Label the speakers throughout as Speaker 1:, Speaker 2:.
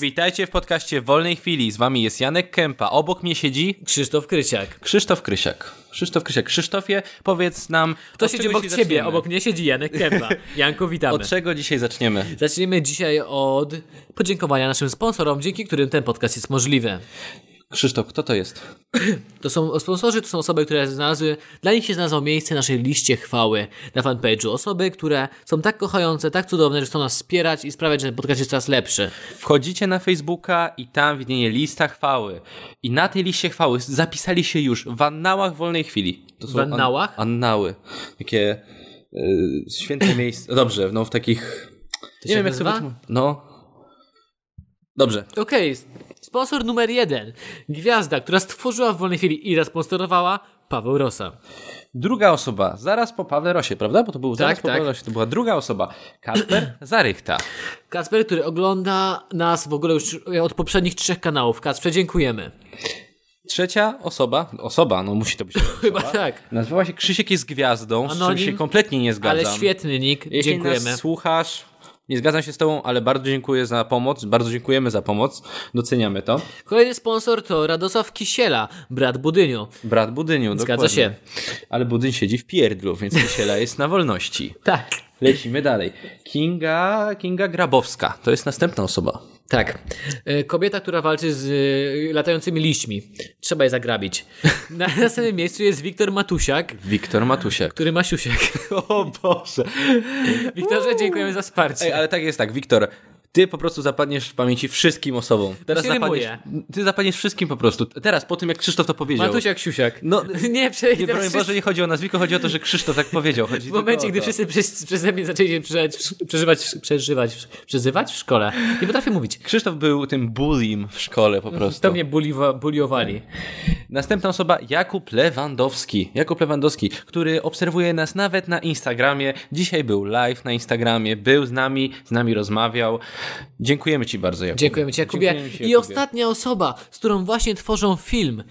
Speaker 1: Witajcie w podcaście Wolnej Chwili. Z wami jest Janek Kępa. Obok mnie siedzi
Speaker 2: Krzysztof Kryciak.
Speaker 1: Krzysztof Krysiak. Krzysztof Krysiak. Krzysztofie, powiedz nam.
Speaker 2: Kto
Speaker 1: od
Speaker 2: siedzi
Speaker 1: czego
Speaker 2: obok
Speaker 1: dzisiaj
Speaker 2: ciebie?
Speaker 1: zaczniemy?
Speaker 2: Obok mnie siedzi Janek Kępa. Janku, witamy.
Speaker 1: Od czego dzisiaj zaczniemy?
Speaker 2: Zacznijmy dzisiaj od podziękowania naszym sponsorom, dzięki którym ten podcast jest możliwy.
Speaker 1: Krzysztof, kto to jest?
Speaker 2: To są sponsorzy, to są osoby, które znalazły, dla nich się znalazło miejsce w naszej liście chwały na fanpage'u. Osoby, które są tak kochające, tak cudowne, że chcą nas wspierać i sprawiać, że ten podcast jest coraz lepszy.
Speaker 1: Wchodzicie na Facebooka i tam widnieje lista chwały. I na tej liście chwały zapisali się już w annałach wolnej chwili. To
Speaker 2: W annałach?
Speaker 1: An annały. Takie y, święte miejsce. Dobrze, no w takich.
Speaker 2: się tak nazywa?
Speaker 1: wytłum- No. Dobrze.
Speaker 2: Okej, sponsor numer jeden. Gwiazda, która stworzyła w wolnej chwili i sponsorowała Paweł Rosa.
Speaker 1: Druga osoba, zaraz po Pawle Rosie, prawda? Bo to był zaraz
Speaker 2: Tak,
Speaker 1: po
Speaker 2: tak.
Speaker 1: Pawle Rosie, to była druga osoba. Kasper Zarychta.
Speaker 2: Kacper, który ogląda nas w ogóle już od poprzednich trzech kanałów. Kacper, dziękujemy.
Speaker 1: Trzecia osoba, osoba, no musi to być.
Speaker 2: Chyba tak.
Speaker 1: Nazywała się Krzysiek jest gwiazdą, z czym
Speaker 2: Anonim,
Speaker 1: się kompletnie nie zgadzam.
Speaker 2: Ale świetny nick,
Speaker 1: Jeśli
Speaker 2: dziękujemy.
Speaker 1: nas słuchasz, nie zgadzam się z tobą, ale bardzo dziękuję za pomoc, bardzo dziękujemy za pomoc, doceniamy to.
Speaker 2: Kolejny sponsor to Radosław Kisiela, brat Budyniu.
Speaker 1: Brat Budyniu,
Speaker 2: Zgadza
Speaker 1: dokładnie.
Speaker 2: się.
Speaker 1: Ale Budyń siedzi w pierdlu, więc Kisiela jest na wolności.
Speaker 2: Tak.
Speaker 1: Lecimy dalej. Kinga, Kinga Grabowska, to jest następna osoba.
Speaker 2: Tak. E, Kobieta, która walczy z e, latającymi liśćmi. Trzeba je zagrabić. Na następnym miejscu jest Wiktor Matusiak,
Speaker 1: Wiktor Matusiak.
Speaker 2: który ma siusiak.
Speaker 1: O Boże.
Speaker 2: Wiktorze, dziękujemy za
Speaker 1: Ej,
Speaker 2: wsparcie.
Speaker 1: ale tak jest tak, Wiktor. Ty po prostu zapadniesz w pamięci wszystkim osobom.
Speaker 2: się
Speaker 1: zapadniesz,
Speaker 2: rymuje.
Speaker 1: ty zapadniesz wszystkim po prostu. Teraz, po tym jak Krzysztof to powiedział.
Speaker 2: Matusiak, siusiak.
Speaker 1: No,
Speaker 2: nie, przejdę.
Speaker 1: nie, broń Boże, nie chodzi o nazwisko, chodzi o to, że Krzysztof tak powiedział. Chodzi
Speaker 2: W
Speaker 1: tylko
Speaker 2: momencie,
Speaker 1: o
Speaker 2: gdy
Speaker 1: to.
Speaker 2: wszyscy przez, przeze mnie zaczęli się przeżywać, przeżywać, przeżywać, przeżywać w szkole, nie potrafię mówić.
Speaker 1: Krzysztof był tym bullyim w szkole po prostu.
Speaker 2: Mhm. To mnie buliwa, buliowali.
Speaker 1: Następna osoba, Jakub Lewandowski. Jakub Lewandowski, który obserwuje nas nawet na Instagramie. Dzisiaj był live na Instagramie, był z nami, z nami rozmawiał. Dziękujemy Ci bardzo, Jakub.
Speaker 2: Dziękujemy Ci, Jakubie.
Speaker 1: Dziękujemy ci,
Speaker 2: I
Speaker 1: Jakubie.
Speaker 2: ostatnia osoba, z którą właśnie tworzą film.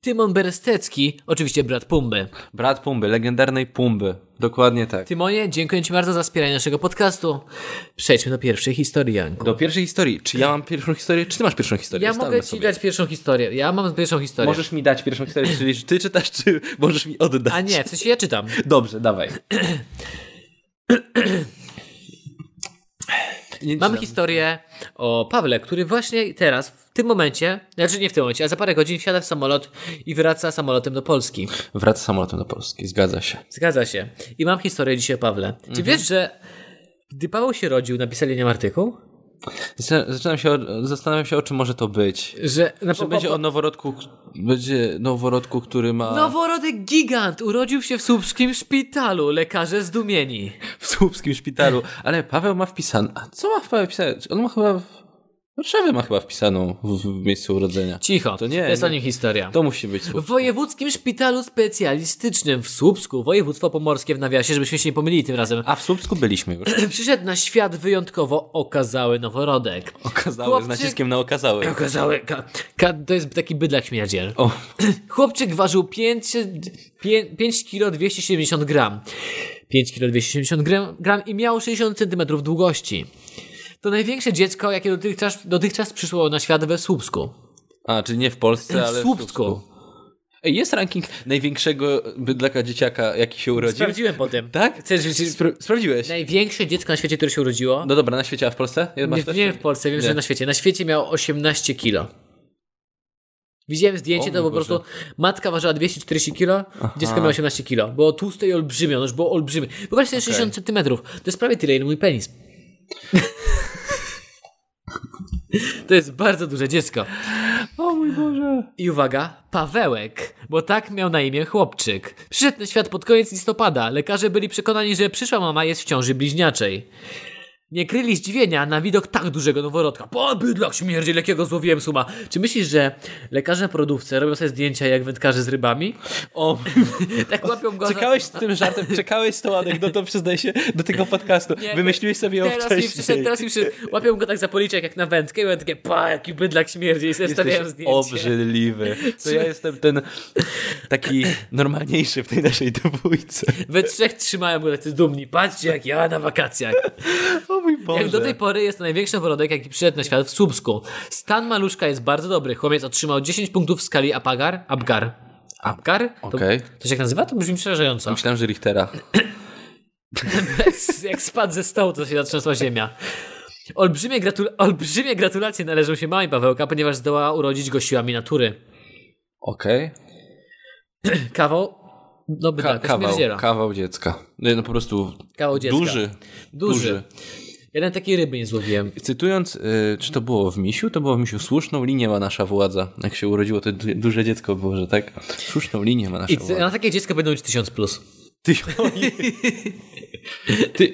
Speaker 2: Tymon Berestecki, oczywiście brat Pumby.
Speaker 1: Brat Pumby, legendarnej Pumby. Dokładnie tak.
Speaker 2: Tymonie, dziękuję Ci bardzo za wspieranie naszego podcastu. Przejdźmy do pierwszej historii, Janku.
Speaker 1: Do pierwszej historii. Czy ja mam pierwszą historię, czy ty masz pierwszą historię?
Speaker 2: Ja
Speaker 1: Ustalmy
Speaker 2: mogę Ci
Speaker 1: sobie.
Speaker 2: dać pierwszą historię. Ja mam pierwszą historię.
Speaker 1: Możesz mi dać pierwszą historię, czyli czy ty czytasz, czy możesz mi oddać.
Speaker 2: A nie, w sensie ja czytam.
Speaker 1: Dobrze, dawaj. Nie
Speaker 2: Mamy
Speaker 1: czytam.
Speaker 2: historię o Pawle, który właśnie teraz, w tym momencie, znaczy nie w tym momencie, a za parę godzin wsiada w samolot i wraca samolotem do Polski.
Speaker 1: Wraca samolotem do Polski, zgadza się.
Speaker 2: Zgadza się. I mam historię dzisiaj o Pawle.
Speaker 1: Mhm.
Speaker 2: Czy wiesz, że gdy Paweł się rodził, napisali o nim artykuł?
Speaker 1: Zaczyna- Zaczynam się, o- zastanawiam się, o czym może to być.
Speaker 2: Że na
Speaker 1: Czy będzie o noworodku, k- będzie noworodku, który ma...
Speaker 2: Noworodek gigant urodził się w słupskim szpitalu. Lekarze zdumieni.
Speaker 1: w słupskim szpitalu. Ale Paweł ma wpisane. A co ma Paweł wpisane? On ma chyba. W... Warszawę ma chyba wpisaną w, w miejscu urodzenia.
Speaker 2: Cicho,
Speaker 1: To
Speaker 2: to,
Speaker 1: nie,
Speaker 2: nie, to jest
Speaker 1: nie.
Speaker 2: o nim historia.
Speaker 1: To musi być
Speaker 2: W
Speaker 1: słup.
Speaker 2: wojewódzkim szpitalu specjalistycznym w Słupsku, województwo pomorskie w nawiasie, żebyśmy się nie pomylili tym razem,
Speaker 1: A w Słupsku byliśmy już.
Speaker 2: przyszedł na świat wyjątkowo okazały noworodek.
Speaker 1: Okazały, z
Speaker 2: Chłopczyk-
Speaker 1: naciskiem na okazały.
Speaker 2: Okazały, ka, ka, to jest taki bydlak śmierdziel.
Speaker 1: O,
Speaker 2: Chłopczyk ważył 5, 5 kg 270 gram. 5 kg 270 gram, gram i miał 60 cm długości. To największe dziecko, jakie dotychczas, dotychczas przyszło na świat we Słupsku.
Speaker 1: a czy nie w Polsce, ale.
Speaker 2: W Słupsku.
Speaker 1: Ej, jest ranking największego bydlaka dzieciaka, jaki się urodził.
Speaker 2: Sprawdziłem po tym.
Speaker 1: Tak?
Speaker 2: Chcesz wiedzieć-
Speaker 1: Spra- sprawdziłeś.
Speaker 2: Największe dziecko na świecie, które się urodziło?
Speaker 1: No dobra, na świecie, a w Polsce? Masz
Speaker 2: Nie,
Speaker 1: też?
Speaker 2: nie w Polsce, wiem,
Speaker 1: Nie.
Speaker 2: że na świecie. Na świecie miał 18 kilo. Widziałem zdjęcie,
Speaker 1: O
Speaker 2: to
Speaker 1: mój
Speaker 2: po
Speaker 1: Boże.
Speaker 2: prostu matka ważyła 240 kilo, dziecko miało 18 kilo. Było tłuste i olbrzymie, ono już było olbrzymie. Wyobraź sobie 60 centymetrów, to jest prawie tyle, ile mój penis. to jest bardzo duże dziecko.
Speaker 1: O mój Boże.
Speaker 2: I uwaga, Pawełek, bo tak miał na imię chłopczyk. Przyszedł na świat pod koniec listopada. Lekarze byli przekonani, że przyszła mama jest w ciąży bliźniaczej. Nie kryli zdziwienia na widok tak dużego noworodka. Po bydlak śmierdzi, jakiego złowiłem suma. Czy myślisz, że lekarze na porodówce robią sobie zdjęcia jak wędkarze z rybami?
Speaker 1: O,
Speaker 2: Tak łapią go za-
Speaker 1: czekałeś z tym żartem, czekałeś z tą anegdotą, przyznaj się, do tego podcastu.
Speaker 2: Nie,
Speaker 1: Wymyśliłeś sobie ją
Speaker 2: Teraz mi
Speaker 1: wcześniej.
Speaker 2: przyszedł, teraz mi przyszedł. Łapią go tak za policzek jak na wędkę i byłem takie, pa, jaki bydlak śmierdzi i sobie stawiałem zdjęcie.
Speaker 1: obrzydliwy. To ja jestem ten taki normalniejszy w tej naszej dwójce.
Speaker 2: We trzech trzymałem go tacy dumni. Patrzcie, jak ja na wakacjach.
Speaker 1: O mój Boże.
Speaker 2: Jak do tej pory jest to największy oworodek, jaki przyszedł na świat w Słupsku. Stan maluszka jest bardzo dobry. Chłopiec otrzymał 10 punktów w skali Apagar. Abgar. Abgar? To,
Speaker 1: Okej.
Speaker 2: to się jak nazywa? To brzmi przerażająco.
Speaker 1: Myślałem, że Richtera.
Speaker 2: jak spadł ze stołu, to się zatrzęsła ziemia. Olbrzymie, gratul- olbrzymie gratulacje należą się małej Pawełka, ponieważ zdołała urodzić go siłami natury.
Speaker 1: Okej.
Speaker 2: Kawał? No by
Speaker 1: Ka-
Speaker 2: tak, kawał,
Speaker 1: kawał, kawał dziecka. Nie, No po prostu
Speaker 2: kawał dziecka.
Speaker 1: duży.
Speaker 2: Duży.
Speaker 1: duży.
Speaker 2: Jeden takiej ryby nie złowiłem.
Speaker 1: Cytując, y, czy to było w Misiu? To było w Misiu. Słuszną linię ma nasza władza. Jak się urodziło to du- duże dziecko było, że tak? Słuszną linię ma nasza
Speaker 2: I ty-
Speaker 1: władza.
Speaker 2: na takie dziecko będą mieć 1000 plus.
Speaker 1: Ty, oj. ty,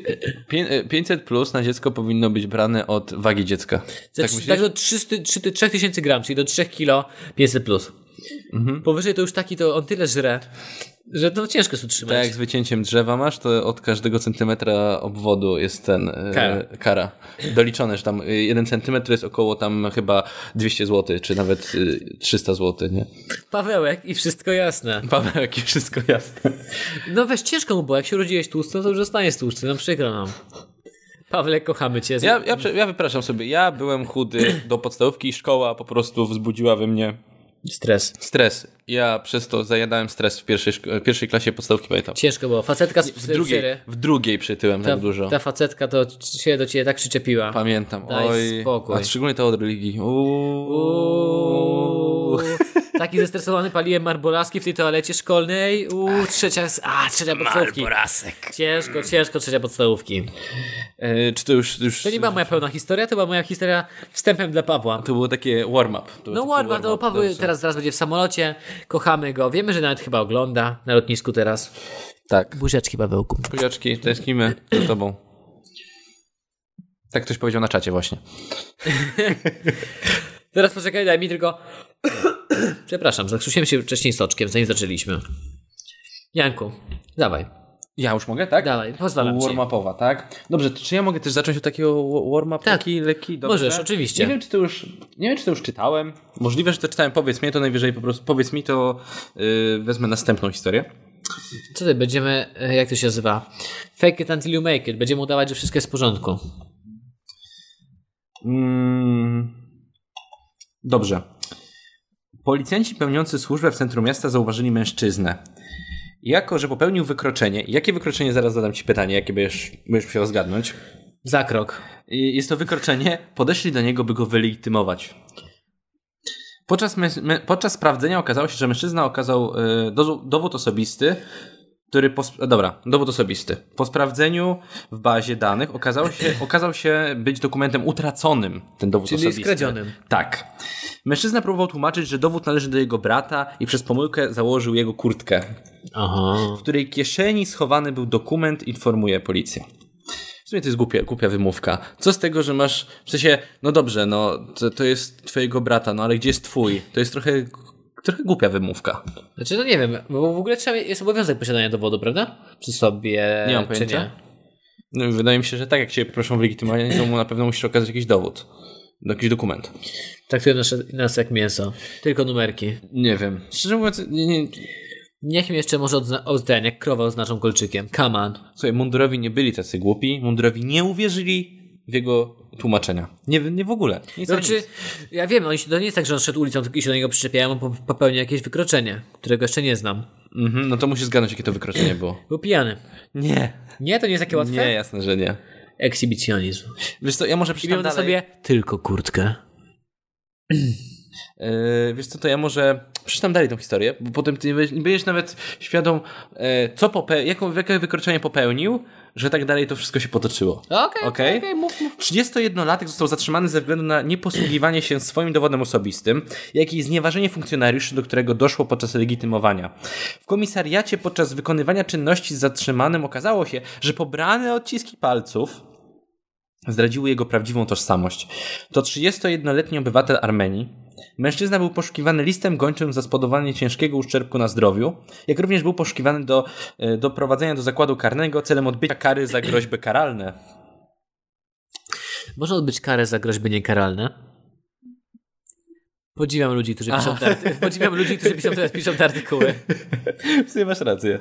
Speaker 1: pię- y, 500 plus na dziecko powinno być brane od wagi dziecka.
Speaker 2: Ze
Speaker 1: tak
Speaker 2: trzy-
Speaker 1: myślisz?
Speaker 2: tak do 300, 3, 3000 gram, czyli do 3 kilo 500 plus.
Speaker 1: Mhm.
Speaker 2: Powyżej to już taki, to on tyle żre, że to ciężko jest
Speaker 1: Tak
Speaker 2: utrzymać.
Speaker 1: jak z wycięciem drzewa masz, to od każdego centymetra obwodu jest ten e,
Speaker 2: Kara.
Speaker 1: kara. Doliczone, że tam e, jeden centymetr to jest około tam chyba 200 zł, czy nawet e, 300 zł, nie?
Speaker 2: Pawełek i wszystko jasne.
Speaker 1: Paweł, jakie wszystko jasne.
Speaker 2: No weź ciężko mu było, jak się urodziłeś tłusty, no to już zostaniesz tłusty, no przykro nam. Pawle, kochamy cię.
Speaker 1: Ja, ja, prze- ja wypraszam sobie, ja byłem chudy do podstawówki, szkoła po prostu wzbudziła we mnie
Speaker 2: Stres.
Speaker 1: stres. Ja przez to zajadałem stres w pierwszej, szko- pierwszej klasie podstawówki, pamiętam.
Speaker 2: Ciężko było. Facetka z
Speaker 1: W drugiej, w drugiej przytyłem
Speaker 2: ta,
Speaker 1: tak dużo.
Speaker 2: ta facetka to c- się do ciebie tak przyczepiła.
Speaker 1: Pamiętam,
Speaker 2: Daj
Speaker 1: oj,
Speaker 2: spokój.
Speaker 1: a szczególnie to od religii.
Speaker 2: Uuu, Taki zestresowany paliłem marbolaski w tej toalecie szkolnej. Uuu, trzecia, z- a, trzecia podstawówki.
Speaker 1: Porasek.
Speaker 2: Ciężko, ciężko, trzecia podstawówki.
Speaker 1: E, czy to już, już...
Speaker 2: To nie była moja pełna historia, to była moja historia wstępem dla Pawła.
Speaker 1: To było takie warm-up. To był
Speaker 2: No
Speaker 1: taki
Speaker 2: Warman, to Paweł
Speaker 1: dobrze.
Speaker 2: teraz zaraz będzie w samolocie. Kochamy go. Wiemy, że nawet chyba ogląda na lotnisku teraz.
Speaker 1: Tak.
Speaker 2: Buziaczki Pawełku.
Speaker 1: Buziaczki, tęsknimy za tobą. Tak ktoś powiedział na czacie właśnie.
Speaker 2: Teraz poczekaj, daj mi tylko... Przepraszam, zakrzusiłem się wcześniej soczkiem, zanim zaczęliśmy. Janku, dawaj,
Speaker 1: Ja już mogę, tak?
Speaker 2: dawaj, pozwalam ci.
Speaker 1: Warm-upowa, tak? Dobrze, to czy ja mogę też zacząć od takiego wa- warm-up?
Speaker 2: Tak.
Speaker 1: Taki lekki, dobrze?
Speaker 2: Możesz, oczywiście.
Speaker 1: Nie wiem, czy to już, nie wiem, czy to już czytałem. Możliwe, że to czytałem. Powiedz mi, to najwyżej po prostu, powiedz mi, to yy, wezmę następną historię.
Speaker 2: Co ty, będziemy, e, jak to się nazywa? Fake it until you make it. Będziemy udawać, że wszystko jest w porządku.
Speaker 1: Mm, Dobrze. Policjanci pełniący służbę w centrum miasta zauważyli mężczyznę. Jako, że popełnił wykroczenie, jakie wykroczenie, zaraz zadam ci pytanie, jakie będziesz, będziesz musiał zgadnąć.
Speaker 2: Zakrok.
Speaker 1: I Jest to wykroczenie, podeszli do niego, by go wylegitymować. Podczas, mę- mę- podczas sprawdzenia okazało się, że mężczyzna okazał y, dozu- dowód osobisty, który. Po, sp- dobra, dowód osobisty. Po sprawdzeniu w bazie danych okazał się, okazał się być dokumentem utraconym, ten dowód
Speaker 2: Czyli
Speaker 1: osobisty.
Speaker 2: skradzionym.
Speaker 1: Tak. Mężczyzna próbował tłumaczyć, że dowód należy do jego brata i przez pomyłkę założył jego kurtkę,
Speaker 2: Aha.
Speaker 1: w której kieszeni schowany był dokument, informuje policja. W sumie to jest głupia, głupia wymówka. Co z tego, że masz. W sensie, no dobrze, no to, to jest twojego brata, no ale gdzie jest twój? To jest trochę, trochę głupia wymówka.
Speaker 2: Znaczy, no nie wiem, bo w ogóle trzeba, jest obowiązek posiadania dowodu, prawda? Przy sobie,
Speaker 1: Nie mam
Speaker 2: czy
Speaker 1: pojęcia.
Speaker 2: nie?
Speaker 1: No, i wydaje mi się, że tak, jak cię proszą o wylegitymowanie, to mu na pewno musisz okazać jakiś dowód. Jakiś dokument.
Speaker 2: Traktują nas, nas jak mięso. Tylko numerki.
Speaker 1: Nie wiem. Szczerze mówiąc, nie, nie,
Speaker 2: Niech mi jeszcze może odzna- o, ten, jak krowa oznaczą kolczykiem. Come on.
Speaker 1: Słuchaj, mundurowi nie byli tacy głupi, mundurowi nie uwierzyli w jego tłumaczenia. Nie, nie w ogóle. Nic o
Speaker 2: Znaczy,
Speaker 1: nic.
Speaker 2: ja wiem, on się, to nie jest tak, że on szedł ulicą i się do niego przyczepiają, on po- popełnił jakieś wykroczenie, którego jeszcze nie znam.
Speaker 1: Mhm, no to musisz zgadnąć, jakie to wykroczenie było.
Speaker 2: Był pijany.
Speaker 1: Nie.
Speaker 2: Nie, to nie jest takie łatwe?
Speaker 1: Nie, jasne, że nie.
Speaker 2: Ekshibicjonizm.
Speaker 1: Wiesz co, ja może
Speaker 2: I
Speaker 1: przeczytam
Speaker 2: miał na
Speaker 1: dalej.
Speaker 2: sobie tylko kurtkę.
Speaker 1: Yy, wiesz co, to ja może przeczytam dalej tą historię, bo potem ty nie będziesz, nie będziesz nawet świadom, e, co pope- jaką, jakie wykroczenie popełnił, że tak dalej to wszystko się potoczyło.
Speaker 2: Okej,
Speaker 1: Okej.
Speaker 2: okej, mów, mów.
Speaker 1: 31-latek został zatrzymany ze względu na nieposługiwanie się swoim dowodem osobistym, jak i znieważenie funkcjonariuszy, do którego doszło podczas legitymowania. W komisariacie podczas wykonywania czynności z zatrzymanym okazało się, że pobrane odciski palców zdradziły jego prawdziwą tożsamość. To 31-letni obywatel Armenii. Mężczyzna był poszukiwany listem gończym za spowodowanie ciężkiego uszczerbku na zdrowiu, jak również był poszukiwany do e, doprowadzenia do zakładu karnego celem odbycia kary za groźby karalne.
Speaker 2: Można odbyć karę za groźby niekaralne. Podziwiam ludzi, którzy piszą te, podziwiam ludzi, którzy piszą, teraz piszą te artykuły.
Speaker 1: W sumie masz rację.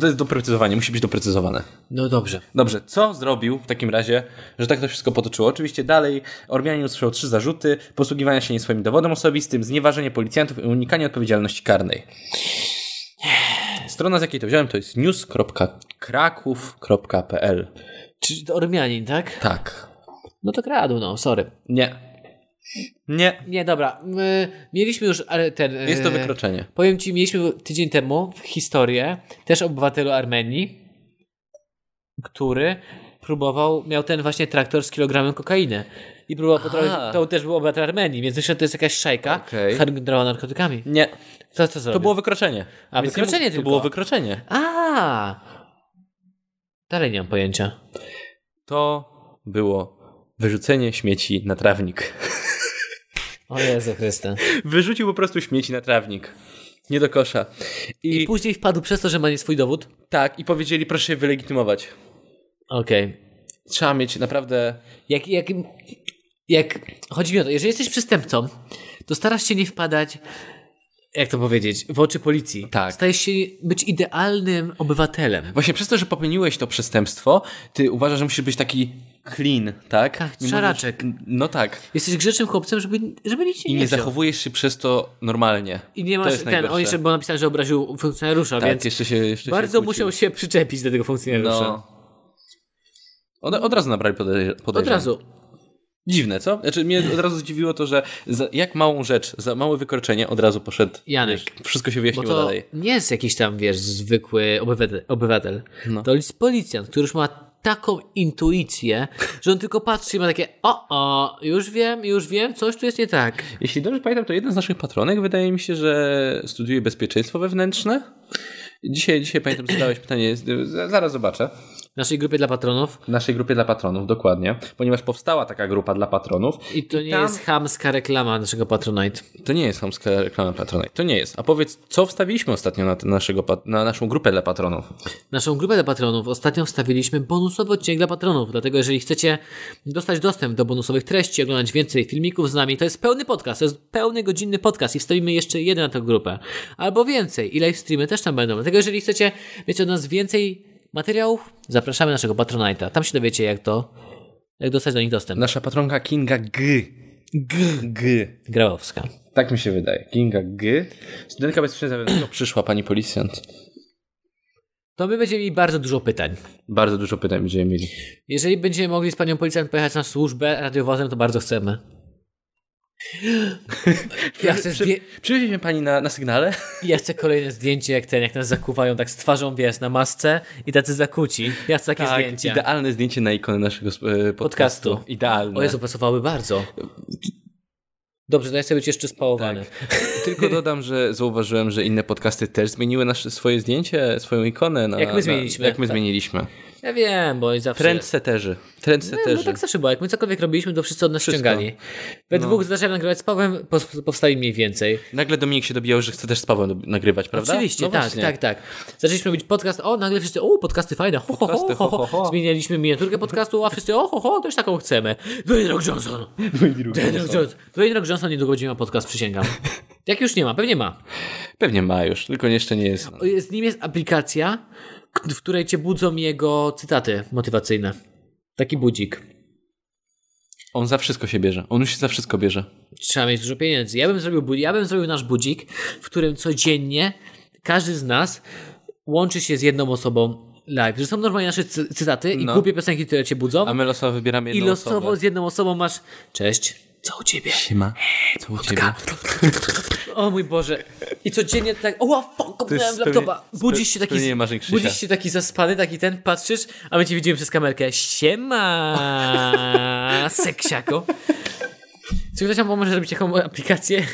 Speaker 1: To jest doprecyzowanie, musi być doprecyzowane.
Speaker 2: No dobrze.
Speaker 1: Dobrze, co zrobił w takim razie, że tak to wszystko potoczyło? Oczywiście dalej Ormianin usłyszał trzy zarzuty, posługiwania się nie swoim dowodem osobistym, znieważenie policjantów i unikanie odpowiedzialności karnej. Strona, z jakiej to wziąłem, to jest news.kraków.pl.
Speaker 2: Czy to Ormianin, tak?
Speaker 1: Tak.
Speaker 2: No to kradł, no, sorry.
Speaker 1: Nie. Nie.
Speaker 2: Nie, dobra. My mieliśmy już ale ten. e,
Speaker 1: Jest to wykroczenie.
Speaker 2: Powiem ci, mieliśmy tydzień temu historię też o obywatelu Armenii, który próbował, miał ten właśnie traktor z kilogramem kokainy. I próbował
Speaker 1: Aha.
Speaker 2: potrafić, to też był obywatel Armenii, więc myślę, że to jest jakaś szajka
Speaker 1: Okej.
Speaker 2: handlowa narkotykami.
Speaker 1: Nie.
Speaker 2: Co, co zrobił?
Speaker 1: To było wykroczenie.
Speaker 2: A,
Speaker 1: Więc
Speaker 2: wykroczenie
Speaker 1: nie mógł- To
Speaker 2: tylko.
Speaker 1: było wykroczenie.
Speaker 2: A! Dalej nie mam pojęcia.
Speaker 1: To było wyrzucenie śmieci na trawnik.
Speaker 2: O Jezu Chryste.
Speaker 1: Wyrzucił po prostu śmieci na trawnik. Nie do kosza. I,
Speaker 2: I później wpadł przez to, że ma nie swój dowód?
Speaker 1: tak, i powiedzieli, proszę się wylegitymować.
Speaker 2: Okej.
Speaker 1: Trzeba mieć naprawdę.
Speaker 2: Jak, jak, jak chodzi mi o to, jeżeli jesteś przestępcą, to starasz się nie wpadać, jak to powiedzieć, w oczy policji.
Speaker 1: Tak.
Speaker 2: Stajesz się być idealnym obywatelem.
Speaker 1: Właśnie przez to, że popełniłeś to przestępstwo, ty uważasz, że musisz być taki clean, tak?
Speaker 2: Tak,
Speaker 1: Nie
Speaker 2: szaraczek.
Speaker 1: możesz- No tak.
Speaker 2: Jesteś grzecznym chłopcem, żeby, żeby nic się
Speaker 1: I
Speaker 2: nie
Speaker 1: nie
Speaker 2: wziął.
Speaker 1: zachowujesz się przez to normalnie.
Speaker 2: I nie
Speaker 1: to
Speaker 2: masz
Speaker 1: jest
Speaker 2: ten, on
Speaker 1: najgorsze.
Speaker 2: jeszcze było napisane, że obraził funkcjonariusza,
Speaker 1: Tak,
Speaker 2: więc
Speaker 1: jeszcze się. Jeszcze
Speaker 2: bardzo
Speaker 1: się
Speaker 2: musiał
Speaker 1: kłócił.
Speaker 2: się przyczepić do tego funkcjonariusza.
Speaker 1: No. Od, od razu nabrali podejrzeń.
Speaker 2: Od razu.
Speaker 1: Dziwne, co? Znaczy, mnie od razu zdziwiło to, że za, jak małą rzecz, za małe wykroczenie, od razu poszedł.
Speaker 2: Janek.
Speaker 1: Wiesz, wszystko się
Speaker 2: Bo
Speaker 1: wyjaśniło
Speaker 2: to
Speaker 1: dalej.
Speaker 2: nie jest jakiś tam, wiesz, zwykły obywatel. obywatel. To jest policjant, który już ma taką intuicję, że on tylko patrzy i ma takie o, o, już wiem, już wiem, coś tu jest nie tak.
Speaker 1: Jeśli dobrze pamiętam, to jeden z naszych patronek wydaje mi się, że studiuje bezpieczeństwo wewnętrzne. Dzisiaj, dzisiaj pamiętam, zadałeś pytanie, z- zaraz zobaczę.
Speaker 2: W naszej grupie dla patronów
Speaker 1: W naszej grupie dla patronów, dokładnie, ponieważ powstała taka grupa dla patronów.
Speaker 2: i to nie
Speaker 1: tam-
Speaker 2: jest chamska reklama naszego Patronite.
Speaker 1: To nie jest chamska reklama patronaj, to nie jest. A powiedz, co wstawiliśmy ostatnio na, t- naszego, pat- na naszą grupę dla patronów?
Speaker 2: Naszą grupę dla patronów ostatnio wstawiliśmy bonusowy odcinek dla patronów, dlatego jeżeli chcecie dostać dostęp do bonusowych treści, oglądać więcej filmików z nami, to jest pełny podcast, to jest pełny godzinny podcast i wstawimy jeszcze jeden na tę grupę, albo więcej i live streamy też tam będą, dlatego jeżeli chcecie mieć od nas więcej materiałów, zapraszamy naszego Patronite'a, tam się dowiecie jak to, jak dostać do nich dostęp.
Speaker 1: Nasza patronka Kinga G. G. G.
Speaker 2: Grabowska.
Speaker 1: Tak mi się wydaje. Kinga G. Studentka bezpieczeństwa wewnętrznego przyszła, pani policjant.
Speaker 2: To my będziemy mieli bardzo dużo pytań.
Speaker 1: Bardzo dużo pytań będziemy mieli.
Speaker 2: Jeżeli będziemy mogli z panią policjant pojechać na służbę radiowozem, to bardzo chcemy. Ja chcę, zdję-
Speaker 1: Przywiezie mnie pani na, na sygnale?
Speaker 2: ja chcę kolejne zdjęcie, jak ten, jak nas zakuwają tak z twarzą, wiesz, na masce i tacy zakuci. Ja chcę takie zdjęcia.
Speaker 1: Tak, idealne zdjęcie na ikonę naszego sp- e, podcastu.
Speaker 2: Podcastu.
Speaker 1: Idealne.
Speaker 2: O Jezu, pasowały bardzo. Dobrze, to ja chcę być jeszcze spałowany.
Speaker 1: Tak. Tylko dodam, że zauważyłem, że inne podcasty też zmieniły nasze, swoje zdjęcie, swoją ikonę. Na,
Speaker 2: Jak my
Speaker 1: na-
Speaker 2: zmieniliśmy.
Speaker 1: Jak my
Speaker 2: Tak.
Speaker 1: zmieniliśmy.
Speaker 2: Ja wiem, bo zawsze...
Speaker 1: Trendseterzy. Trendseterzy.
Speaker 2: No tak zawsze było. Jak my cokolwiek robiliśmy, to wszyscy od nas
Speaker 1: Wszystko. No.
Speaker 2: ściągali. We dwóch zaczęłem nagrywać z Pawłem, po- powstali mniej więcej.
Speaker 1: Nagle Dominik się dobijał, że chce też z Pawłem do- nagrywać, prawda?
Speaker 2: Oczywiście,
Speaker 1: No
Speaker 2: tak,
Speaker 1: właśnie.
Speaker 2: tak, tak. Zaczęliśmy robić podcast, o, nagle wszyscy, o, podcasty fajne, ho, ho, ho,
Speaker 1: Podcasty,
Speaker 2: ho,
Speaker 1: ho, ho, ho.
Speaker 2: Zmienialiśmy miniaturkę podcastu, a wszyscy, o, ho, ho, też taką chcemy. Dwayne Rock Johnson. Dwayne Rock Johnson. Dwayne Rock Johnson niedługo będzie miał podcast, przysięgam. Jak już nie ma, pewnie ma.
Speaker 1: Pewnie ma już, tylko jeszcze nie jest.
Speaker 2: O, Z nim jest aplikacja, k- w której cię budzą jego cytaty motywacyjne. Taki budzik.
Speaker 1: On za wszystko się bierze. On już się za wszystko bierze.
Speaker 2: Trzeba mieć dużo pieniędzy. Ja bym zrobił, bu- ja bym zrobił nasz budzik, w którym codziennie każdy z nas łączy się z jedną osobą live. Że są normalnie nasze cy- cytaty i
Speaker 1: No.
Speaker 2: głupie piosenki, które cię budzą.
Speaker 1: A my losowo wybieramy
Speaker 2: I
Speaker 1: jedną
Speaker 2: losowo
Speaker 1: osobę.
Speaker 2: z jedną osobą masz. Cześć. Co u ciebie?
Speaker 1: Siema. Co u ciebie?
Speaker 2: O mój Boże. I codziennie tak. O, fuck, kopnąłem
Speaker 1: spełnie-
Speaker 2: laptopa.
Speaker 1: spe-
Speaker 2: Budzisz się taki.
Speaker 1: spełnienie marzeń Krzysia.
Speaker 2: Budzisz się taki zaspany, taki ten, patrzysz, a my cię widzimy przez kamerkę. Siema. Seksiako. Czy ktoś nam pomoże zrobić taką aplikację?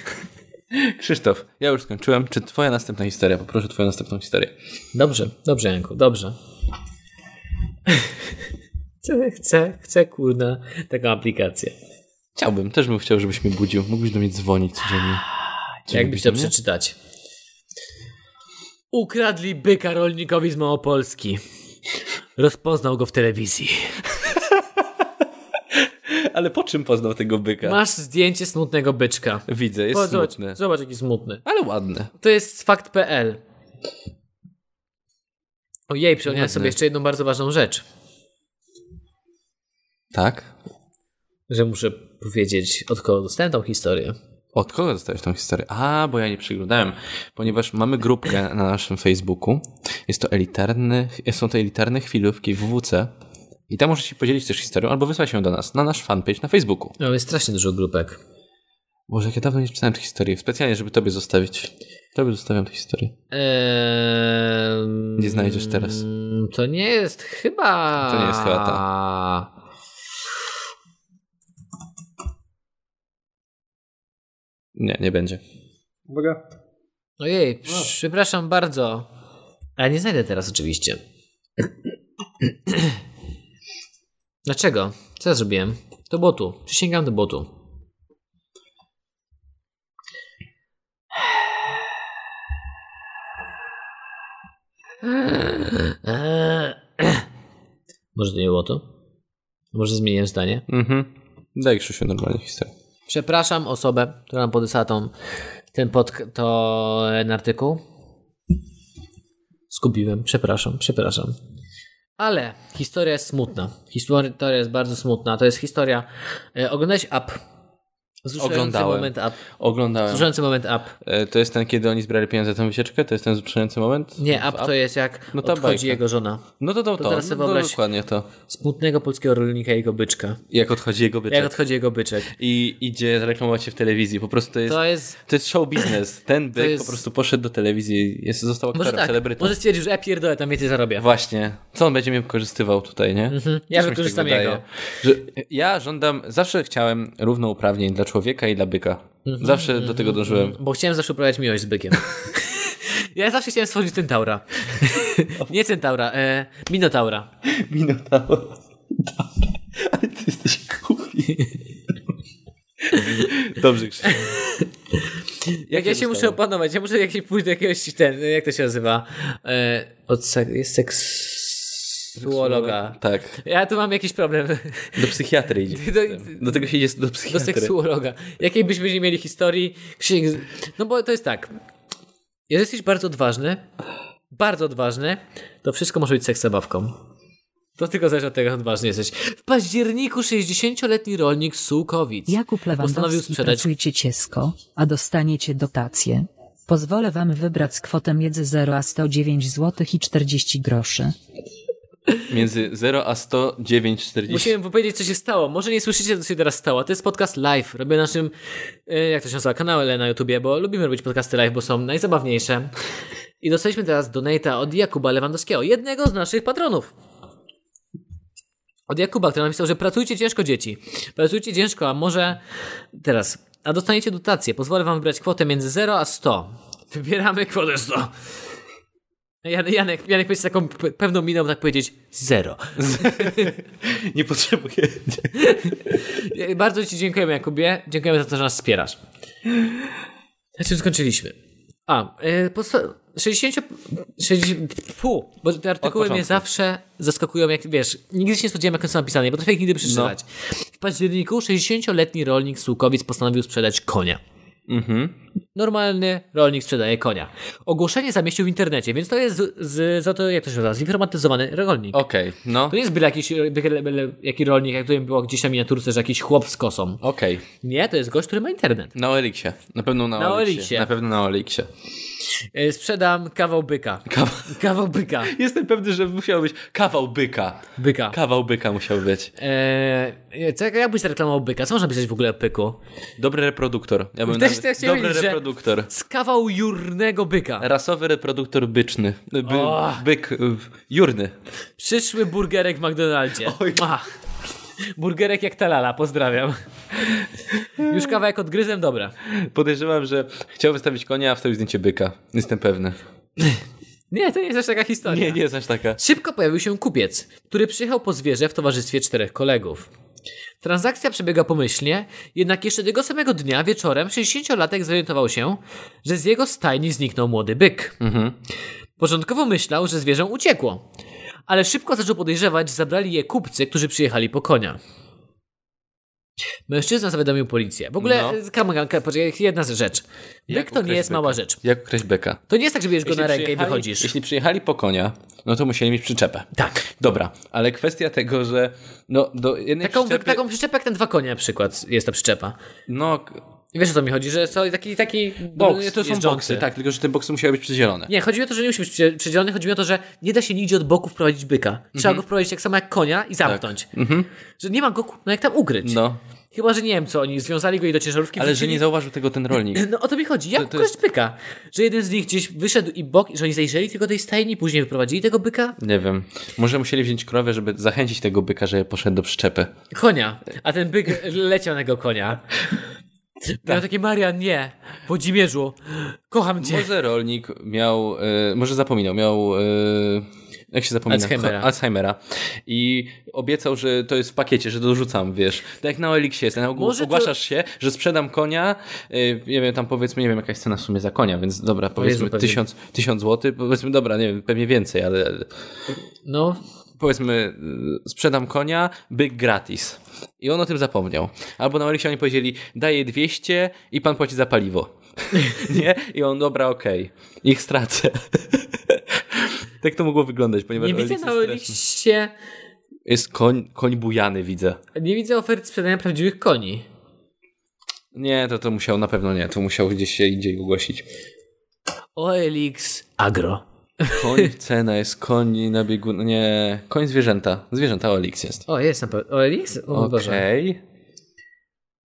Speaker 1: Krzysztof, ja już skończyłem. Czy twoja następna historia? Poproszę twoją następną historię.
Speaker 2: Dobrze, dobrze, Janku, dobrze. Chcę, chcę, chcę, kurna, taką aplikację.
Speaker 1: Chciałbym, też bym chciał, żebyś mnie budził. Mógłbyś do mnie dzwonić codziennie. Czy
Speaker 2: Jakbyś
Speaker 1: lubisz
Speaker 2: to
Speaker 1: mnie?
Speaker 2: przeczytać. Ukradli byka rolnikowi z Małopolski. Rozpoznał go w telewizji.
Speaker 1: Ale po czym poznał tego byka?
Speaker 2: Masz zdjęcie smutnego byczka.
Speaker 1: Widzę, jest
Speaker 2: O, zobacz,
Speaker 1: smutny.
Speaker 2: zobacz jaki smutny.
Speaker 1: Ale ładny.
Speaker 2: To jest z fakt.pl. Ojej, przypomniałem
Speaker 1: Ładne.
Speaker 2: sobie jeszcze jedną bardzo ważną rzecz,
Speaker 1: Tak?
Speaker 2: że muszę powiedzieć, od kogo dostałem tą historię.
Speaker 1: Od kogo dostałeś tą historię? A, bo ja nie przeglądałem, ponieważ mamy grupkę na naszym Facebooku. Jest to elitarny, są to elitarne chwilówki w WWC. I tam możesz się podzielić też historią albo wysłać ją do nas, na nasz fanpage na Facebooku.
Speaker 2: Mamy No, strasznie dużo grupek.
Speaker 1: Boże, jak ja dawno nie czytałem tych historii. Specjalnie, żeby tobie zostawić. Tobie zostawiam tę historię.
Speaker 2: Eee,
Speaker 1: Nie znajdziesz teraz.
Speaker 2: To nie jest chyba.
Speaker 1: To nie jest chyba Nie, nie będzie.
Speaker 3: Uwaga.
Speaker 2: Ojej, przepraszam bardzo. Ale nie znajdę teraz oczywiście. Dlaczego? Co ja zrobiłem? Do botu. Przysięgam do botu. Może to nie było to? Może zmieniłem zdanie?
Speaker 1: Mhm. Daj Krzysiu normalnie historię.
Speaker 2: Przepraszam osobę, która nam podesłała tą, ten, pod, to, ten artykuł. Skupiłem, przepraszam, przepraszam. Ale historia jest smutna. Historia jest bardzo smutna. To jest historia. E, oglądałeś up. Wzruszający
Speaker 1: Oglądałem.
Speaker 2: moment up.
Speaker 1: Oglądałem.
Speaker 2: Wzruszający moment up.
Speaker 1: E, To jest ten, kiedy oni zbrali pieniądze za tę wycieczkę? To jest ten wzruszający moment?
Speaker 2: Nie, up, to jest jak
Speaker 1: No ta
Speaker 2: odchodzi
Speaker 1: bajka.
Speaker 2: jego żona.
Speaker 1: No to to, to.
Speaker 2: teraz sobie
Speaker 1: no,
Speaker 2: wyobraź-
Speaker 1: dokładnie to.
Speaker 2: Smutnego polskiego rolnika i jego byczka.
Speaker 1: Jak odchodzi jego byczek.
Speaker 2: Jak odchodzi jego byczek.
Speaker 1: I idzie reklamować się w telewizji. Po prostu to jest...
Speaker 2: To jest
Speaker 1: To jest show biznes. Ten byk
Speaker 2: jest-
Speaker 1: po prostu poszedł do telewizji, jest, został
Speaker 2: Może
Speaker 1: aktorem,
Speaker 2: tak,
Speaker 1: celebrytą.
Speaker 2: może stwierdził, że ja pierdolę, tam więcej zarobię.
Speaker 1: Właśnie. Co on będzie mnie wykorzystywał tutaj, nie?
Speaker 2: Mhm. Ja
Speaker 1: Też mi się tak
Speaker 2: wykorzystam
Speaker 1: wydaje,
Speaker 2: jego.
Speaker 1: Że ja żądam, zawsze chciałem równouprawnień dla człowieka i dla byka.
Speaker 2: Mhm,
Speaker 1: Zawsze do tego dążyłem.
Speaker 2: Bo chciałem zawsze uprawiać miłość z bykiem. ja zawsze chciałem stworzyć centaura. Nie centaura, e, minotaura.
Speaker 1: Minotaur. Ale ty jesteś głupi. Dobrze, Krzysztof.
Speaker 2: Jak ja się muszę opanować, ja muszę jak się pójść do jakiegoś ten, jak to się nazywa? E, od sek- jest seksuologa.
Speaker 1: Tak.
Speaker 2: Ja tu mam jakiś problem.
Speaker 1: Do psychiatry idzie.
Speaker 2: Do,
Speaker 1: Do tego się idzie do
Speaker 2: do
Speaker 1: psychiatry.
Speaker 2: seksuologa. Jakiej byśmy nie mieli historii, Krzysiek... z- No bo to jest tak. Jeżeli jesteś bardzo odważny, bardzo odważny, to wszystko może być seks zabawką. To tylko zależy od tego, jak odważny jesteś. W październiku 60-letni rolnik z Sułkowic.
Speaker 4: Jakub
Speaker 2: Postanowił
Speaker 4: Lewandowski,
Speaker 2: sprzedać-
Speaker 4: pracujcie ciesko, a dostaniecie dotację. Pozwolę wam wybrać z kwotę między 0 a 109 zł i 40 groszy.
Speaker 1: Między 0 a 109, 40.
Speaker 2: Musimy powiedzieć, co się stało. Może nie słyszycie, co się teraz stało. To jest podcast live. Robię na naszym, e, jak to się nazywa, kanale na YouTubie, bo lubimy robić podcasty live, bo są najzabawniejsze. I dostaliśmy teraz donata od Jakuba Lewandowskiego, jednego z naszych patronów. Od Jakuba, który napisał, że pracujcie ciężko, dzieci. Pracujcie ciężko, a może teraz. A dostaniecie dotację. Pozwolę wam wybrać kwotę między 0 a 100. Wybieramy kwotę 100. Jan- Janek, Janek będzie z taką pe- pewną miną tak powiedzieć 0.
Speaker 1: Nie potrzebuję.
Speaker 2: Ja- Bardzo Ci dziękujemy, Jakubie. Dziękujemy za to, że nas wspierasz. Na czym skończyliśmy? A, y, posła- 60... 60 fu, bo te artykuły mnie
Speaker 1: początku.
Speaker 2: zawsze zaskakują, jak wiesz, nigdy się nie spodziewałem, jak one są napisane, nie potrafię ich nigdy przeczytać. W październiku 60-letni rolnik z Łukowic postanowił sprzedać konia. Normalny rolnik sprzedaje konia. Ogłoszenie zamieścił w internecie, więc to jest z, z, za to, jak to się nazywa, zinformatyzowany rolnik.
Speaker 1: Okej, no.
Speaker 2: To nie jest byle jakiś, byle, byle, jaki rolnik, jak to było gdzieś na miniaturce, że jakiś chłop z kosą.
Speaker 1: Okej.
Speaker 2: Nie, to jest gość, który ma internet.
Speaker 1: Na Oeliksie. Na pewno na,
Speaker 2: Na
Speaker 1: Oeliksie.
Speaker 2: Oeliksie.
Speaker 1: Na pewno na Oeliksie.
Speaker 2: E, Sprzedam kawał byka.
Speaker 1: Kawa-
Speaker 2: Kawał byka.
Speaker 1: Jestem pewny, że musiał być kawał byka.
Speaker 2: Byka.
Speaker 1: Kawał byka musiał być.
Speaker 2: Eee, co, jak- jak byś reklamował byka? Co można pisać w ogóle o pyku?
Speaker 1: Dobry reproduktor. Ja bym
Speaker 2: Też
Speaker 1: nawet...
Speaker 2: tak chciałem
Speaker 1: No, Dobry
Speaker 2: powiedzieć, że-
Speaker 1: reproduktor.
Speaker 2: Z kawał jurnego byka.
Speaker 1: Rasowy reproduktor byczny. By,
Speaker 2: O!
Speaker 1: byk. y, Jurny.
Speaker 2: Przyszły burgerek w McDonaldzie.
Speaker 1: Oj.
Speaker 2: Mua. Burgerek jak talala, pozdrawiam. Już kawałek odgryzłem, dobra.
Speaker 1: Podejrzewam, że chciał wystawić konia, a wstawił zdjęcie byka. Jestem pewny.
Speaker 2: Nie, to nie jest aż taka historia.
Speaker 1: Nie, nie jest aż taka.
Speaker 2: Szybko pojawił się kupiec, który przyjechał po zwierzę w towarzystwie czterech kolegów. Transakcja przebiega pomyślnie, jednak jeszcze tego samego dnia wieczorem 60-latek zorientował się, że z jego stajni zniknął młody byk.
Speaker 1: Mhm.
Speaker 2: Początkowo myślał, że zwierzę uciekło, ale szybko zaczął podejrzewać, że zabrali je kupcy, którzy przyjechali po konia. Mężczyzna zawiadomił policję. W ogóle,
Speaker 1: No.
Speaker 2: no. come on, come, poczekaj, jedna rzecz. Byk to nie
Speaker 1: ukryć
Speaker 2: jest mała
Speaker 1: byka?
Speaker 2: rzecz.
Speaker 1: Jak ukraść byka?
Speaker 2: To nie jest tak, że bierzesz go na rękę i
Speaker 1: przyjechali-
Speaker 2: wychodzisz.
Speaker 1: Jeśli przyjechali po konia, no to musieli mieć przyczepę.
Speaker 2: Tak.
Speaker 1: Dobra, ale kwestia tego, że no do jednej
Speaker 2: Taką,
Speaker 1: przyczepy...
Speaker 2: taką przyczepę jak ten dwa konie na przykład jest ta przyczepa.
Speaker 1: No, k-
Speaker 2: I Wiesz o co mi chodzi, że co, taki, taki
Speaker 1: boks, to są
Speaker 2: jeżdżący.
Speaker 1: boksy, tak, tylko że te boksy musiały być przydzielone.
Speaker 2: Nie, chodzi mi o to, że nie musi być przy- przydzielony, chodzi mi o to, że nie da się nigdzie od boku wprowadzić byka. Trzeba
Speaker 1: Mhm.
Speaker 2: go wprowadzić tak samo jak konia i zamknąć. Że nie ma go no jak tam ukryć.
Speaker 1: No,
Speaker 2: Chyba, że nie wiem co, oni związali go i do ciężarówki
Speaker 1: ale że
Speaker 2: wrzucili.
Speaker 1: nie zauważył tego ten rolnik.
Speaker 2: No o to mi chodzi, jak
Speaker 1: To- to
Speaker 2: ukryć byka? Że jeden z nich gdzieś wyszedł i bok, że oni zajrzeli tylko tej stajni, później wyprowadzili tego byka?
Speaker 1: Nie wiem. Może musieli wziąć krowę, żeby zachęcić tego byka, żeby poszedł do przyczepy.
Speaker 2: Konia. A ten byk leciał na tego konia. Miał takie, Marian, nie, Włodzimierzu, kocham cię.
Speaker 1: Może rolnik miał, e, może zapominał, miał, e, jak się zapomina?
Speaker 2: Alzheimera.
Speaker 1: Cho- Alzheimera. I obiecał, że to jest w pakiecie, że dorzucam, wiesz. Tak jak na Eliksie jest, na ogół
Speaker 2: Może to-
Speaker 1: ogłaszasz się, że sprzedam konia, e, nie wiem, tam powiedzmy, nie wiem, jaka jest cena w sumie za konia, więc dobra, powiedzmy
Speaker 2: pewnie.
Speaker 1: tysiąc, tysiąc złotych, powiedzmy, dobra, nie wiem, pewnie więcej, ale
Speaker 2: No,
Speaker 1: powiedzmy, y, sprzedam konia, byk gratis. I on o tym zapomniał. Albo na Eliksie oni powiedzieli, daję 200 i pan płaci za paliwo. nie? I on, dobra, okej. Ich stracę. tak to mogło wyglądać, ponieważ
Speaker 2: nie widzę
Speaker 1: Elix
Speaker 2: na
Speaker 1: jest straszny.
Speaker 2: liście,
Speaker 1: Jest koń, koń bujany, widzę.
Speaker 2: nie widzę ofert sprzedania prawdziwych koni.
Speaker 1: Nie, to to musiał, na pewno nie. To musiał gdzieś się indziej ogłosić.
Speaker 2: OLX Agro.
Speaker 1: Koń, cena jest koń na biegu... Nie, koń zwierzęta. Zwierzęta Elix jest.
Speaker 2: O, jest na pewno. OLX? O mój Boże.
Speaker 1: Okej.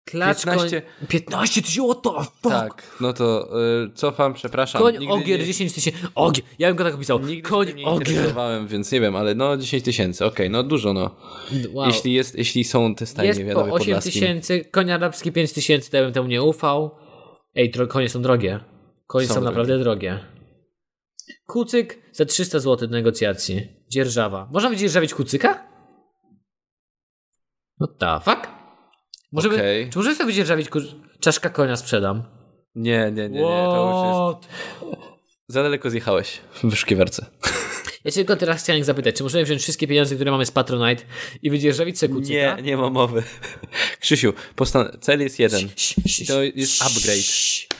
Speaker 2: Klacz
Speaker 1: 15
Speaker 2: koń... 15 tysięcy, what the fuck?
Speaker 1: Tak, no to y, cofam, przepraszam.
Speaker 2: Koń
Speaker 1: Nigdy
Speaker 2: ogier
Speaker 1: nie-
Speaker 2: 10 tysięcy. Ogier, ja bym go tak opisał.
Speaker 1: Nigdy się tym
Speaker 2: koń
Speaker 1: nie
Speaker 2: ogier.
Speaker 1: interesowałem, więc nie wiem, ale no 10 tysięcy, okej, no dużo no.
Speaker 2: Wow.
Speaker 1: Jeśli, jest, jeśli są te
Speaker 2: jest
Speaker 1: stajnie
Speaker 2: po
Speaker 1: wiadomo
Speaker 2: 8
Speaker 1: podlaskim.
Speaker 2: tysięcy, koń arabski 5 tysięcy, to ja bym temu nie ufał. Ej, tro, konie są drogie. Konie są,
Speaker 1: Są
Speaker 2: naprawdę drogie. Kucyk za 300 zł do negocjacji. Dzierżawa. Można wydzierżawić kucyka? No ta, fuck. Możemy,
Speaker 1: Okej.
Speaker 2: Czy możemy sobie wydzierżawić kur... czaszka konia sprzedam?
Speaker 1: Nie, nie, nie, nie, to już
Speaker 2: What?
Speaker 1: jest... Za daleko zjechałeś w wyszukiwarce.
Speaker 2: Ja cię tylko teraz chciałem zapytać, czy możemy wziąć wszystkie pieniądze, które mamy z Patronite i wydzierżawić sobie kucyka?
Speaker 1: Nie, nie ma mowy. Krzysiu, postan- cel jest jeden. To jest upgrade.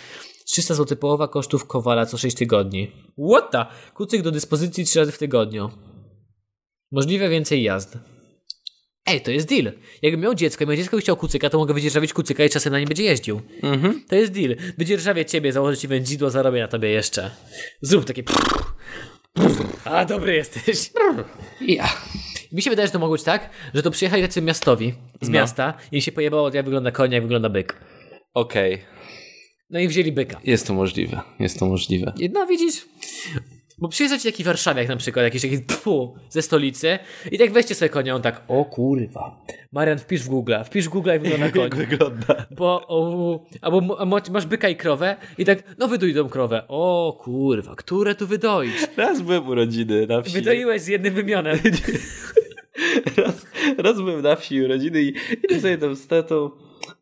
Speaker 2: 300 zł połowa kosztów kowala co 6 tygodni. What the? Kucyk do dyspozycji 3 razy w tygodniu. Możliwe więcej jazd. Ej, to jest deal. Jakbym miał dziecko i moje dziecko by chciał kucyka, to mogę wydzierżawić kucyka i czasem na nim będzie jeździł.
Speaker 1: Mhm.
Speaker 2: To jest deal. Wydzierżawię ciebie, założę ci wędzidło, zarobię na tobie jeszcze. Zrób takie... A, dobry jesteś. Ja. Mi się wydaje, że to mogło być tak, że to przyjechali tacy miastowi z
Speaker 1: No.
Speaker 2: miasta i im się pojebało, jak wygląda konia, jak wygląda byk.
Speaker 1: Okej,
Speaker 2: No i wzięli byka.
Speaker 1: jest to możliwe, jest to możliwe.
Speaker 2: No widzisz, bo przyjeżdża ci taki warszawiak na przykład, jakiś taki pfu, ze stolicy i tak weźcie sobie konia, on tak, o kurwa. Marian, wpisz w Google, wpisz w Google i wygląda koń.
Speaker 1: wygląda?
Speaker 2: Bo, o, albo mu- a mo- masz byka i krowę i tak, no wyduj tą krowę. O kurwa, które tu wydoić?
Speaker 1: Raz byłem u rodziny na wsi.
Speaker 2: Wydoiłeś z jednym wymionem.
Speaker 1: raz, raz byłem na wsi u rodziny i idę sobie tam z tatą,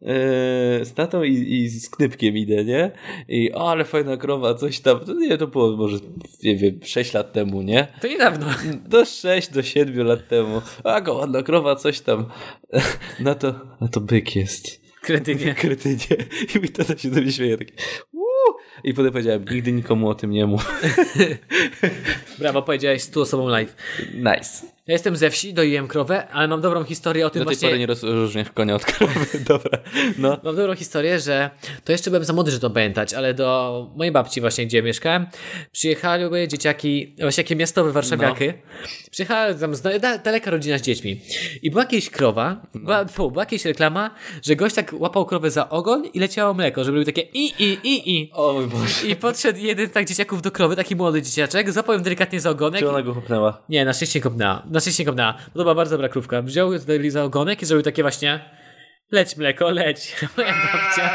Speaker 1: e, z tatą i, i z knypkiem idę, nie? I o, ale fajna krowa, coś tam. To nie, to było może, nie wiem, 6 lat temu, nie?
Speaker 2: To niedawno.
Speaker 1: Do 6, do 7 lat temu. A, go ładna krowa, coś tam. No to, no to byk jest.
Speaker 2: Kretynie.
Speaker 1: Kretynie. I mój tata się do mnie śmieje taki, "Uuu". I potem powiedziałem, nigdy nikomu o tym nie mów.
Speaker 2: Brawo, powiedziałeś 100 osobom live.
Speaker 1: Nice.
Speaker 2: Ja jestem ze wsi, doiłem krowę, ale mam dobrą historię o tym
Speaker 1: Do tej
Speaker 2: właśnie...
Speaker 1: pory nie rozróżniasz konia od krowy. Dobra. No.
Speaker 2: Mam dobrą historię, że to jeszcze byłem za młody, żeby to pamiętać, ale do mojej babci właśnie, gdzie mieszkałem, przyjechały dzieciaki, właśnie jakie miastowe warszawiaki.
Speaker 1: No.
Speaker 2: Przyjechała tam zna- da, daleka rodzina z dziećmi. I była jakaś krowa,
Speaker 1: No.
Speaker 2: była, fu, była jakaś reklama, że gość tak łapał krowę za ogon i leciało mleko, żeby były takie i, i, i, i.
Speaker 1: O mój Boże.
Speaker 2: I podszedł jeden z tak dzieciaków do krowy, taki młody dzieciaczek, złapał ją delikatnie za ogonek
Speaker 1: Czy ona go hopnęła?
Speaker 2: nie, na szczęście kopnęła. Na szczęście kopnęła. Bo to była bardzo dobra krówka. Wziął ją tutaj za ogonek i zrobił takie właśnie leć mleko, leć. Moja babcia.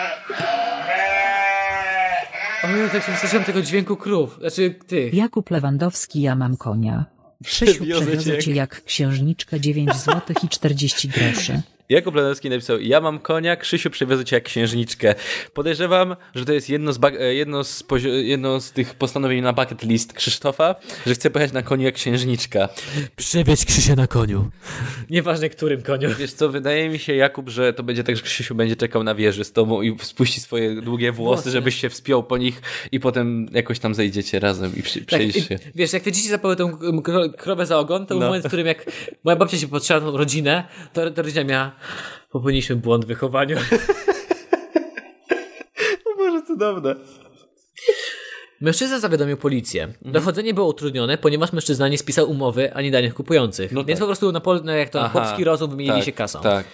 Speaker 2: A mówię, tak się słyszałem tego dźwięku krów. Znaczy tych.
Speaker 4: Jakub Lewandowski, ja mam konia. Krzysiu,
Speaker 1: Przewiozę cię
Speaker 4: przewiozę cię jak księżniczkę 9 zł i 40 groszy.
Speaker 1: Jakub Lenowski napisał, ja mam konia, Krzysiu przywiozę cię jak księżniczkę. Podejrzewam, że to jest jedno z, bak- e, jedno z, pozi- jedno z tych postanowień na bucket list Krzysztofa, że chce pojechać na koniu jak księżniczka.
Speaker 2: Przewieź Krzysia na koniu. Nieważne którym koniu. Tak,
Speaker 1: Wiesz co, wydaje mi się, Jakub, że to będzie tak, że Krzysiu będzie czekał na wieży z tobą i spuści swoje długie włosy,
Speaker 2: Włosy.
Speaker 1: żebyś się wspiął po nich i potem jakoś tam zejdziecie razem i przy- przejdziesz
Speaker 2: Tak, i-
Speaker 1: się.
Speaker 2: Wiesz, jak te dzieci zapały tą um, kro- krowę za ogon, to był
Speaker 1: No.
Speaker 2: moment, w którym jak moja babcia się patrzyła na tą rodzinę, to, to rodzina miała, popełniliśmy błąd w wychowaniu.
Speaker 1: O Boże, cudowne.
Speaker 2: Mężczyzna zawiadomił policję.
Speaker 1: Mhm.
Speaker 2: Dochodzenie było utrudnione, ponieważ mężczyzna nie spisał umowy ani danych kupujących.
Speaker 1: No
Speaker 2: więc
Speaker 1: tak.
Speaker 2: po prostu na pol, no jak to na
Speaker 1: Aha,
Speaker 2: chłopski rozum wymienili
Speaker 1: tak,
Speaker 2: się kasą.
Speaker 1: tak.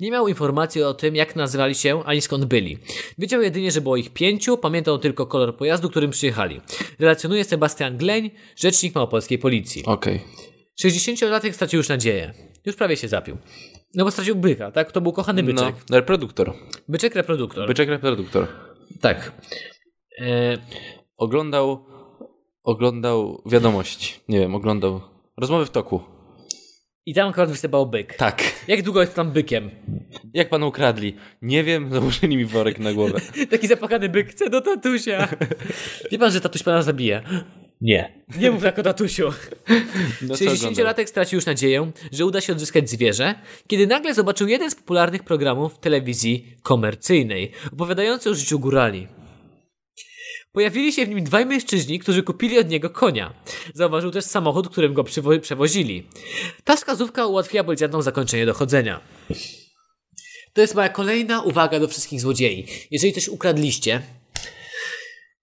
Speaker 2: Nie miał informacji o tym, jak nazywali się ani skąd byli. Wiedział jedynie, że było ich pięciu, pamiętał tylko kolor pojazdu, którym przyjechali. Relacjonuje Sebastian Gleń, rzecznik małopolskiej policji.
Speaker 1: Okej.
Speaker 2: 60-latek stracił już nadzieję. Już prawie się zapił. No bo stracił byka, tak? To był kochany
Speaker 1: No,
Speaker 2: byczek.
Speaker 1: reproduktor.
Speaker 2: Byczek reproduktor.
Speaker 1: Byczek reproduktor.
Speaker 2: Tak. E,
Speaker 1: Oglądał, oglądał wiadomości. Nie wiem, oglądał rozmowy w toku.
Speaker 2: I tam akurat występował byk.
Speaker 1: Tak.
Speaker 2: Jak długo jest tam bykiem?
Speaker 1: Jak pana ukradli? Nie wiem, założyli mi worek na głowę.
Speaker 2: Taki zapakany byk chce do tatusia. Wie pan, że tatuś pana zabije? Nie. Nie mów tak o tatusiu.
Speaker 1: No, co oglądał?
Speaker 2: 60-latek stracił już nadzieję, że uda się odzyskać zwierzę, kiedy nagle zobaczył jeden z popularnych programów telewizji komercyjnej, opowiadający o życiu górali. Pojawili się w nim dwaj mężczyźni, którzy kupili od niego konia. Zauważył też samochód, którym go przywo- przewozili. Ta wskazówka ułatwiła policjantom zakończenie dochodzenia. To jest moja kolejna uwaga do wszystkich złodziei. Jeżeli coś ukradliście,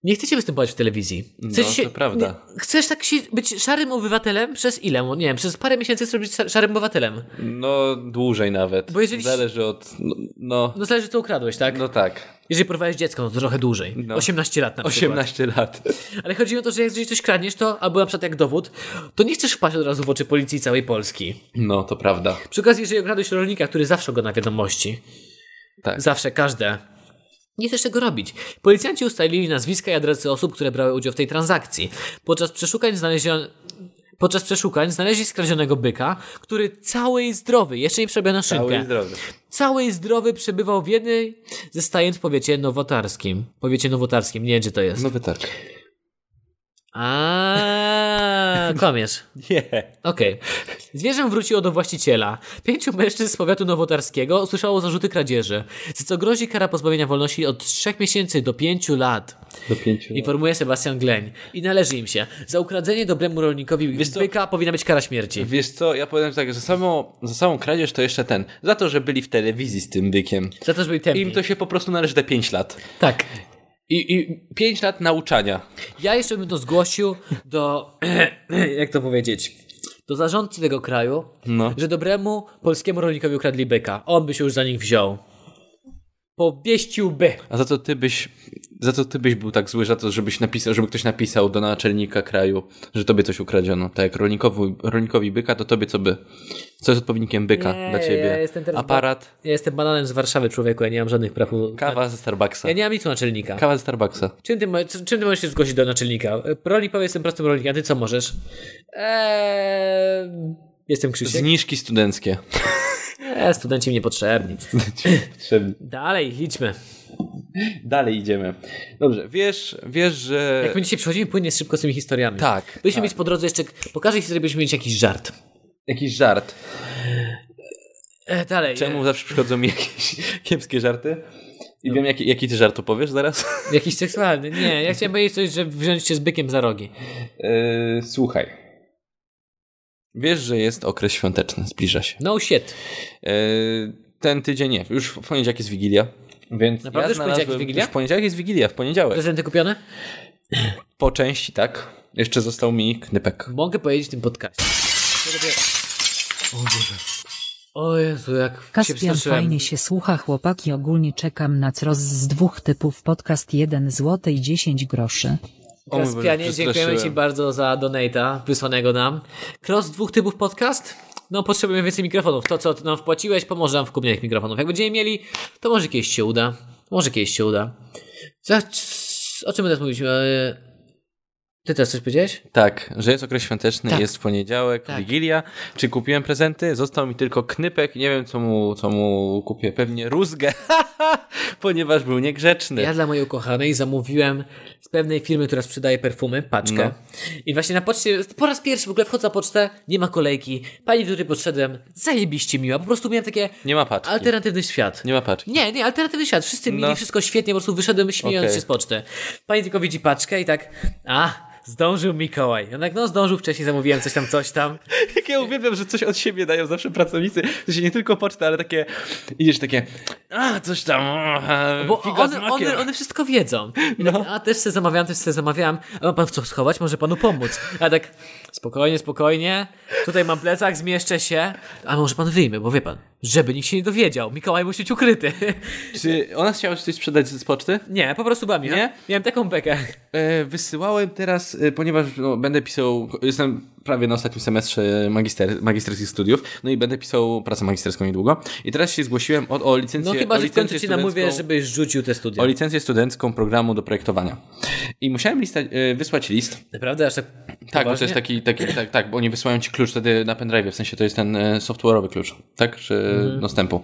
Speaker 2: nie chcecie występować w telewizji. Chcecie
Speaker 1: No,
Speaker 2: się,
Speaker 1: to prawda.
Speaker 2: Nie, chcesz tak się, być szarym obywatelem przez ile? Nie wiem, przez parę miesięcy chcesz być szar- szarym obywatelem.
Speaker 1: No, dłużej nawet.
Speaker 2: Bo jeżeli-
Speaker 1: Zależy od... No, no,
Speaker 2: No zależy, co ukradłeś, tak?
Speaker 1: no tak.
Speaker 2: Jeżeli porwałeś dziecko, no to trochę dłużej.
Speaker 1: No.
Speaker 2: 18 lat na przykład.
Speaker 1: 18 lat.
Speaker 2: Ale chodzi o to, że jak jeżeli coś kradniesz, to albo na przykład jak dowód, to nie chcesz wpaść od razu w oczy policji całej Polski.
Speaker 1: No, to prawda.
Speaker 2: Przy okazji, jeżeli okradłeś rolnika, który zawsze go na wiadomości,
Speaker 1: Tak.
Speaker 2: zawsze, każde, nie chcesz tego robić. Policjanci ustalili nazwiska i adresy osób, które brały udział w tej transakcji. Podczas przeszukań znaleziono... Podczas przeszukań znaleźli skradzionego byka, który cały i zdrowy, jeszcze nie przebiał na szynkę.
Speaker 1: Cały i zdrowy.
Speaker 2: Cały i zdrowy przebywał w jednej ze stajen w powiecie nowotarskim. Powiecie nowotarskim, nie wiem gdzie to jest.
Speaker 1: No wytarg.
Speaker 2: A, kłamiesz.
Speaker 1: Nie.
Speaker 2: Okej. Zwierzę wróciło do właściciela. Pięciu mężczyzn z powiatu nowotarskiego usłyszało zarzuty kradzieży, za co grozi kara pozbawienia wolności od 3 miesięcy do 5 lat,
Speaker 1: Do pięciu lat.
Speaker 2: informuje Sebastian Gleń. I należy im się. Za ukradzenie dobremu rolnikowi
Speaker 1: Wiesz co?
Speaker 2: byka powinna być kara śmierci.
Speaker 1: Wiesz co, ja powiem tak, za, samo, za samą kradzież to jeszcze ten. Za to, że byli w telewizji z tym bykiem.
Speaker 2: Za to, żeby ich tępić.
Speaker 1: Im to się po prostu należy te 5 lat.
Speaker 2: Tak.
Speaker 1: I, I 5 lat nauczania.
Speaker 2: Ja jeszcze bym to zgłosił do... jak to powiedzieć? Do zarządcy tego kraju,
Speaker 1: No.
Speaker 2: że dobremu polskiemu rolnikowi ukradli byka. On by się już za nich wziął. Powieściłby.
Speaker 1: A za to ty byś. Za to ty byś był tak zły, za to, żebyś napisał, żeby ktoś napisał do naczelnika kraju, że tobie coś ukradziono. Tak jak rolnikowi, rolnikowi byka, to tobie co by? Co jest odpowiednikiem byka
Speaker 2: Nie,
Speaker 1: dla ciebie?
Speaker 2: ja jestem teraz
Speaker 1: Aparat,
Speaker 2: Ja jestem bananem z Warszawy, człowieku, ja nie mam żadnych praw. u-
Speaker 1: kawa ze Starbucksa.
Speaker 2: Ja nie mam nic u naczelnika.
Speaker 1: Kawa ze Starbucksa.
Speaker 2: Czym ty, mo- czym ty możesz się zgłosić do naczelnika? Rolnik powie, jestem prostym rolnikiem, a ty co możesz? Eee, jestem Krzysiek.
Speaker 1: Zniżki studenckie.
Speaker 2: Eee, studenci mi niepotrzebni.
Speaker 1: Potrzebne.
Speaker 2: Dalej, idźmy.
Speaker 1: Dalej idziemy. Dobrze, wiesz, wiesz, że.
Speaker 2: Jak my dzisiaj przychodzimy płynnie szybko z tymi historiami.
Speaker 1: Tak,
Speaker 2: Byliśmy
Speaker 1: tak.
Speaker 2: mieć po drodze jeszcze, pokażę historię, byśmy mieć jakiś żart.
Speaker 1: Jakiś żart.
Speaker 2: Eee, dalej.
Speaker 1: Czemu zawsze przychodzą mi jakieś kiepskie żarty? I wiem, jaki, jaki ty żart opowiesz zaraz?
Speaker 2: Eee, Jakiś seksualny. Nie, ja chciałem powiedzieć coś, że wziąć się z bykiem za rogi.
Speaker 1: Yy, słuchaj. Wiesz, że jest okres świąteczny, zbliża się.
Speaker 2: No shit.
Speaker 1: Yy, ten tydzień nie, już w poniedziałek jest Wigilia. Więc
Speaker 2: Naprawdę już w poniedziałek
Speaker 1: znalazłem-
Speaker 2: jest Wigilia?
Speaker 1: Już w poniedziałek jest Wigilia, w poniedziałek.
Speaker 2: Prezenty kupione?
Speaker 1: Po części, tak. Jeszcze został mi knypek.
Speaker 2: Mogę powiedzieć w tym podcaście. O Boże. O Jezu, jak się
Speaker 4: Kaspian
Speaker 2: przestraszyłem.
Speaker 4: fajnie się słucha chłopaki ogólnie czekam na cross z dwóch typów podcast 1 zł i 10 groszy.
Speaker 1: O mój Boże,
Speaker 2: Kaspianie, dziękujemy Ci
Speaker 1: przestraszyłem.
Speaker 2: bardzo za donata wysłanego nam. Cross dwóch typów podcast? No, potrzebujemy więcej mikrofonów. To, co ty nam wpłaciłeś, pomoże nam w kupnie tych mikrofonów. Jak będziemy mieli, to może kiedyś się uda. Może kiedyś się uda. Za- O czym teraz mówiliśmy? E, Ty też coś powiedziałeś?
Speaker 1: Tak, że jest okres świąteczny,
Speaker 2: Tak.
Speaker 1: jest w poniedziałek,
Speaker 2: Tak.
Speaker 1: Wigilia. Czy kupiłem prezenty? Został mi tylko knypek. Nie wiem, co mu, co mu kupię. Pewnie rózgę, ponieważ był niegrzeczny.
Speaker 2: Ja dla mojej ukochanej zamówiłem z pewnej firmy, która sprzedaje perfumy, paczkę.
Speaker 1: No.
Speaker 2: I właśnie na poczcie, po raz pierwszy w ogóle wchodzę na pocztę, nie ma kolejki. Pani, do której podszedłem, zajebiście miła. Po prostu miałem takie
Speaker 1: Nie ma paczki.
Speaker 2: alternatywny świat.
Speaker 1: Nie ma paczki.
Speaker 2: Nie, nie, alternatywny świat. Wszyscy mieli
Speaker 1: No.
Speaker 2: wszystko świetnie, po prostu wyszedłem śmiejąc
Speaker 1: Okej.
Speaker 2: się z poczty. Pani tylko widzi paczkę i tak, a, zdążył Mikołaj. Ja tak, no zdążył, wcześniej zamówiłem coś tam, coś tam.
Speaker 1: Jak ja uwielbiam, że coś od siebie dają zawsze pracownicy. To się nie tylko poczta, ale takie... Idziesz takie... A, coś tam... A,
Speaker 2: Bo
Speaker 1: figa z
Speaker 2: one,
Speaker 1: makiem.
Speaker 2: one, one wszystko wiedzą. I
Speaker 1: No.
Speaker 2: tak, A też se zamawiałem, też se zamawiałem. A ma pan w co schować? Może panu pomóc. A tak, spokojnie, spokojnie. Tutaj mam plecak, zmieszczę się. A może pan wyjmie, bo wie pan, żeby nikt się nie dowiedział. Mikołaj musi być ukryty.
Speaker 1: Czy ona chciała ci coś sprzedać z poczty?
Speaker 2: Nie, po prostu była miła.
Speaker 1: Nie?
Speaker 2: Miałem taką bekę. No
Speaker 1: E, wysyłałem teraz, e, ponieważ no, będę pisał, jestem prawie na ostatnim semestrze e, magister, magisterskich studiów, no i będę pisał pracę magisterską niedługo. I teraz się zgłosiłem o, o licencję
Speaker 2: No chyba,
Speaker 1: o
Speaker 2: że w końcu
Speaker 1: licencję
Speaker 2: ci namówię,
Speaker 1: studencką-
Speaker 2: żebyś rzucił te studia.
Speaker 1: o licencję studencką programu do projektowania. I musiałem lista, e, wysłać list.
Speaker 2: Naprawdę? Aż tak
Speaker 1: Tak, bo to
Speaker 2: poważnie?
Speaker 1: jest taki, taki tak, tak, bo oni wysyłają ci klucz wtedy na pendrive, w sensie to jest ten e, software'owy klucz, tak, czy
Speaker 2: Mhm.
Speaker 1: dostępu.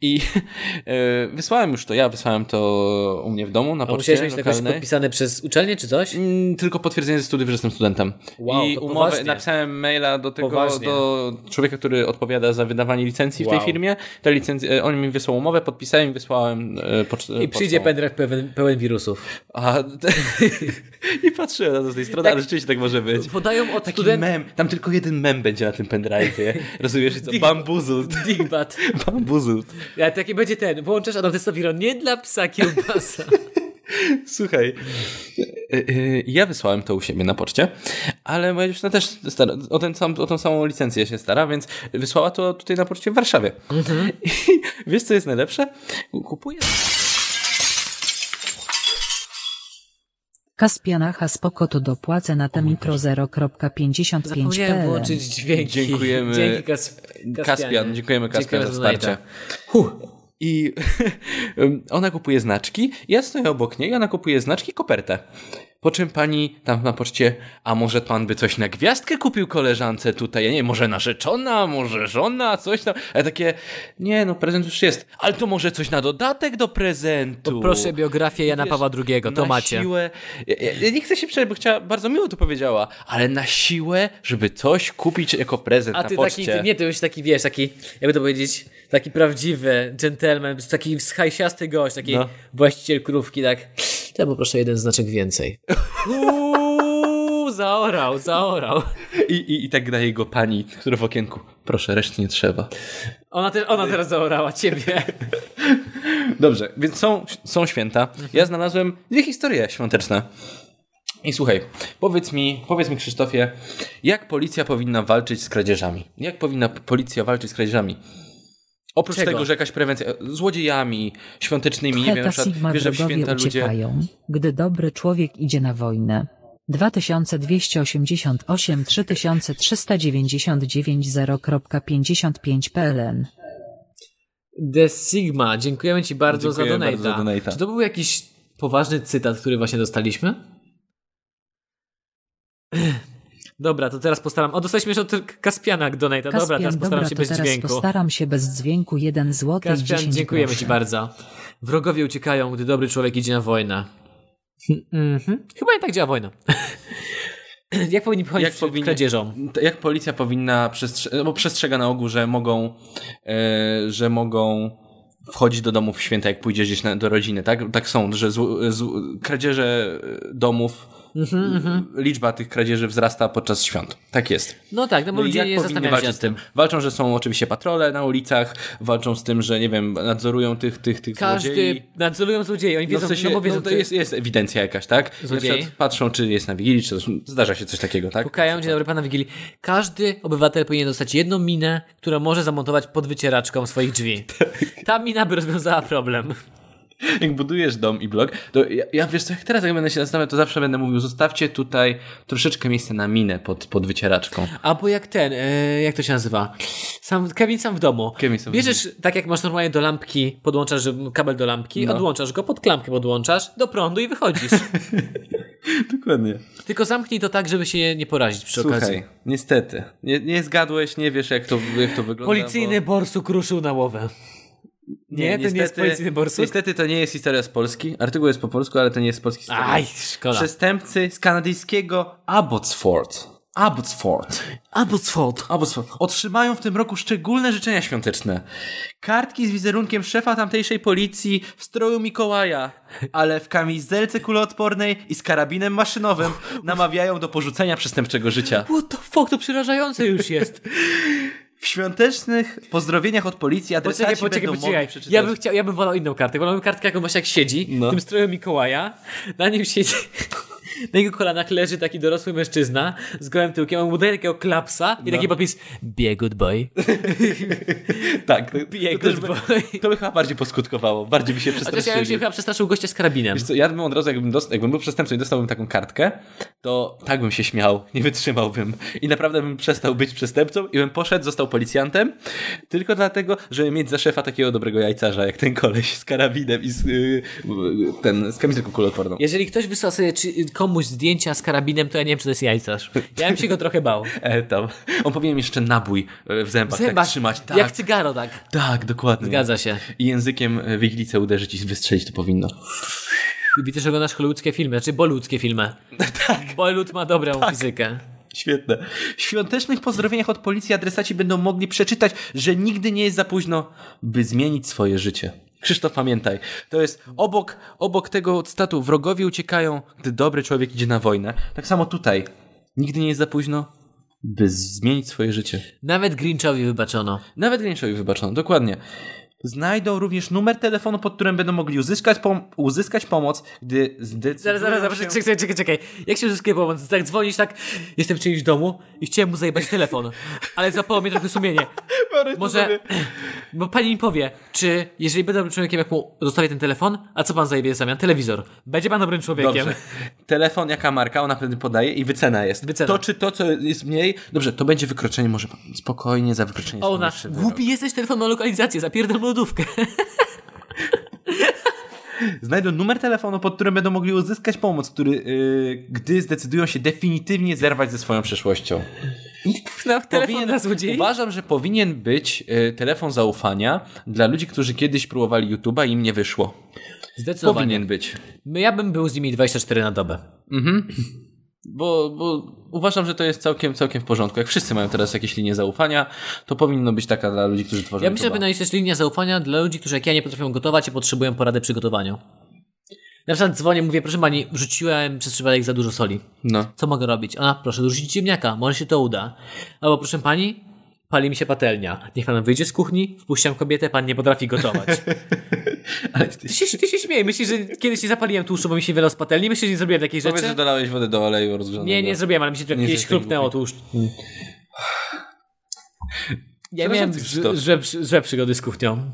Speaker 1: I e, wysłałem już to, ja wysłałem to u mnie w domu na
Speaker 2: A
Speaker 1: poczcie
Speaker 2: musiałeś mieć jakoś
Speaker 1: lokalnej.
Speaker 2: podpisane przez uczelnię czy coś?
Speaker 1: Mm, Tylko potwierdzenie ze studiów, że jestem studentem.
Speaker 2: Wow,
Speaker 1: I
Speaker 2: to
Speaker 1: umowę,
Speaker 2: poważnie.
Speaker 1: napisałem maila do tego,
Speaker 2: Poważnie.
Speaker 1: do człowieka, który odpowiada za wydawanie licencji w
Speaker 2: Wow.
Speaker 1: tej firmie. Te licencje, e, on mi wysłał umowę, podpisałem i wysłałem e, pocz- e,
Speaker 2: I przyjdzie
Speaker 1: pocztą.
Speaker 2: pendrive pełen, pełen wirusów.
Speaker 1: A, I patrzyłem na to z tej strony,
Speaker 2: Tak.
Speaker 1: ale rzeczywiście tak może być.
Speaker 2: Podają od
Speaker 1: Taki
Speaker 2: studentów
Speaker 1: mem, tam tylko jeden mem będzie na tym pendrive'ie. Rozumiesz co? Bambuzut.
Speaker 2: Digbat.
Speaker 1: Bambuzut.
Speaker 2: Ja taki będzie ten, włączasz Adam Testowiro nie dla psa kiełbasa.
Speaker 1: Słuchaj, y, y, ja wysłałem to u siebie na poczcie, ale moja dziewczyna też stara, o, ten sam, o tą samą licencję się stara, więc wysłała to tutaj na poczcie w Warszawie. I wiesz, co jest najlepsze? Kupuję.
Speaker 4: Kaspianacha spoko to dopłacę na te mikro 0.55
Speaker 2: Zapomniałem
Speaker 4: PLN.
Speaker 2: włączyć dźwięki.
Speaker 1: Dziękujemy.
Speaker 2: Dzięki Kas Kaspianie.
Speaker 1: Kaspian, dziękujemy Kaspian za
Speaker 2: Dziękujemy
Speaker 1: wsparcie.
Speaker 2: donate'a. Huh.
Speaker 1: I ym, ona kupuje znaczki, ja stoję obok niej, ona kupuje znaczki i kopertę. Po czym pani tam na poczcie, a może pan by coś na gwiazdkę kupił koleżance tutaj, ja nie wiem, może narzeczona, może żona, coś tam. A ja takie, nie no, prezent już jest, ale to może coś na dodatek do prezentu.
Speaker 2: Proszę biografię Jana
Speaker 1: Wiesz,
Speaker 2: Pawła II, to
Speaker 1: na
Speaker 2: macie.
Speaker 1: Siłę, ja, ja, ja nie chcę się przejść, bo chciała, bardzo miło to powiedziała, ale na siłę, żeby coś kupić jako prezent
Speaker 2: A
Speaker 1: na
Speaker 2: ty
Speaker 1: poczcie.
Speaker 2: taki, ty, nie, ty już taki, wiesz, taki, jakby to powiedzieć, taki prawdziwy gentleman, taki schajsiasty gość, taki
Speaker 1: No.
Speaker 2: właściciel krówki, tak. To ja poproszę jeden znaczek więcej. Uuu, zaorał, zaorał.
Speaker 1: I, i, I tak daje go pani, która w okienku, proszę, reszty nie trzeba.
Speaker 2: Ona, te, ona teraz zaorała ciebie.
Speaker 1: Dobrze, więc są, są święta.
Speaker 4: Mhm.
Speaker 1: Ja znalazłem dwie historie świąteczne. I słuchaj, powiedz mi, powiedz mi Krzysztofie, jak policja powinna walczyć z kradzieżami? Jak powinna p- policja walczyć z kradzieżami? Oprócz
Speaker 2: Czego?
Speaker 1: tego, że jakaś prewencja e, złodziejami świątecznymi, nie wiem, na
Speaker 4: Heta
Speaker 1: przykład,
Speaker 4: Sigma
Speaker 1: wiesz, że w
Speaker 4: wrogowie
Speaker 1: święta ludzie...
Speaker 4: uciekają, gdy dobry człowiek idzie na wojnę. 2288 3399 0.55 PLN.
Speaker 2: The Sigma, dziękujemy Ci bardzo
Speaker 1: Dziękuję
Speaker 2: za
Speaker 1: bardzo za
Speaker 2: donate'a.
Speaker 1: donate'a.
Speaker 2: Czy to był jakiś poważny cytat, który właśnie dostaliśmy? Dobra, to teraz postaram. O, dostaliśmy jeszcze od Kaspiana donate'a. No Dobra, teraz
Speaker 4: Kaspian,
Speaker 2: postaram
Speaker 4: dobra,
Speaker 2: się
Speaker 4: to
Speaker 2: bez
Speaker 4: teraz
Speaker 2: dźwięku.
Speaker 4: postaram się bez dźwięku 1 zł i
Speaker 2: Kaspian,
Speaker 4: 10
Speaker 2: dziękujemy
Speaker 4: groszy.
Speaker 2: Ci bardzo. Wrogowie uciekają, gdy dobry człowiek idzie na wojnę. Mhm. Chyba nie tak działa wojna. Jak powinni pochodzić
Speaker 1: Jak
Speaker 2: przed
Speaker 1: powinni-
Speaker 2: kradzieżą?
Speaker 1: T- Jak policja powinna przestrzegać, bo przestrzega na ogół, że mogą, e, że mogą wchodzić do domów w święta, jak pójdziesz gdzieś na, do rodziny, tak? Tak są, że zł- zł- kradzieże e, domów,
Speaker 2: Mhm,
Speaker 1: liczba tych kradzieży wzrasta podczas świąt. Tak jest.
Speaker 2: No tak, no bo
Speaker 1: No i
Speaker 2: ludzie
Speaker 1: jak
Speaker 2: nie
Speaker 1: powinni
Speaker 2: zastanawiają się
Speaker 1: walczyć
Speaker 2: nad
Speaker 1: z
Speaker 2: tym.
Speaker 1: tym? Walczą, że są oczywiście patrole na ulicach, walczą z tym, że nie wiem, nadzorują tych, tych, tych
Speaker 2: Każdy
Speaker 1: złodziei.
Speaker 2: nadzorują złodzieje, oni
Speaker 1: No,
Speaker 2: wiedzą,
Speaker 1: w
Speaker 2: no,
Speaker 1: sensie,
Speaker 2: bo
Speaker 1: no,
Speaker 2: wiedzą,
Speaker 1: to
Speaker 2: kto-
Speaker 1: jest, jest ewidencja jakaś, tak? I Na
Speaker 2: Złodziei?
Speaker 1: przykład patrzą, czy jest na Wigilii, czy coś. zdarza się coś takiego, tak?
Speaker 2: Pukają, dzień dobry, pana Wigilii. Każdy obywatel powinien dostać jedną minę, którą może zamontować pod wycieraczką swoich drzwi.
Speaker 1: Tak.
Speaker 2: Ta mina by rozwiązała problem.
Speaker 1: jak budujesz dom i blok, to ja, ja wiesz co, jak teraz jak będę się zastanawiał, to zawsze będę mówił, zostawcie tutaj troszeczkę miejsca na minę pod, pod wycieraczką.
Speaker 2: Albo jak ten, e, jak to się nazywa? Sam, Kevin sam w domu.
Speaker 1: Kevin sam w
Speaker 2: Bierzesz, tak jak masz normalnie do lampki, podłączasz kabel do lampki,
Speaker 1: No.
Speaker 2: odłączasz go, pod klamkę podłączasz, do prądu i wychodzisz.
Speaker 1: Dokładnie.
Speaker 2: Tylko zamknij to tak, żeby się nie- nie porazić przy okazji.
Speaker 1: Słuchaj, niestety. Nie, nie zgadłeś, nie wiesz jak to, jak to wygląda.
Speaker 2: Policyjny borsuk ruszył na łowę.
Speaker 1: bo...
Speaker 2: nie, to nie jest policyjny borsuk?
Speaker 1: Niestety to nie jest historia z Polski. Artykuł jest po polsku, ale to nie jest z polski historii.
Speaker 2: Aj, szkoda. Przez...
Speaker 1: Przestępcy z kanadyjskiego Abbotsford. Abbotsford.
Speaker 2: Abbotsford.
Speaker 1: Abbotsford. Otrzymają w tym roku szczególne życzenia świąteczne. Kartki z wizerunkiem szefa tamtejszej policji w stroju Mikołaja, ale w kamizelce kuloodpornej i z karabinem maszynowym namawiają do porzucenia przestępczego życia.
Speaker 2: What the fuck, to przerażające już jest.
Speaker 1: W świątecznych pozdrowieniach od policji adresaci
Speaker 2: Poczekaj, poczekaj,
Speaker 1: będą
Speaker 2: poczekaj.
Speaker 1: mogli przeczytać...
Speaker 2: Ja bym, chciał, ja bym wolał inną kartę. Wolałbym kartkę, jaką masz jak siedzi,
Speaker 1: No.
Speaker 2: w tym stroju Mikołaja. Na nim siedzi... Na jego kolanach leży taki dorosły mężczyzna z gołym tyłkiem, on mu daje takiego klapsa i taki podpis Be a good boy.
Speaker 1: Tak,
Speaker 2: Be a
Speaker 1: to,
Speaker 2: good
Speaker 1: też by,
Speaker 2: boy.
Speaker 1: to by chyba bardziej poskutkowało, bardziej by się
Speaker 2: Chociaż ja bym się
Speaker 1: przestraszyli.
Speaker 2: chyba przestraszył gościa z karabinem.
Speaker 1: Wiesz co, ja bym od razu, jakbym, dost, jakbym był przestępcą i dostałbym taką kartkę, to tak bym się śmiał, nie wytrzymałbym. I naprawdę bym przestał być przestępcą i bym poszedł, został policjantem, tylko dlatego, żeby mieć za szefa takiego dobrego jajcarza, jak ten koleś z karabinem i z, yy, yy, ten, z kamizelką kuloodporną.
Speaker 2: Jeżeli ktoś wysłał sobie czy, komuś zdjęcia z karabinem, to ja nie wiem, czy to jest jajcarz. Ja bym się go trochę bał.
Speaker 1: E, tam. On powinien mieć jeszcze nabój e, w zębach,
Speaker 2: Zęba,
Speaker 1: tak trzymać. Tak,
Speaker 2: Jak cygaro, tak.
Speaker 1: tak, dokładnie.
Speaker 2: Zgadza się.
Speaker 1: I językiem e, w iglicę uderzyć i wystrzelić to powinno.
Speaker 2: Lubi też oglądasz hollywoodzkie filmy, znaczy boludzkie filmy. tak. Bolud ma dobrą fizykę.
Speaker 1: Świetne. W świątecznych pozdrowieniach od policji adresaci będą mogli przeczytać, że nigdy nie jest za późno, by zmienić swoje życie. Krzysztof, pamiętaj, to jest obok, obok tego cytatu wrogowie uciekają, gdy dobry człowiek idzie na wojnę. Tak samo tutaj. Nigdy nie jest za późno, by z- zmienić swoje życie.
Speaker 2: Nawet Grinchowi wybaczono.
Speaker 1: Nawet Grinchowi wybaczono, dokładnie. Znajdą również numer telefonu, pod którym będą mogli uzyskać, pom- uzyskać pomoc, gdy zdecydują
Speaker 2: Zaraz, zaraz, zaraz,
Speaker 1: się...
Speaker 2: czekaj, czekaj, czekaj, czekaj. Jak się uzyskuje pomoc? Tak dzwonisz, tak, jestem w czyimś domu i chciałem mu zajebać telefon, ale zapało mnie trochę sumienie. Może, bo pani mi powie, czy jeżeli będę dobrym człowiekiem, jak mu zostawię ten telefon, a co pan zajebie w zamian? Telewizor. Będzie pan dobrym człowiekiem.
Speaker 1: Dobrze. Telefon, jaka marka, ona wtedy podaje i wycena jest.
Speaker 2: Wycena.
Speaker 1: To czy to, co jest mniej, dobrze, to będzie wykroczenie, może pan- spokojnie za wykroczenie.
Speaker 2: O,
Speaker 1: jest
Speaker 2: ona,
Speaker 1: mniejszy wyrok.
Speaker 2: głupi jesteś, telefon ma lokalizację, zapierdam lodówkę.
Speaker 1: Znajdą numer telefonu, pod którym będą mogli uzyskać pomoc, który, yy, gdy zdecydują się definitywnie zerwać ze swoją przeszłością.
Speaker 2: No, telefon na złodziei.
Speaker 1: uważam, że powinien być yy, telefon zaufania dla ludzi, którzy kiedyś próbowali YouTube'a i im nie wyszło.
Speaker 2: Zdecydowanie. No
Speaker 1: Powinien być.
Speaker 2: Ja bym był z nimi 24 na dobę.
Speaker 1: Bo, bo uważam, że to jest całkiem, całkiem w porządku. Jak wszyscy mają teraz jakieś linie zaufania, to powinno być taka dla ludzi, którzy tworzą
Speaker 2: Ja myślę, że
Speaker 1: YouTube'a.
Speaker 2: powinna istnieć linia zaufania dla ludzi, którzy jak ja nie potrafią gotować i potrzebują porady przy gotowaniu. Na przykład dzwonię, mówię, proszę pani, rzuciłem przez przypadek za dużo soli.
Speaker 1: No.
Speaker 2: Co mogę robić? Ona, proszę rzucić ziemniaka, może się to uda. Albo proszę pani, pali mi się patelnia. Niech pan wyjdzie z kuchni, wpuściłam kobietę, pan nie potrafi gotować.
Speaker 1: Ale ty
Speaker 2: Ty się, ty się śmiej, myślisz, że kiedyś nie zapaliłem tłuszczu, bo mi się wylało z patelni? Myślisz, że nie zrobiłem takiej
Speaker 1: Powiedz,
Speaker 2: rzeczy?
Speaker 1: że dolałeś wodę do oleju rozgrzanego.
Speaker 2: Nie, nie zrobiłem, ale mi się to
Speaker 1: Nie
Speaker 2: kiedyś
Speaker 1: jesteś taki Hmm.
Speaker 2: chrupnęło tłuszcz. Ja miałem
Speaker 1: Przerażający Krzysztof.
Speaker 2: złe, złe przygody z kuchnią.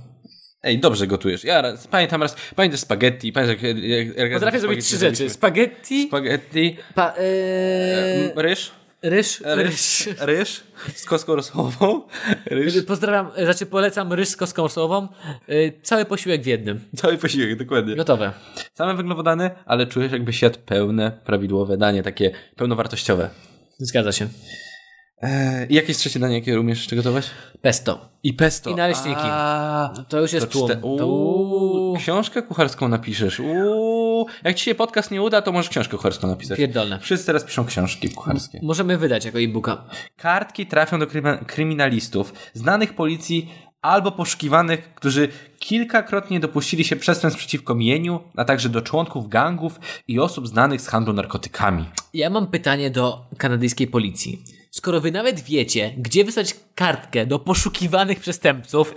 Speaker 1: Ej, dobrze gotujesz. Ja raz, pamiętam raz, pamiętasz spaghetti, pamiętasz jak... jak, jak razem
Speaker 2: Potrafię
Speaker 1: spaghetti
Speaker 2: zrobić trzy
Speaker 1: zrobiliśmy?
Speaker 2: rzeczy. Spaghetti,
Speaker 1: Spaghetti,
Speaker 2: pa, yy,
Speaker 1: m, ryż,
Speaker 2: ryż, ryż.
Speaker 1: e, ryż, ryż z kostką rosową, ryż,
Speaker 2: Pozdrawiam, znaczy polecam ryż z kostką rosołową. Yy, cały posiłek w jednym.
Speaker 1: cały posiłek, dokładnie.
Speaker 2: Gotowe.
Speaker 1: Same węglowodany, ale czujesz jakbyś jadł pełne, prawidłowe danie, takie pełnowartościowe.
Speaker 2: Zgadza się. E,
Speaker 1: Eee, I jakie jest trzecie danie, jakie umiesz jeszcze gotować?
Speaker 2: Pesto.
Speaker 1: I pesto.
Speaker 2: I naleśniki.
Speaker 1: A,
Speaker 2: To już jest
Speaker 1: To
Speaker 2: tłum.
Speaker 1: czyta-
Speaker 2: To-
Speaker 1: Uuu, książkę kucharską napiszesz. Uuu, jak ci się podcast nie uda, to możesz książkę kucharską napisać.
Speaker 2: Pierdolne.
Speaker 1: Wszyscy teraz piszą książki kucharskie.
Speaker 2: Możemy wydać jako e-booka.
Speaker 1: Kartki trafią do krymi- kryminalistów, znanych policji albo poszukiwanych, którzy kilkakrotnie dopuścili się przestępstw przeciwko mieniu, a także do członków gangów i osób znanych z handlu narkotykami.
Speaker 2: Ja mam pytanie do kanadyjskiej policji. Skoro wy nawet wiecie, gdzie wysłać kartkę do poszukiwanych przestępców,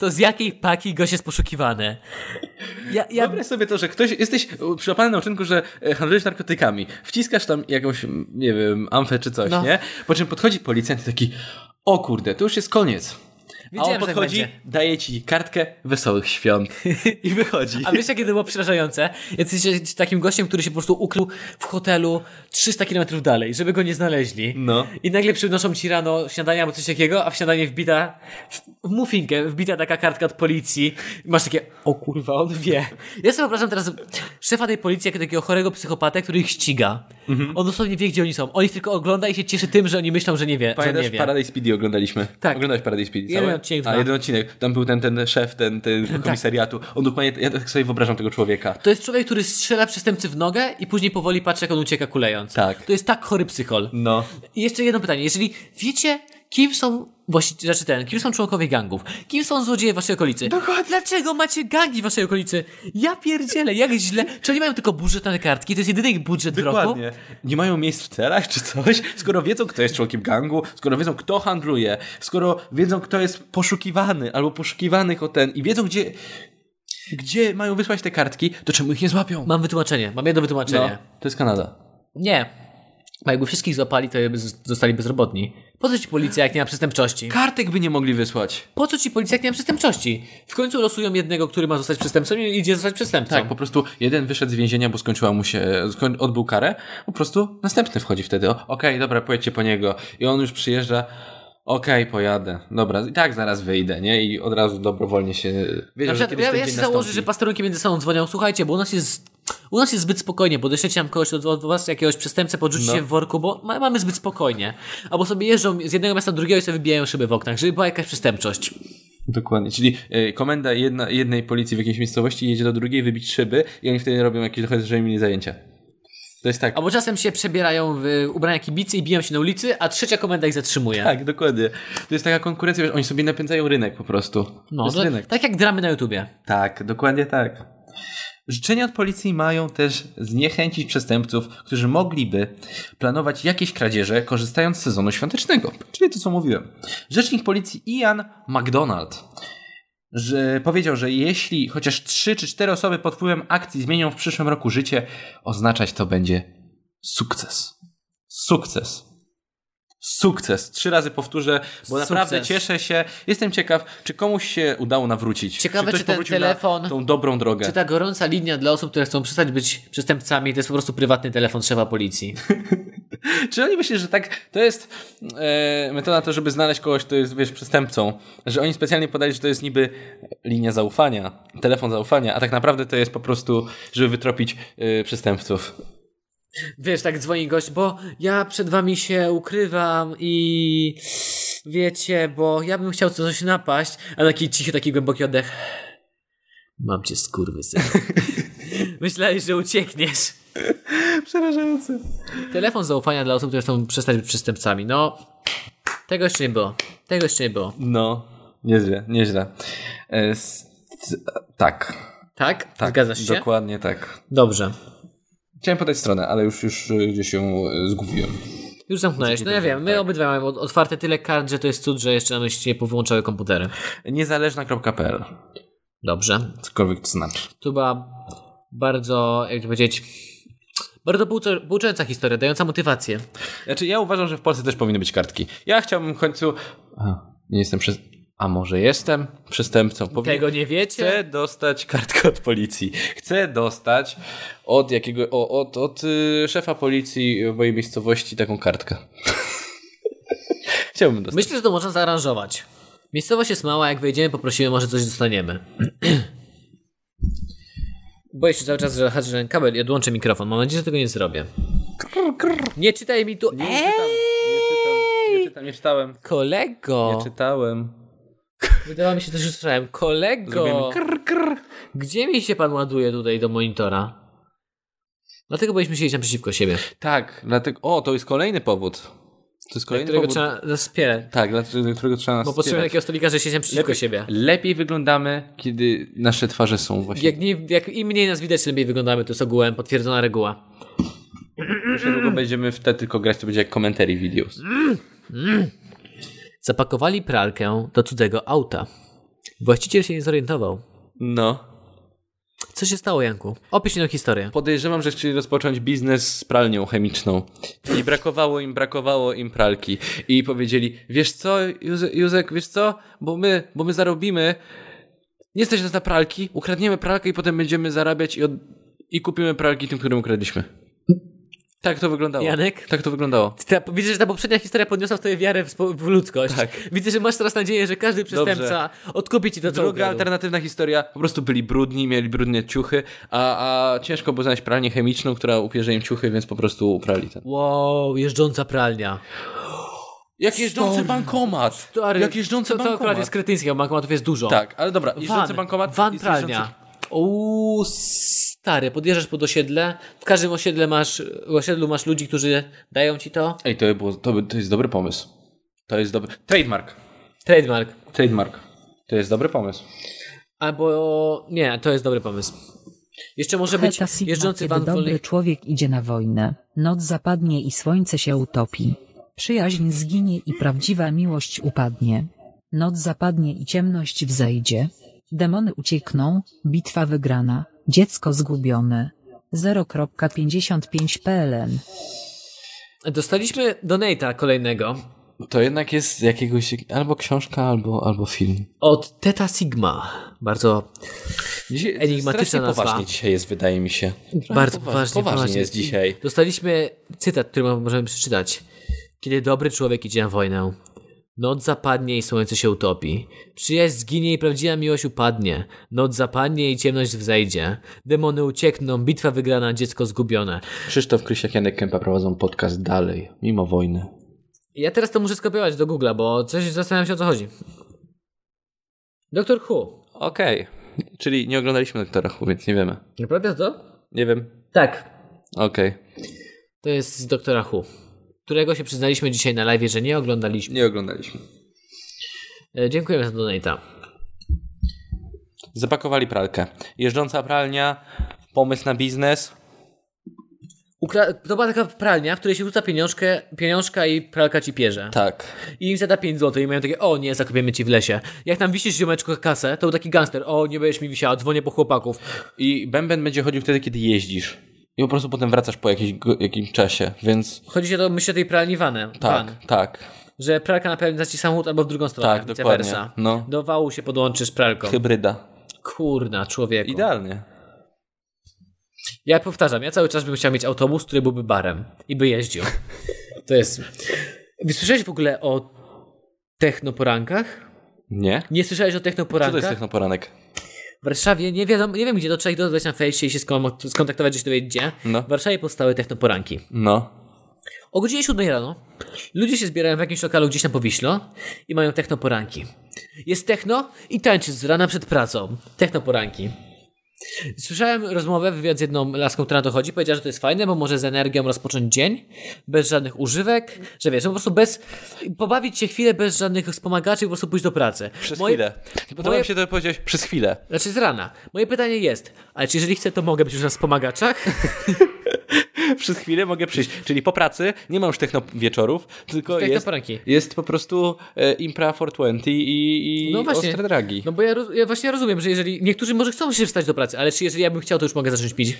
Speaker 2: to z jakiej paki gość jest poszukiwany? Ja, ja,
Speaker 1: Wyobraź sobie to, że ktoś, jesteś e, przyłapany na uczynku, że e, handlujesz narkotykami, wciskasz tam jakąś, m, nie wiem, amfę czy coś,
Speaker 2: No.
Speaker 1: nie? Po czym podchodzi policjant i taki, o kurde, to już jest koniec. A on
Speaker 2: Wiedziałem, że tak
Speaker 1: podchodzi,
Speaker 2: będzie.
Speaker 1: daje ci kartkę wesołych świąt i wychodzi.
Speaker 2: A wiesz, jakie to było przerażające? Jesteś takim gościem, który się po prostu ukrył w hotelu 300 km dalej, żeby go nie znaleźli.
Speaker 1: No.
Speaker 2: I nagle przynoszą ci rano śniadanie albo coś takiego, a w śniadanie wbita, w, w muffinkę wbita taka kartka od policji. I masz takie, o kurwa, on wie. Ja sobie wyobrażam teraz szefa tej policji jako takiego chorego psychopatę, który ich ściga.
Speaker 1: Mhm.
Speaker 2: On dosłownie wie, gdzie oni są. On ich tylko ogląda i się cieszy tym, że oni myślą, że nie wie. że
Speaker 1: Pamiętasz,
Speaker 2: nie wie.
Speaker 1: Paradise PD oglądaliśmy.
Speaker 2: Tak.
Speaker 1: Oglądałeś Paradise PD
Speaker 2: Jeden
Speaker 1: cały?
Speaker 2: odcinek,
Speaker 1: A,
Speaker 2: dwa. Tak.
Speaker 1: jeden odcinek. Tam był ten, ten szef, ten, ten komisariatu. On dokładnie, ja tak sobie wyobrażam tego człowieka.
Speaker 2: To jest człowiek, który strzela przestępcy w nogę i później powoli patrzy, jak on ucieka kulejąc.
Speaker 1: Tak.
Speaker 2: To jest tak chory psychol.
Speaker 1: No.
Speaker 2: I jeszcze jedno pytanie. Jeżeli wiecie, kim są właściciele, znaczy ten, kim są członkowie gangów, kim są złodzieje w waszej okolicy? Dokładnie. Dlaczego macie gangi w waszej okolicy? Ja pierdzielę, jak źle. Czy oni mają tylko budżet na te kartki? To jest jedyny ich budżet w roku?
Speaker 1: Dokładnie. Nie mają miejsc w celach czy coś? Skoro wiedzą, kto jest członkiem gangu, skoro wiedzą, kto handluje, skoro wiedzą, kto jest poszukiwany albo poszukiwanych o ten i wiedzą, gdzie, gdzie mają wysłać te kartki, to czemu ich nie złapią?
Speaker 2: Mam wytłumaczenie, mam jedno
Speaker 1: no,
Speaker 2: wytłumaczenie.
Speaker 1: to jest Kanada.
Speaker 2: Nie. Bo jakby wszystkich złapali, to by z- zostali bezrobotni. Po co ci policja, jak nie ma przestępczości?
Speaker 1: Kartek by nie mogli wysłać.
Speaker 2: Po co ci policja, jak nie ma przestępczości? W końcu losują jednego, który ma zostać przestępcą i idzie zostać przestępcą.
Speaker 1: Tak, po prostu jeden wyszedł z więzienia, bo skończyła mu się, skoń, odbył karę, po prostu następny wchodzi wtedy. O, Okej, dobra, pojedźcie po niego. I on już przyjeżdża. Okej, pojadę. Dobra, i tak zaraz wyjdę, nie? I od razu dobrowolnie się... Wiedział,
Speaker 2: Na
Speaker 1: że
Speaker 2: przykład,
Speaker 1: kiedyś
Speaker 2: ja,
Speaker 1: ten
Speaker 2: ja się
Speaker 1: dzień
Speaker 2: założę,
Speaker 1: nastąpi.
Speaker 2: że pasterunki między sobą dzwonią, słuchajcie, bo u nas jest, u nas jest zbyt spokojnie, bo doślecie nam kogoś od, od was, jakiegoś przestępcę, podrzucicie
Speaker 1: No.
Speaker 2: w worku, bo ma, mamy zbyt spokojnie. Albo sobie jeżdżą z jednego miasta do drugiego i sobie wybijają szyby w oknach, żeby była jakaś przestępczość.
Speaker 1: Dokładnie, czyli y, komenda jedna, jednej policji w jakiejś miejscowości jedzie do drugiej wybić szyby i oni wtedy robią jakieś trochę, że mieli zajęcia. To jest tak.
Speaker 2: Albo czasem się przebierają w e, ubrania kibicy i biją się na ulicy, a trzecia komenda ich zatrzymuje.
Speaker 1: Tak, dokładnie. To jest taka konkurencja, wiesz, oni sobie napędzają rynek po prostu. to
Speaker 2: No,
Speaker 1: jest
Speaker 2: to,
Speaker 1: rynek.
Speaker 2: tak jak dramy na YouTubie.
Speaker 1: Tak, dokładnie tak. Życzenia od policji mają też zniechęcić przestępców, którzy mogliby planować jakieś kradzieże, korzystając z sezonu świątecznego. Czyli to, co mówiłem. Rzecznik policji Ian McDonald że powiedział, że jeśli chociaż 3 czy 4 osoby pod wpływem akcji zmienią w przyszłym roku życie, oznaczać to będzie sukces. Sukces. Sukces. Trzy razy powtórzę, bo
Speaker 2: Sukces.
Speaker 1: naprawdę cieszę się. Jestem ciekaw, czy komuś się udało nawrócić.
Speaker 2: Ciekawe,
Speaker 1: ktoś
Speaker 2: czy ten
Speaker 1: powrócił
Speaker 2: telefon-
Speaker 1: Na tą dobrą drogę.
Speaker 2: Czy ta gorąca linia dla osób, które chcą przestać być przestępcami, to jest po prostu prywatny telefon szefa policji.
Speaker 1: Czy oni myślą, że tak to jest e, metoda to, żeby znaleźć kogoś, kto jest wiesz, przestępcą, że oni specjalnie podali, że to jest niby linia zaufania, telefon zaufania, a tak naprawdę to jest po prostu, żeby wytropić e, przestępców.
Speaker 2: Wiesz, tak dzwoni gość, bo ja przed wami się ukrywam i wiecie, bo ja bym chciał coś napaść, a taki cichy, taki głęboki oddech. Mam cię skurwysyn. Myślałeś, że uciekniesz.
Speaker 1: Przerażające.
Speaker 2: Telefon zaufania dla osób, które chcą przestać być przestępcami. No, tego jeszcze nie było. Tego jeszcze nie było.
Speaker 1: No, nieźle, nieźle. E, s- t- tak.
Speaker 2: Tak?
Speaker 1: tak.
Speaker 2: Zgadzasz się?
Speaker 1: Dokładnie tak.
Speaker 2: Dobrze.
Speaker 1: Chciałem podać stronę, ale już, już e, gdzieś ją e, zgubiłem.
Speaker 2: Już zamknąłeś. No ja wiem,
Speaker 1: tak.
Speaker 2: my obydwa mamy od- otwarte tyle kart, że to jest cud, że jeszcze nam się nie powyłączały komputery.
Speaker 1: Niezależna.pl
Speaker 2: Dobrze.
Speaker 1: Cokolwiek to znaczy.
Speaker 2: To była bardzo, jak to powiedzieć, bardzo poucze- pouczająca historia, dająca motywację.
Speaker 1: Znaczy, ja uważam, że w Polsce też powinny być kartki. Ja chciałbym w końcu. A, nie jestem przez. A może jestem przestępcą? Powin...
Speaker 2: Tego nie wiecie?
Speaker 1: Chcę dostać kartkę od policji. Chcę dostać od jakiego. O, od, od y, szefa policji w mojej miejscowości taką kartkę. Chciałbym dostać.
Speaker 2: Myślę, że to można zaaranżować. Miejscowość jest mała, jak wejdziemy, poprosimy, może coś dostaniemy. Boję się cały czas, że haczę ten kabel i odłączę mikrofon. Mam nadzieję, że tego nie zrobię. Nie czytaj mi tu... Eee,
Speaker 1: Nie czytam, nie czytałem.
Speaker 2: kolego!
Speaker 1: Nie czytałem.
Speaker 2: Wydawało mi się, też usłyszałem. Kolego!
Speaker 1: Zrobimy krr, krr.
Speaker 2: Gdzie mi się pan ładuje tutaj do monitora? Dlatego byliśmy siedzieć naprzeciwko siebie.
Speaker 1: Tak, dlatego. O, to jest kolejny powód. To jest kolejny
Speaker 2: którego
Speaker 1: powód.
Speaker 2: trzeba zaspierać.
Speaker 1: Tak, dla dla którego trzeba nas
Speaker 2: Bo potrzebuję
Speaker 1: wspierać.
Speaker 2: takiego stolika, że siedzę przeciwko siebie.
Speaker 1: Lepiej wyglądamy, kiedy nasze twarze są właśnie.
Speaker 2: Jak, nie, jak im mniej nas widać, tym lepiej wyglądamy. To jest ogółem potwierdzona reguła.
Speaker 1: Jeszcze długo będziemy w te tylko grać, to będzie jak commentary videos.
Speaker 2: Zapakowali pralkę do cudzego auta. Właściciel się nie zorientował.
Speaker 1: No.
Speaker 2: Co się stało, Janku? Opisz mi tę historię.
Speaker 1: Podejrzewam, że chcieli rozpocząć biznes z pralnią chemiczną. I brakowało im, brakowało im pralki. I powiedzieli, wiesz co, Józe- Józek, wiesz co, bo my, bo my zarobimy, nie stać nas na pralki, ukradniemy pralkę i potem będziemy zarabiać i, od... i kupimy pralki tym, którym ukradliśmy. Tak to wyglądało.
Speaker 2: Janek?
Speaker 1: Tak to wyglądało.
Speaker 2: Ta, widzę, że ta poprzednia historia podniosła w tobie wiarę w, spo- w ludzkość.
Speaker 1: Tak.
Speaker 2: Widzę, że masz teraz nadzieję, że każdy przestępca odkupi ci to, co
Speaker 1: Druga
Speaker 2: ukradł.
Speaker 1: alternatywna historia, po prostu byli brudni, mieli brudne ciuchy, a, a ciężko było znaleźć pralnię chemiczną, która upierze im ciuchy, więc po prostu uprali ten.
Speaker 2: Wow, jeżdżąca pralnia.
Speaker 1: Jak jeżdżący bankomat!
Speaker 2: Stary,
Speaker 1: Jak jeżdżący
Speaker 2: to, to
Speaker 1: bankomat!
Speaker 2: akurat jest kretyńskie, bo bankomatów jest dużo.
Speaker 1: Tak, ale dobra, jeżdżący
Speaker 2: Van,
Speaker 1: bankomat.
Speaker 2: van
Speaker 1: jest
Speaker 2: pralnia.
Speaker 1: jeżdżący-
Speaker 2: Uuu, stary, podjeżdżasz pod osiedle, w każdym osiedle masz, osiedlu masz ludzi, którzy dają ci to.
Speaker 1: Ej, to, by było, to, by, to jest dobry pomysł. To jest dobry. Trademark.
Speaker 2: Trademark.
Speaker 1: Trademark. To jest dobry pomysł.
Speaker 2: Albo, nie, to jest dobry pomysł. Jeszcze może być
Speaker 4: Heta Sigma,
Speaker 2: jeżdżący
Speaker 4: kiedy
Speaker 2: van
Speaker 4: dobry
Speaker 2: wolnych...
Speaker 4: człowiek idzie na wojnę, noc zapadnie i słońce się utopi. Przyjaźń zginie i prawdziwa miłość upadnie. Noc zapadnie i ciemność wzejdzie. Demony uciekną, bitwa wygrana, dziecko zgubione. 0.55 PLN.
Speaker 2: Dostaliśmy donate'a kolejnego
Speaker 1: To jednak jest jakiegoś. albo książka, albo, albo film.
Speaker 2: od Teta Sigma. Bardzo,
Speaker 1: Dzisiaj,
Speaker 2: Enigmatyczna
Speaker 1: strasznie
Speaker 2: nazwa.
Speaker 1: poważnie dzisiaj jest, wydaje mi się.
Speaker 2: bardzo
Speaker 1: poważnie,
Speaker 2: poważnie,
Speaker 1: poważnie jest dzisiaj.
Speaker 2: Dostaliśmy cytat, który możemy przeczytać. Kiedy dobry człowiek idzie na wojnę, noc zapadnie i słońce się utopi. Przyjaźń zginie i prawdziwa miłość upadnie. Noc zapadnie i ciemność wzejdzie. Demony uciekną, bitwa wygrana, dziecko zgubione.
Speaker 1: Krzysztof Krysiak, Janek Kępa prowadzą podcast dalej, mimo wojny.
Speaker 2: Ja teraz to muszę skopiować do Google'a, bo coś zastanawiam się o co chodzi. Doktor Who.
Speaker 1: Okej. Czyli nie oglądaliśmy doktora Who, więc nie wiemy.
Speaker 2: Naprawdę to?
Speaker 1: Nie wiem.
Speaker 2: Tak,
Speaker 1: Okej.
Speaker 2: To jest z Doktora Who, którego się przyznaliśmy dzisiaj na live, że nie oglądaliśmy.
Speaker 1: Nie oglądaliśmy.
Speaker 2: E, dziękujemy za donata.
Speaker 1: Zapakowali pralkę. Jeżdżąca pralnia, pomysł na biznes.
Speaker 2: Ukra- to była taka pralnia, w której się rzuca pieniążkę, pieniążka i pralka ci pierze.
Speaker 1: Tak.
Speaker 2: I im zada 5 zł i mają takie, o nie, zakupiemy ci w lesie. Jak tam wisisz ziomeczku kasę, to był taki gangster, o nie będziesz mi wisiała, dzwonię po chłopaków.
Speaker 1: I bęben będzie chodził wtedy, kiedy jeździsz. I po prostu potem wracasz po jakiś, go- jakimś czasie, więc.
Speaker 2: Chodzi się do, myślę, tej pralni vanem.
Speaker 1: Tak,
Speaker 2: Van,
Speaker 1: tak.
Speaker 2: że pralka napędza ci samochód albo w drugą stronę,
Speaker 1: Tak,
Speaker 2: vice
Speaker 1: dokładnie,
Speaker 2: versa.
Speaker 1: no.
Speaker 2: Do wału się podłączysz pralką.
Speaker 1: Hybryda.
Speaker 2: Kurna, człowieku.
Speaker 1: Idealnie.
Speaker 2: Ja powtarzam, ja cały czas bym chciał mieć autobus, który byłby barem i by jeździł. To jest. Wy Słyszałeś w ogóle o technoporankach?
Speaker 1: Nie?
Speaker 2: Nie słyszałeś o
Speaker 1: Co to jest
Speaker 2: technoporankach?
Speaker 1: technoporanek?
Speaker 2: W Warszawie nie wiadomo, nie wiem gdzie, to trzeba ich dodać na fejsie i się skom- skontaktować, że się dowiedzieć gdzie.
Speaker 1: No.
Speaker 2: W Warszawie powstały technoporanki.
Speaker 1: No.
Speaker 2: O godzinie 7 rano ludzie się zbierają w jakimś lokalu gdzieś tam po Wiślo i mają technoporanki. Jest techno i tańczy z rana przed pracą. Technoporanki. Słyszałem rozmowę, wywiad z jedną laską, która na to chodzi. Powiedziała, że to jest fajne, bo może z energią rozpocząć dzień, bez żadnych używek, że wiesz, po prostu bez... pobawić się chwilę bez żadnych wspomagaczy i po prostu pójść do pracy.
Speaker 1: Przez
Speaker 2: Moje-
Speaker 1: chwilę. Podoba
Speaker 2: moje-
Speaker 1: mi się to, że powiedziałeś przez chwilę.
Speaker 2: Znaczy z rana. Moje pytanie jest, ale czy jeżeli chcę, to mogę być już na wspomagaczach?
Speaker 1: Przez chwilę mogę przyjść. Czyli po pracy nie ma już techno wieczorów, tylko
Speaker 2: Techno
Speaker 1: jest,
Speaker 2: poranki.
Speaker 1: jest po prostu e, impra 420 i, i
Speaker 2: No właśnie.
Speaker 1: ostre dragi.
Speaker 2: No bo ja, roz- ja właśnie rozumiem, że jeżeli... Niektórzy może chcą się wstać do pracy, ale czy jeżeli ja bym chciał, to już mogę zacząć pić?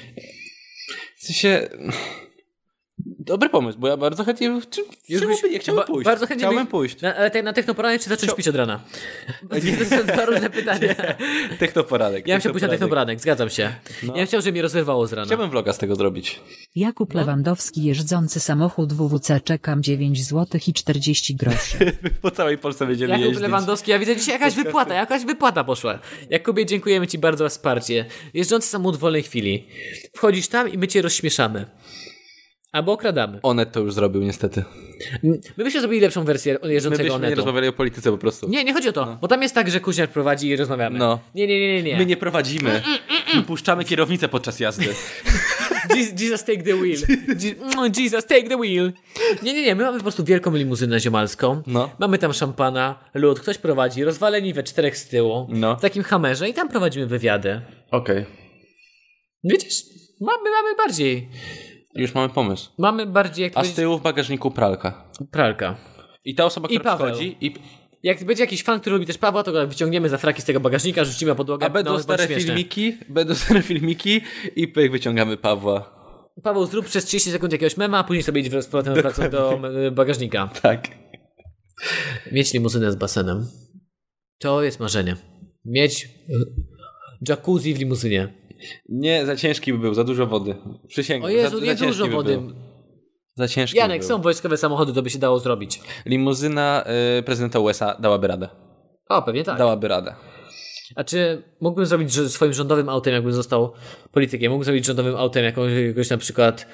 Speaker 1: W sensie... Dobry pomysł, bo ja bardzo chętnie... Czy,
Speaker 2: Już
Speaker 1: czemu
Speaker 2: byś-
Speaker 1: by nie chciałbym
Speaker 2: ba-
Speaker 1: pójść?
Speaker 2: Bardzo chętnie
Speaker 1: chciałbym
Speaker 2: byś-
Speaker 1: pójść.
Speaker 2: Na, ale te, na technoporanie czy zacząć pić od rana? To są dwa różne pytania.
Speaker 1: Technoporanek.
Speaker 2: Ja bym chciał pójść na technoporanek, no. zgadzam się. Ja bym chciał, żeby mnie rozerwało z rana.
Speaker 1: Chciałbym vloga z tego zrobić.
Speaker 4: Jakub
Speaker 2: No.
Speaker 4: Lewandowski jeżdżący samochód WWC czekam 9 zł i 40 groszy.
Speaker 1: Po całej Polsce będziemy
Speaker 2: Jakub
Speaker 1: jeździć.
Speaker 2: Lewandowski, ja widzę dzisiaj jakaś wypłata, jakaś wypłata poszła. Jakubie, dziękujemy Ci bardzo za wsparcie. Jeżdżący samochód w wolnej chwili. Wchodzisz tam i my Cię rozśmieszamy. Albo okradamy.
Speaker 1: Onet to już zrobił niestety.
Speaker 2: My byśmy zrobili lepszą wersję
Speaker 1: My
Speaker 2: jeżdżącego
Speaker 1: byśmy nie
Speaker 2: Onetu.
Speaker 1: rozmawiali o polityce po prostu.
Speaker 2: Nie, nie chodzi o to, bo tam jest tak, że Kuźniar prowadzi i rozmawiamy.
Speaker 1: No.
Speaker 2: Nie, nie, nie, nie.
Speaker 1: My
Speaker 2: nie.
Speaker 1: nie
Speaker 2: Mm,
Speaker 1: prowadzimy. My puszczamy kierownicę podczas jazdy.
Speaker 2: Je- Jesus take the wheel. Je- mm, Jesus take the wheel. Nie, nie, nie, my mamy po prostu wielką limuzynę ziomalską.
Speaker 1: No.
Speaker 2: Mamy tam szampana, lód, ktoś prowadzi, rozwaleni we czterech z tyłu.
Speaker 1: No.
Speaker 2: W takim hamerze i tam prowadzimy wywiady.
Speaker 1: Okej.
Speaker 2: Widzisz, mamy, mamy bardziej.
Speaker 1: Już mamy pomysł.
Speaker 2: Mamy bardziej jak to
Speaker 1: A z
Speaker 2: powiedzieć,
Speaker 1: tyłu w bagażniku pralka.
Speaker 2: pralka.
Speaker 1: I ta osoba,
Speaker 2: I
Speaker 1: która
Speaker 2: Paweł.
Speaker 1: przychodzi i...
Speaker 2: Jak będzie jakiś fan, który lubi też Pawła, to go wyciągniemy za fraki z tego bagażnika, rzucimy na podłogę.
Speaker 1: A będą
Speaker 2: no,
Speaker 1: stare
Speaker 2: bądź śmieszne.
Speaker 1: filmiki, będą stare filmiki i pyk, wyciągamy Pawła.
Speaker 2: Paweł, zrób przez 30 sekund jakiegoś mema, a później sobie idź z powrotem wracam do e, bagażnika.
Speaker 1: Tak.
Speaker 2: Mieć limuzynę z basenem. To jest marzenie. Mieć e, jacuzzi w limuzynie.
Speaker 1: Nie, za ciężki by był, za dużo wody. Przysięgam.
Speaker 2: O Jezu,
Speaker 1: za,
Speaker 2: nie
Speaker 1: za ciężki
Speaker 2: dużo
Speaker 1: by
Speaker 2: wody.
Speaker 1: Był. Za ciężki
Speaker 2: Janek,
Speaker 1: by był.
Speaker 2: są wojskowe samochody, to by się dało zrobić.
Speaker 1: Limuzyna y, prezydenta USA dałaby radę.
Speaker 2: O, pewnie tak.
Speaker 1: Dałaby radę.
Speaker 2: A czy mógłbym zrobić że- swoim rządowym autem, jakbym został politykiem? Mógłbym zrobić rządowym autem jakąś, jakąś na przykład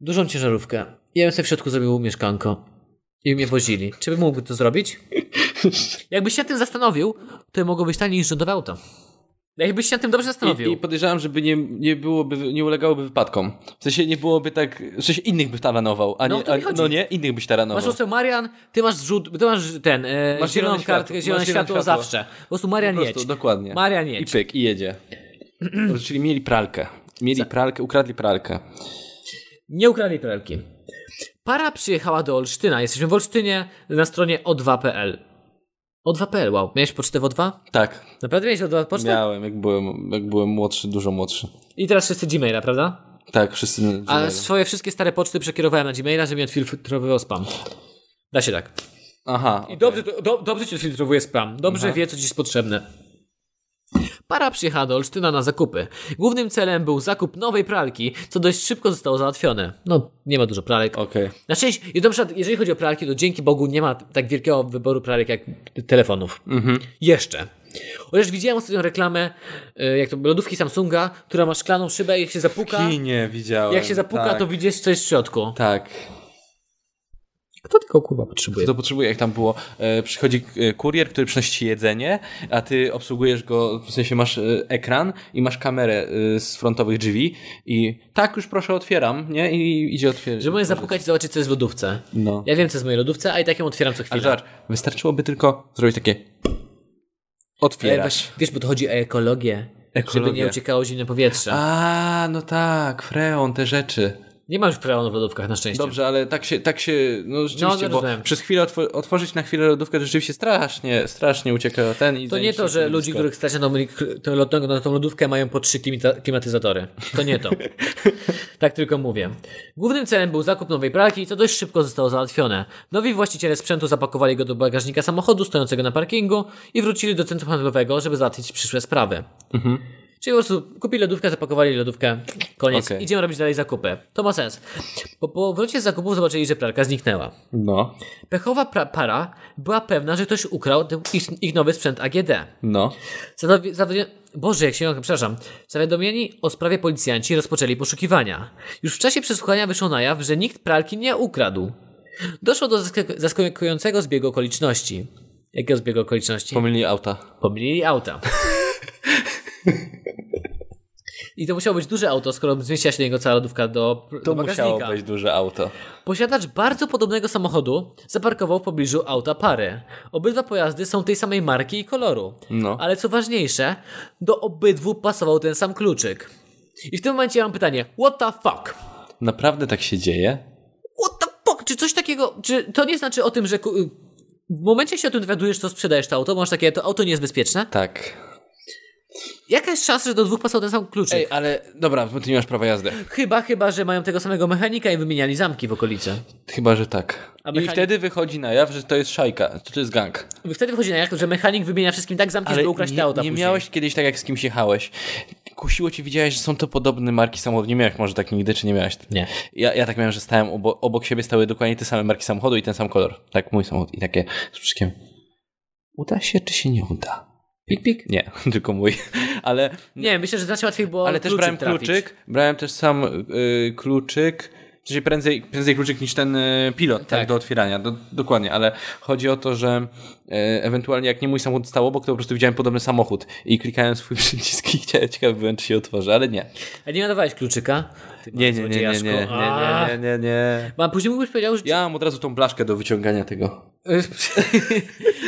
Speaker 2: dużą ciężarówkę. Ja bym sobie w środku zrobił mieszkanko. I mnie wozili. Czy bym mógł to zrobić? Jakbyś się nad tym zastanowił, to mogło być taniej niż rządowe auto. Jakbyś się nad tym dobrze
Speaker 1: I,
Speaker 2: zastanowił.
Speaker 1: I podejrzewam, żeby nie, nie byłoby, nie ulegałoby wypadkom. W sensie nie byłoby tak, w sensie innych byś taranował, a nie,
Speaker 2: No, o to mi
Speaker 1: a,
Speaker 2: chodzi.
Speaker 1: no nie, innych byś taranował.
Speaker 2: Masz po prostu Marian, ty masz rzut, ty masz ten, e, zieloną
Speaker 1: Masz zielone światło,
Speaker 2: kartkę, zielone
Speaker 1: masz
Speaker 2: światło,
Speaker 1: zielone światło.
Speaker 2: zawsze. Po prostu Marian
Speaker 1: po prostu,
Speaker 2: jedź.
Speaker 1: dokładnie.
Speaker 2: Marian
Speaker 1: I
Speaker 2: jedź.
Speaker 1: pyk, i jedzie. Dobrze, Czyli mieli pralkę. Mieli pralkę, ukradli pralkę.
Speaker 2: Nie ukradli pralki. Para przyjechała do Olsztyna. Jesteśmy w Olsztynie na stronie o2.pl. O2.pl, wow. Miałeś pocztę w O2?
Speaker 1: Tak,
Speaker 2: Naprawdę miałeś O2 pocztę?
Speaker 1: miałem, jak byłem, jak byłem młodszy, dużo młodszy.
Speaker 2: I teraz wszyscy Gmaila, prawda?
Speaker 1: Tak, wszyscy.
Speaker 2: A swoje wszystkie stare poczty przekierowałem na Gmaila, żeby mi odfiltrowywał spam. Da się tak.
Speaker 1: Aha.
Speaker 2: I dobrze, to- do, dobrze ci filtrowuje spam. Dobrze wie, co ci jest potrzebne. Para przyjechała do Olsztyna na zakupy. Głównym celem był zakup nowej pralki, co dość szybko zostało załatwione. No, nie ma dużo pralek.
Speaker 1: Okej.
Speaker 2: Na szczęście, i na przykład, jeżeli chodzi o pralki, to dzięki Bogu nie ma t- tak wielkiego wyboru pralek jak telefonów.
Speaker 1: Mhm.
Speaker 2: Jeszcze. Chociaż widziałem ostatnio reklamę, y, jak to lodówki Samsunga, która ma szklaną szybę i jak się zapuka,
Speaker 1: Kinie widziałem.
Speaker 2: jak się zapuka,
Speaker 1: tak,
Speaker 2: to widzisz, co jest w środku.
Speaker 1: Tak.
Speaker 2: Kto tylko kurwa potrzebuje?
Speaker 1: To potrzebuje, jak tam było. E, przychodzi e, kurier, który przynosi ci jedzenie, a ty obsługujesz go, w sensie masz e, ekran i masz kamerę e, z frontowych drzwi i tak już proszę otwieram, nie? I idzie otwierać.
Speaker 2: Że mogę zapukać i zobaczyć, co jest w lodówce.
Speaker 1: No.
Speaker 2: Ja wiem, co jest w mojej lodówce, a i tak ją otwieram co
Speaker 1: Ale
Speaker 2: chwilę.
Speaker 1: zobacz, wystarczyłoby tylko zrobić takie.
Speaker 2: Ale
Speaker 1: Otwierasz.
Speaker 2: wiesz, wiesz, bo to chodzi o ekologię.
Speaker 1: Ekologię.
Speaker 2: Żeby nie uciekało zimne powietrze.
Speaker 1: A, no tak, freon, te rzeczy.
Speaker 2: Nie ma już freonu w lodówkach, na szczęście.
Speaker 1: Dobrze, ale tak się, tak się, no rzeczywiście,
Speaker 2: No,
Speaker 1: bo
Speaker 2: rozumiem.
Speaker 1: przez chwilę otw otworzyć na chwilę lodówkę, to rzeczywiście strasznie, strasznie ucieka ten i
Speaker 2: To nie to, że ludzi, których stać na tą, tą, lodówkę- na tą lodówkę mają po trzy klimita- klimatyzatory. To nie to. tak tylko mówię. Głównym celem był zakup nowej pralki, co dość szybko zostało załatwione. Nowi właściciele sprzętu zapakowali go do bagażnika samochodu stojącego na parkingu i wrócili do centrum handlowego, żeby załatwić przyszłe sprawy. Czyli po prostu kupili lodówkę, zapakowali lodówkę, koniec.
Speaker 1: Okej.
Speaker 2: Idziemy robić dalej zakupy. To ma sens. Po powrocie z zakupów zobaczyli, że pralka zniknęła.
Speaker 1: No,
Speaker 2: Pechowa pra- para była pewna, że ktoś ukradł ten ich, ich nowy sprzęt AGD.
Speaker 1: no.
Speaker 2: Zadowi- zadowi- Boże, jak się przepraszam. Zawiadomieni o sprawie policjanci rozpoczęli poszukiwania. Już w czasie przesłuchania wyszło na jaw, że nikt pralki nie ukradł. Doszło do zaskak- zaskakującego zbiegu okoliczności. Jakiego zbiegu okoliczności?
Speaker 1: Pomylili auta.
Speaker 2: Pomylili auta. I to musiało być duże auto, skoro zmieściła się do niego cała lodówka do,
Speaker 1: To
Speaker 2: do
Speaker 1: musiało
Speaker 2: bagażnika.
Speaker 1: być duże auto.
Speaker 2: Posiadacz bardzo podobnego samochodu zaparkował w pobliżu auta pary. Obydwa pojazdy są tej samej marki i koloru.
Speaker 1: No.
Speaker 2: Ale co ważniejsze, do obydwu pasował ten sam kluczyk. I w tym momencie ja mam pytanie: What the fuck?
Speaker 1: Naprawdę tak się dzieje?
Speaker 2: What the fuck? Czy coś takiego. Czy to nie znaczy o tym, że. ku- W momencie, jak się o tym dowiadujesz, to sprzedajesz to auto, masz takie, to auto nie jest bezpieczne.
Speaker 1: Tak.
Speaker 2: Jaka jest szansa, że do dwóch pasował ten sam kluczyk?
Speaker 1: Ej, ale dobra, bo ty nie masz prawa jazdy.
Speaker 2: Chyba, chyba, że mają tego samego mechanika i wymieniali zamki w okolicy.
Speaker 1: Chyba, że tak.
Speaker 2: A
Speaker 1: I
Speaker 2: mechanik-
Speaker 1: wtedy wychodzi na jaw, że to jest szajka, że to jest gang.
Speaker 2: Wtedy wychodzi na jak, że mechanik wymienia wszystkim tak zamki, żeby ukraść
Speaker 1: nie,
Speaker 2: te auta
Speaker 1: nie
Speaker 2: później.
Speaker 1: miałeś kiedyś tak, jak z kimś jechałeś. Kusiło cię, widziałeś, że są to podobne marki samochodów. Nie miałeś może tak nigdy, czy nie miałeś?
Speaker 2: Nie.
Speaker 1: Ja, ja tak miałem, że stałem obo, obok siebie, stały dokładnie te same marki samochodu i ten sam kolor. Tak, mój samochód. I takie z przyczkiem. Uda się, czy się nie uda? Pik, pik? Nie, tylko mój. Ale,
Speaker 2: Nie, myślę, że znacznie łatwiej było.
Speaker 1: ale też
Speaker 2: kluczyk
Speaker 1: brałem
Speaker 2: trafić.
Speaker 1: No, kluczyk. Brałem też sam y, kluczyk. W sensie prędzej, prędzej kluczyk niż ten y, pilot, tak,
Speaker 2: Tak.
Speaker 1: do otwierania. Do, dokładnie, ale chodzi o to, że y, ewentualnie jak nie mój samochód stał obok, to po prostu widziałem podobny samochód i klikałem swój przycisk i chciałem, ciekawy byłem, czy się otworzy, ale nie.
Speaker 2: A E, nie nadawałeś kluczyka? Ty
Speaker 1: Nie, nie,
Speaker 2: mały
Speaker 1: nie, nie, nie, nie,
Speaker 2: złodziejaszku.
Speaker 1: nie, nie, nie, nie.
Speaker 2: A później mógłbyś powiedział, że...
Speaker 1: Ja mam od razu tą blaszkę do wyciągania tego.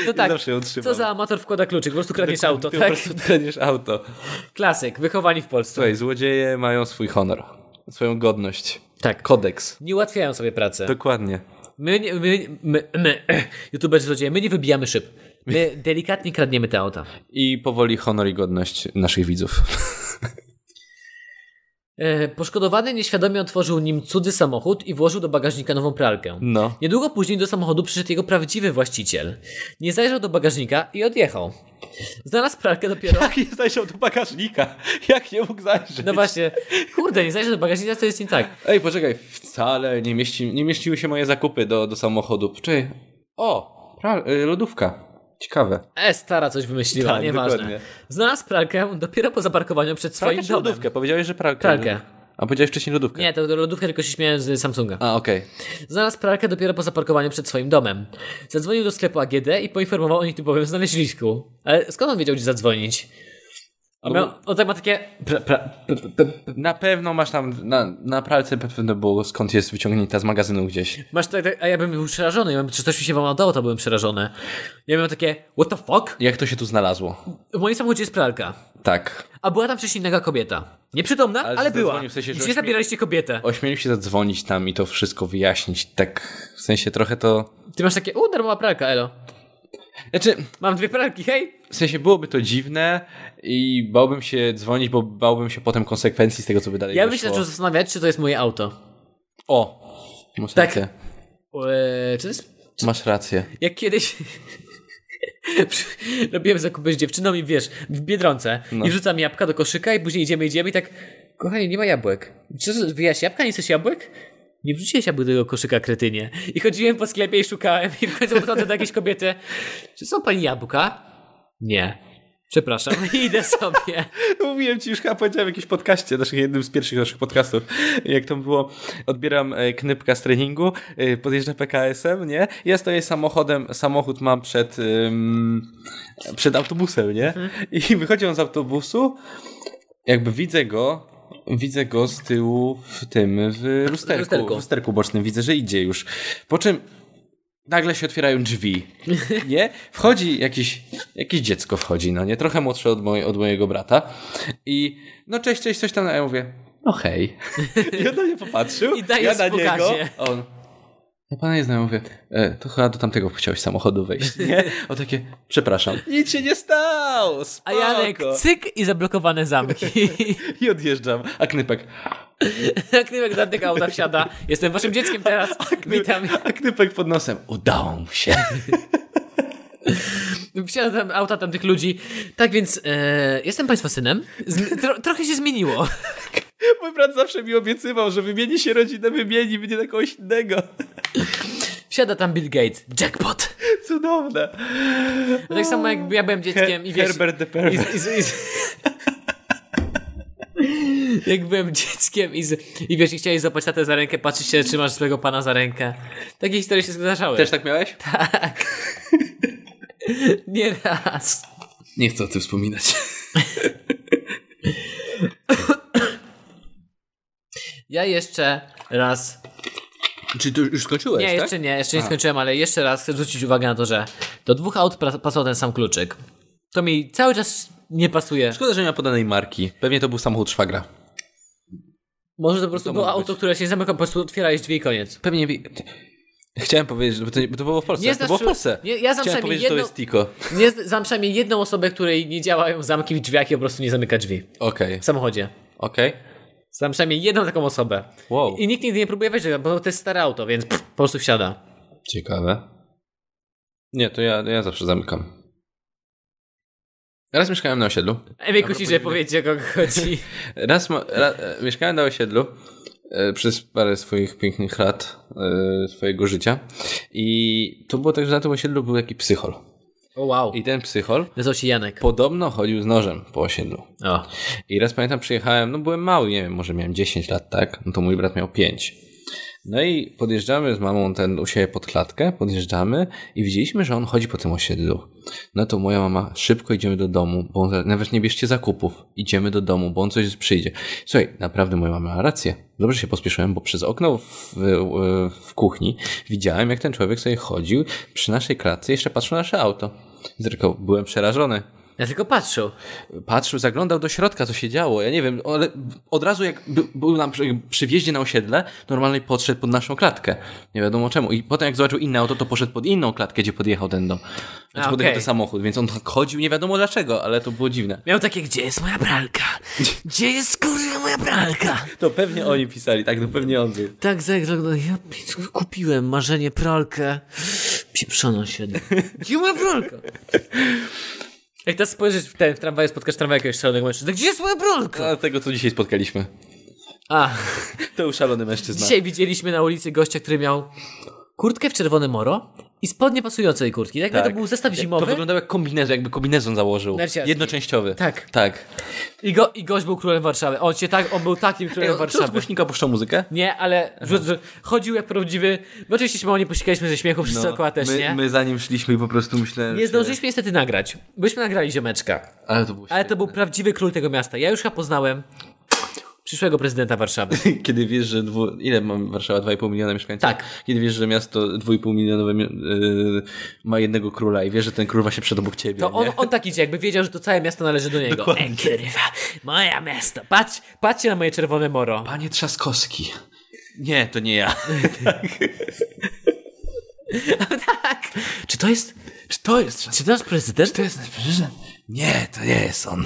Speaker 2: No tak,
Speaker 1: zawsze ją trzymam.
Speaker 2: co za amator wkłada kluczyk, po prostu kradniesz auto,
Speaker 1: Ty
Speaker 2: tak?
Speaker 1: Po prostu taniesz auto.
Speaker 2: Klasyk, wychowani w Polsce.
Speaker 1: Słuchaj, złodzieje mają swój honor, swoją godność,
Speaker 2: tak.
Speaker 1: kodeks.
Speaker 2: Nie ułatwiają sobie pracy.
Speaker 1: Dokładnie.
Speaker 2: My, nie- my, my, my youtuberzy złodzieje, my nie wybijamy szyb. My delikatnie kradniemy te auta.
Speaker 1: I powoli honor i godność naszych widzów.
Speaker 2: E, poszkodowany nieświadomie otworzył nim cudzy samochód i włożył do bagażnika nową pralkę.
Speaker 1: No.
Speaker 2: Niedługo później do samochodu przyszedł jego prawdziwy właściciel. Nie zajrzał do bagażnika i odjechał. Znalazł pralkę dopiero...
Speaker 1: Jak nie zajrzał do bagażnika? Jak nie mógł zajrzeć?
Speaker 2: No właśnie, kurde, nie zajrzał do bagażnika, to jest nie tak.
Speaker 1: Ej, poczekaj, wcale nie, mieści, nie mieściły się moje zakupy do, do samochodu. Czy. O! Pra, y, lodówka. Ciekawe.
Speaker 2: E, stara coś wymyśliła,
Speaker 1: Tak,
Speaker 2: nieważne.
Speaker 1: dokładnie.
Speaker 2: Znalazł pralkę dopiero po zaparkowaniu przed
Speaker 1: Pralkę
Speaker 2: swoim
Speaker 1: czy
Speaker 2: domem.
Speaker 1: lodówkę? Powiedziałeś, że pralkę.
Speaker 2: Pralkę.
Speaker 1: A powiedziałeś wcześniej lodówkę.
Speaker 2: Nie, to lodówkę tylko się śmiałem z Samsunga.
Speaker 1: A, okej.
Speaker 2: Znalazł pralkę dopiero po zaparkowaniu przed swoim domem. Zadzwonił do sklepu AGD i poinformował o nietypowym znaleźlisku. Ale skąd on wiedział, gdzie zadzwonić? On, miał, on tak ma takie... Pra, pra,
Speaker 1: Na pewno masz tam, na, na pralce pewno było skąd jest wyciągnięta z magazynu gdzieś.
Speaker 2: masz tak, tak, a ja bym był przerażony. Ja bym, czy coś mi się wam nadało, to byłem przerażony. Ja miałem takie, what the fuck?
Speaker 1: Jak to się tu znalazło?
Speaker 2: W moim samochodzie jest pralka.
Speaker 1: Tak.
Speaker 2: A była tam wcześniej inna kobieta. Nieprzytomna, ale,
Speaker 1: Ale
Speaker 2: była.
Speaker 1: zadzwonił w sensie, że
Speaker 2: Gdzie
Speaker 1: ośmie-
Speaker 2: zabieraliście kobietę?
Speaker 1: Ośmielił się zadzwonić tam i to wszystko wyjaśnić, tak w sensie trochę to...
Speaker 2: Ty masz takie, u, darmowa pralka, elo.
Speaker 1: Znaczy,
Speaker 2: Mam dwie pralki, hej!
Speaker 1: w sensie byłoby to dziwne i bałbym się dzwonić, bo bałbym się potem konsekwencji z tego, co by dalej
Speaker 2: Ja bym się
Speaker 1: wyszło.
Speaker 2: zaczął zastanawiać, czy to jest moje auto.
Speaker 1: O! Masz
Speaker 2: Tak.
Speaker 1: rację.
Speaker 2: Eee, czy to jest
Speaker 1: Masz rację.
Speaker 2: Jak kiedyś przy- robiłem zakupy z dziewczyną i wiesz, w Biedronce i wrzucam jabłka do koszyka i później idziemy, idziemy i tak kochanie, nie ma jabłek. Co, to, wyjaś jabłka? Nie chcesz jabłek? Nie wrzuciłeś jabłek do tego koszyka, kretynie. I chodziłem po sklepie i szukałem i w końcu podchodzę do jakiejś kobiety. Czy są pani jabłka? Nie. Przepraszam, I idę sobie.
Speaker 1: Mówiłem ci już chyba powiedziałem w jakimś podcaście, naszych, jednym z pierwszych naszych podcastów, jak to było, odbieram e, knypka z treningu, e, podjeżdża PKS-em, nie? Ja stoję samochodem, samochód mam przed, ym, przed autobusem, nie? I wychodzi on z autobusu, jakby widzę go, widzę go z tyłu w tym, w lusterku,
Speaker 2: Lusterku.
Speaker 1: w lusterku bocznym, widzę, że idzie już. Po czym nagle się otwierają drzwi. Nie? Wchodzi jakiś, jakieś dziecko wchodzi, no nie? Trochę młodsze od, moj, od mojego brata. I no cześć, cześć, coś tam. A ja mówię, no hej. I on na mnie popatrzył.
Speaker 2: I daje
Speaker 1: ja na
Speaker 2: spokojnie.
Speaker 1: niego. a On. Ja pana nie znam, Ja mówię, e, to chyba do tamtego chciałeś samochodu wejść, nie? O takie, przepraszam. Nic się nie stało,
Speaker 2: A
Speaker 1: spoko.
Speaker 2: Janek, cyk i zablokowane zamki.
Speaker 1: I odjeżdżam. A Knypek,
Speaker 2: Knymek do tego auta wsiada. Jestem waszym dzieckiem teraz. Witam.
Speaker 1: a Knypek pod nosem, udało mu się.
Speaker 2: Wsiadam tam auta tamtych ludzi. Tak więc e, jestem państwa synem. Zm- tro, trochę się zmieniło.
Speaker 1: Mój brat zawsze mi obiecywał, że wymieni się rodzinę, wymieni mnie na kogoś innego.
Speaker 2: Wsiada tam Bill Gates. Jackpot.
Speaker 1: Cudowne.
Speaker 2: No tak samo jak ja byłem dzieckiem i wiesz...
Speaker 1: Herbert the
Speaker 2: i,
Speaker 1: Pervert.
Speaker 2: z- i, z- i, z- jak byłem dzieckiem i, z, i wiesz, i chciałeś złapać tatę za rękę, patrzeć się, czy masz swojego pana za rękę. Takie historie się zdarzały.
Speaker 1: Też tak miałeś?
Speaker 2: Nie raz.
Speaker 1: Nie chcę o tym wspominać.
Speaker 2: Ja jeszcze raz
Speaker 1: Czy to już skończyłeś,
Speaker 2: Nie,
Speaker 1: tak?
Speaker 2: jeszcze nie, jeszcze nie
Speaker 1: A.
Speaker 2: skończyłem, ale jeszcze raz chcę zwrócić uwagę na to, że do dwóch aut pra- pasował ten sam kluczyk. To mi cały czas nie pasuje.
Speaker 1: Szkoda, że nie ma podanej marki. Pewnie to był samochód szwagra.
Speaker 2: Może to po prostu
Speaker 1: No To
Speaker 2: było
Speaker 1: może
Speaker 2: auto,
Speaker 1: być.
Speaker 2: które się nie zamyka, po prostu otwierałeś drzwi i koniec.
Speaker 1: Pewnie... wi- Chciałem powiedzieć, że- bo to, nie- bo to było w Polsce.
Speaker 2: Nie
Speaker 1: to było w
Speaker 2: znasz-
Speaker 1: Polsce.
Speaker 2: nie, ja znam
Speaker 1: Chciałem
Speaker 2: przynajmniej
Speaker 1: powiedzieć, że to
Speaker 2: jedną-
Speaker 1: jest Tico.
Speaker 2: Nie, z- znam przynajmniej jedną osobę, której nie działają zamki w drzwiach i po prostu nie zamyka drzwi.
Speaker 1: Okej,
Speaker 2: W samochodzie.
Speaker 1: okej.
Speaker 2: Znam przynajmniej jedną taką osobę.
Speaker 1: Wow.
Speaker 2: I nikt nigdy nie próbuje wejść, do tego, bo to jest stare auto, więc pff, po prostu wsiada.
Speaker 1: Ciekawe. Nie, to ja, ja zawsze zamykam. Raz mieszkałem na osiedlu.
Speaker 2: Ej, mnie kusi, że powiecie, o kogo chodzi.
Speaker 1: Raz ma, ra, e, mieszkałem na osiedlu e, przez parę swoich pięknych lat e, swojego życia i to było tak, że na tym osiedlu był taki psychol.
Speaker 2: O wow.
Speaker 1: I ten psychol
Speaker 2: Nazywał się Janek.
Speaker 1: podobno chodził z nożem po osiedlu.
Speaker 2: O.
Speaker 1: I raz pamiętam, przyjechałem, no byłem mały, nie wiem, może miałem 10 lat, tak? No to mój brat miał 5. No i podjeżdżamy z mamą ten u siebie pod klatkę, podjeżdżamy i widzieliśmy, że on chodzi po tym osiedlu. No to moja mama, szybko idziemy do domu, bo on, za- nawet nie bierzcie zakupów, idziemy do domu, bo on coś przyjdzie. Słuchaj, naprawdę moja mama ma rację. Dobrze się pospieszyłem, bo przez okno w, w, w kuchni widziałem, jak ten człowiek sobie chodził przy naszej klatce i jeszcze patrzył na nasze auto. I zresztą byłem przerażony.
Speaker 2: Ja tylko patrzę.
Speaker 1: Patrzył, zaglądał do środka, co się działo. Ja nie wiem, ale od razu jak by, był nam przy, przy wjeździe na osiedle, normalnie podszedł pod naszą klatkę. Nie wiadomo czemu. I potem jak zobaczył inne auto, to poszedł pod inną klatkę, gdzie podjechał ten dom. Znaczy
Speaker 2: A,
Speaker 1: podjechał
Speaker 2: okej.
Speaker 1: ten samochód, więc on tak chodził, nie wiadomo dlaczego, ale to było dziwne.
Speaker 2: Miał takie, gdzie jest moja pralka? Gdzie jest kurwa moja pralka?
Speaker 1: To pewnie oni pisali, tak, to pewnie on był.
Speaker 2: Tak, Zek, zaglądał. Ja p- kupiłem marzenie pralkę. Pieprzona się. Gdzie moja pralka? Jak teraz spojrzysz w ten w tramwaju, spotkasz tramwaj jakiegoś szalonego mężczyzny. Gdzie jest moja pralka?
Speaker 1: Dlatego, co dzisiaj spotkaliśmy.
Speaker 2: A,
Speaker 1: To był szalony mężczyzna.
Speaker 2: dzisiaj widzieliśmy na ulicy gościa, który miał kurtkę w czerwone moro i spodnie pasującej kurtki. Jakby
Speaker 1: Tak.
Speaker 2: to był zestaw
Speaker 1: To
Speaker 2: zimowy
Speaker 1: wyglądało jak kombinezon, jakby kombinezon założył.
Speaker 2: Narciarski.
Speaker 1: Jednoczęściowy.
Speaker 2: Tak.
Speaker 1: Tak.
Speaker 2: i, go, i gość był królem Warszawy. On, się tak, on był takim królem
Speaker 1: Czy
Speaker 2: Warszawy.
Speaker 1: głośnika puszczą muzykę?
Speaker 2: Nie, ale rzu- rzu- chodził jak prawdziwy. My oczywiście się mało nie posikaliśmy ze śmiechu, wszyscy no, też
Speaker 1: my,
Speaker 2: nie.
Speaker 1: my za nim szliśmy i po prostu myślałem,
Speaker 2: Nie
Speaker 1: że-
Speaker 2: zdążyliśmy niestety nagrać. Byśmy nagrali ziomeczka.
Speaker 1: Ale to było
Speaker 2: Ale to był prawdziwy król tego miasta. Ja już chyba poznałem przyszłego prezydenta Warszawy.
Speaker 1: Kiedy wiesz, że dwu... ile mam Warszawa? 2,5 miliona mieszkańców?
Speaker 2: Tak.
Speaker 1: Kiedy wiesz, że miasto 2,5 milionowe mi- yy, ma jednego króla i wiesz, że ten król właśnie przed obok ciebie.
Speaker 2: To on,
Speaker 1: nie?
Speaker 2: on tak idzie, jakby wiedział, że to całe miasto należy do niego. Dokładnie. E, kurwa, moja miasto. Patrz, patrzcie na moje czerwone moro.
Speaker 1: Panie Trzaskowski. Nie, to nie ja.
Speaker 2: tak. Czy to jest...
Speaker 1: Czy to jest Trzaskowski?
Speaker 2: Czy to nasz prezydent?
Speaker 1: jest nasz prezydent? Nie, to nie jest on.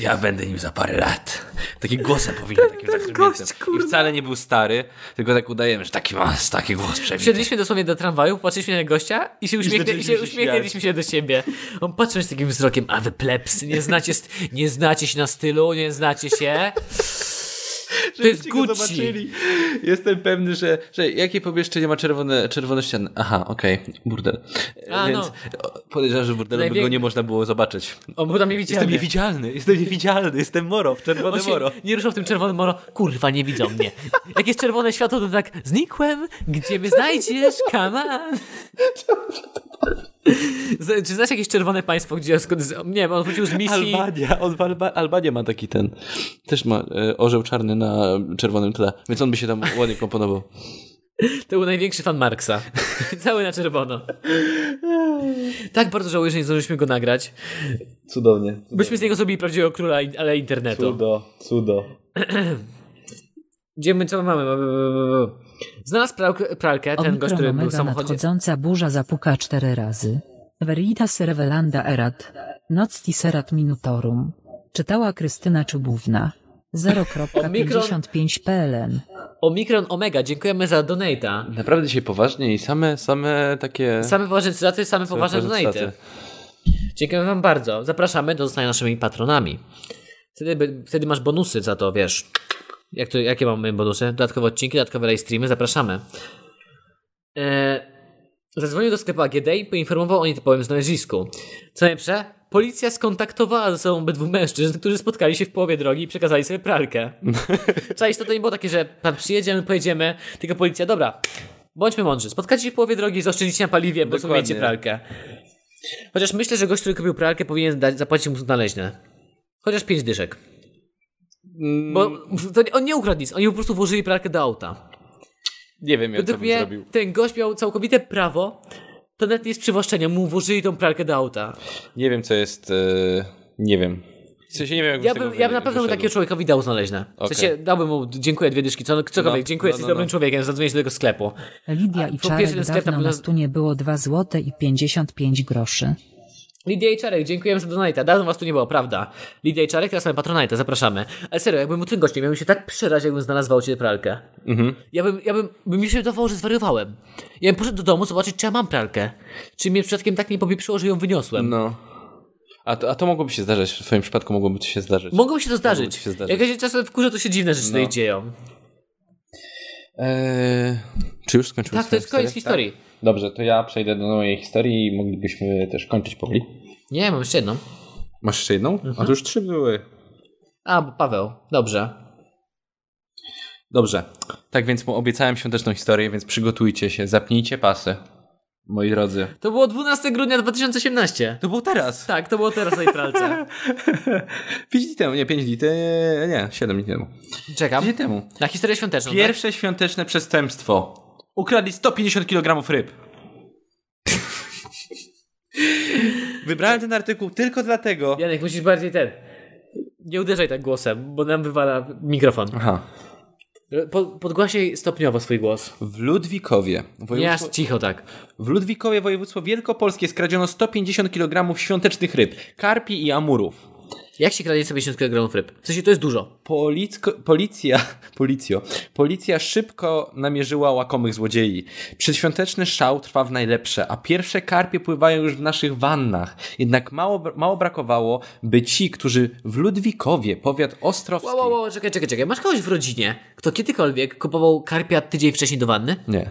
Speaker 1: Ja będę nim za parę lat. Taki głosem powinien takim
Speaker 2: gość,
Speaker 1: zakrętnym. I
Speaker 2: kurde.
Speaker 1: wcale nie był stary, tylko tak udajemy, że taki ma, taki głos przewidzi.
Speaker 2: Wsiedliśmy dosłownie do tramwaju, patrzyliśmy na gościa i się, uśmiechnie, i
Speaker 1: zaczęliśmy
Speaker 2: się
Speaker 1: się
Speaker 2: uśmiechnęliśmy się do siebie. On patrzył z takim wzrokiem, a wy plebsy, nie znacie, st- nie znacie się na stylu, nie znacie się. To jest Gucci.
Speaker 1: Jestem pewny, że, że jakie pomieszczenie ma czerwone, czerwone ściany? Aha, okej, burdel.
Speaker 2: A,
Speaker 1: Więc
Speaker 2: no.
Speaker 1: o, podejrzewam, że w burdelu by
Speaker 2: Najwięk-
Speaker 1: go nie można było zobaczyć.
Speaker 2: On był tam niewidzialny.
Speaker 1: Jestem niewidzialny, jestem niewidzialny, jestem moro, w czerwone
Speaker 2: On się
Speaker 1: moro.
Speaker 2: nie ruszał w tym czerwonym moro. Kurwa, nie widzą mnie. Jak jest czerwone światło, to tak znikłem, gdzie mnie znajdziesz, come on. Z- Czy znasz jakieś czerwone państwo, gdzie... skąd- z- Nie wiem, on wrócił z misji...
Speaker 1: Albania, on w Alba, Albania ma taki ten, też ma e, orzeł czarny na czerwonym tle, więc on by się tam ładnie komponował.
Speaker 2: To był największy fan Marksa. Cały na czerwono. Tak bardzo żałuję, że nie zdążyliśmy go nagrać.
Speaker 1: Cudownie.
Speaker 2: Byśmy z niego zrobili prawdziwego króla, in- ale internetu.
Speaker 1: Cudo, cudo.
Speaker 2: Gdzie my co my mamy? Znalazł pralkę, pralkę ten gość, który był w
Speaker 4: Omikronomega
Speaker 2: samochodzie.
Speaker 4: nadchodząca burza zapuka cztery razy. Veritas revelanda erat. Noctis erat minutorum. Czytała Krystyna Czubówna. 0.55 PLN.
Speaker 2: Omikron Omega, dziękujemy za donata.
Speaker 1: Naprawdę dzisiaj poważnie i same, same takie...
Speaker 2: Same poważne cytaty, Tak. same poważne
Speaker 1: prezentacje.
Speaker 2: donaty. Dziękujemy wam bardzo. Zapraszamy do zostania naszymi patronami. Wtedy, by- wtedy masz bonusy za to, wiesz. Jak to, jakie mamy bonusy? Dodatkowe odcinki, dodatkowe live streamy, zapraszamy. Eee, zadzwonił do sklepu AGD i poinformował o nietypowym znalezisku. Co najlepsze, policja skontaktowała ze sobą obydwu mężczyzn, którzy spotkali się w połowie drogi i przekazali sobie pralkę. Cześć, to, to nie było takie, że pan przyjedziemy, pojedziemy, tylko policja, dobra, bądźmy mądrzy. Spotkacie się w połowie drogi, zaoszczędzicie na paliwie, bo
Speaker 1: Dokładnie.
Speaker 2: sobie pralkę. Chociaż myślę, że gość, który kupił pralkę, powinien dać, zapłacić mu znaleźne. Chociaż pięć dyszek.
Speaker 1: Mm,
Speaker 2: Bo to, on nie ukradł nic, oni po prostu włożyli pralkę do auta.
Speaker 1: nie wiem, jak to
Speaker 2: Według
Speaker 1: bym
Speaker 2: mnie
Speaker 1: zrobił.
Speaker 2: ten gość miał całkowite prawo, to nawet nie jest przywłaszczenie, mu włożyli tą pralkę do auta.
Speaker 1: Nie wiem, co jest... e, nie wiem. W sensie nie wiem, jak
Speaker 2: Ja bym, ja bym na pewno bym takiego
Speaker 1: takie
Speaker 2: człowiekowi dał znaleźne. no. W
Speaker 1: Okej.
Speaker 2: sensie dałbym mu, dziękuję, dwie dyszki, co- cokolwiek,
Speaker 1: No,
Speaker 2: dziękuję,
Speaker 1: no,
Speaker 2: jesteś
Speaker 1: no,
Speaker 2: dobrym
Speaker 1: no.
Speaker 2: człowiekiem, zadzwonię się do tego sklepu.
Speaker 4: Lidia i
Speaker 2: po pierwsze ten
Speaker 4: Czarek
Speaker 2: sklep tam
Speaker 4: dawno
Speaker 2: był
Speaker 4: na
Speaker 2: na-
Speaker 4: stunie było 2 zł i 55 groszy.
Speaker 2: Lidia i Czarek, dziękujemy za donata. Dawno was tu nie było, prawda? Lidia i Czarek, teraz mamy patronajta, zapraszamy. Ale serio, jakbym u tym gościem, ja bym się tak przeraził, jakbym znalazł w aucie pralkę.
Speaker 1: Mhm.
Speaker 2: Ja bym, ja bym, by mi się wydawało, że zwariowałem. Ja bym poszedł do domu zobaczyć, czy ja mam pralkę. Czy mnie przypadkiem tak nie popieprzyło, że ją wyniosłem.
Speaker 1: No. A to, a to mogłoby się zdarzyć, w twoim przypadku mogłoby to się zdarzyć.
Speaker 2: Mogłoby się to
Speaker 1: Mogłoby
Speaker 2: zdarzyć.
Speaker 1: ci się zdarzyć. No.
Speaker 2: Jak ja się czasem wkurzę, to się dziwne rzeczy tutaj dzieją.
Speaker 1: Eee, czy już skończyłeś
Speaker 2: Tak, to jest
Speaker 1: swoją
Speaker 2: koniec
Speaker 1: historię?
Speaker 2: historii.
Speaker 1: Tak. Dobrze, to ja przejdę do mojej historii i moglibyśmy też kończyć powoli.
Speaker 2: Nie, mam jeszcze jedną.
Speaker 1: Masz jeszcze jedną? A to już trzy były.
Speaker 2: A, bo Paweł, dobrze.
Speaker 1: Dobrze. Tak więc mu obiecałem świąteczną historię, więc przygotujcie się, zapnijcie pasy. Moi drodzy.
Speaker 2: To było 12 grudnia 2018.
Speaker 1: To było teraz.
Speaker 2: Tak, to było teraz na tej pralce.
Speaker 1: 5 dni temu, nie 5 dni, te, nie, 7 dni temu.
Speaker 2: Czekam.
Speaker 1: 5 dni temu.
Speaker 2: Na historię świąteczną. tak?
Speaker 1: Pierwsze świąteczne przestępstwo. Ukradli 150 kg ryb. Wybrałem ten artykuł tylko dlatego.
Speaker 2: Janek, musisz bardziej ten. Nie uderzaj tak głosem, bo nam wywala mikrofon.
Speaker 1: Aha.
Speaker 2: Po, podgłaśnij stopniowo swój głos.
Speaker 1: W Ludwikowie.
Speaker 2: Nie
Speaker 1: Województwo...
Speaker 2: aż cicho tak.
Speaker 1: W Ludwikowie województwo wielkopolskie skradziono 150 kg świątecznych ryb, karpi i amurów.
Speaker 2: Jak się kradnie 150 kg ryb? W sensie to jest dużo.
Speaker 1: Policko, policja, policjo, policja szybko namierzyła łakomych złodziei. Przedświąteczny szał trwa w najlepsze, a pierwsze karpie pływają już w naszych wannach. Jednak mało, br- mało brakowało, by ci, którzy w Ludwikowie, powiat ostrowski...
Speaker 2: Wow, wow, wow, czekaj, czekaj, czekaj. Masz kogoś w rodzinie, kto kiedykolwiek kupował karpia tydzień wcześniej do wanny?
Speaker 1: Nie.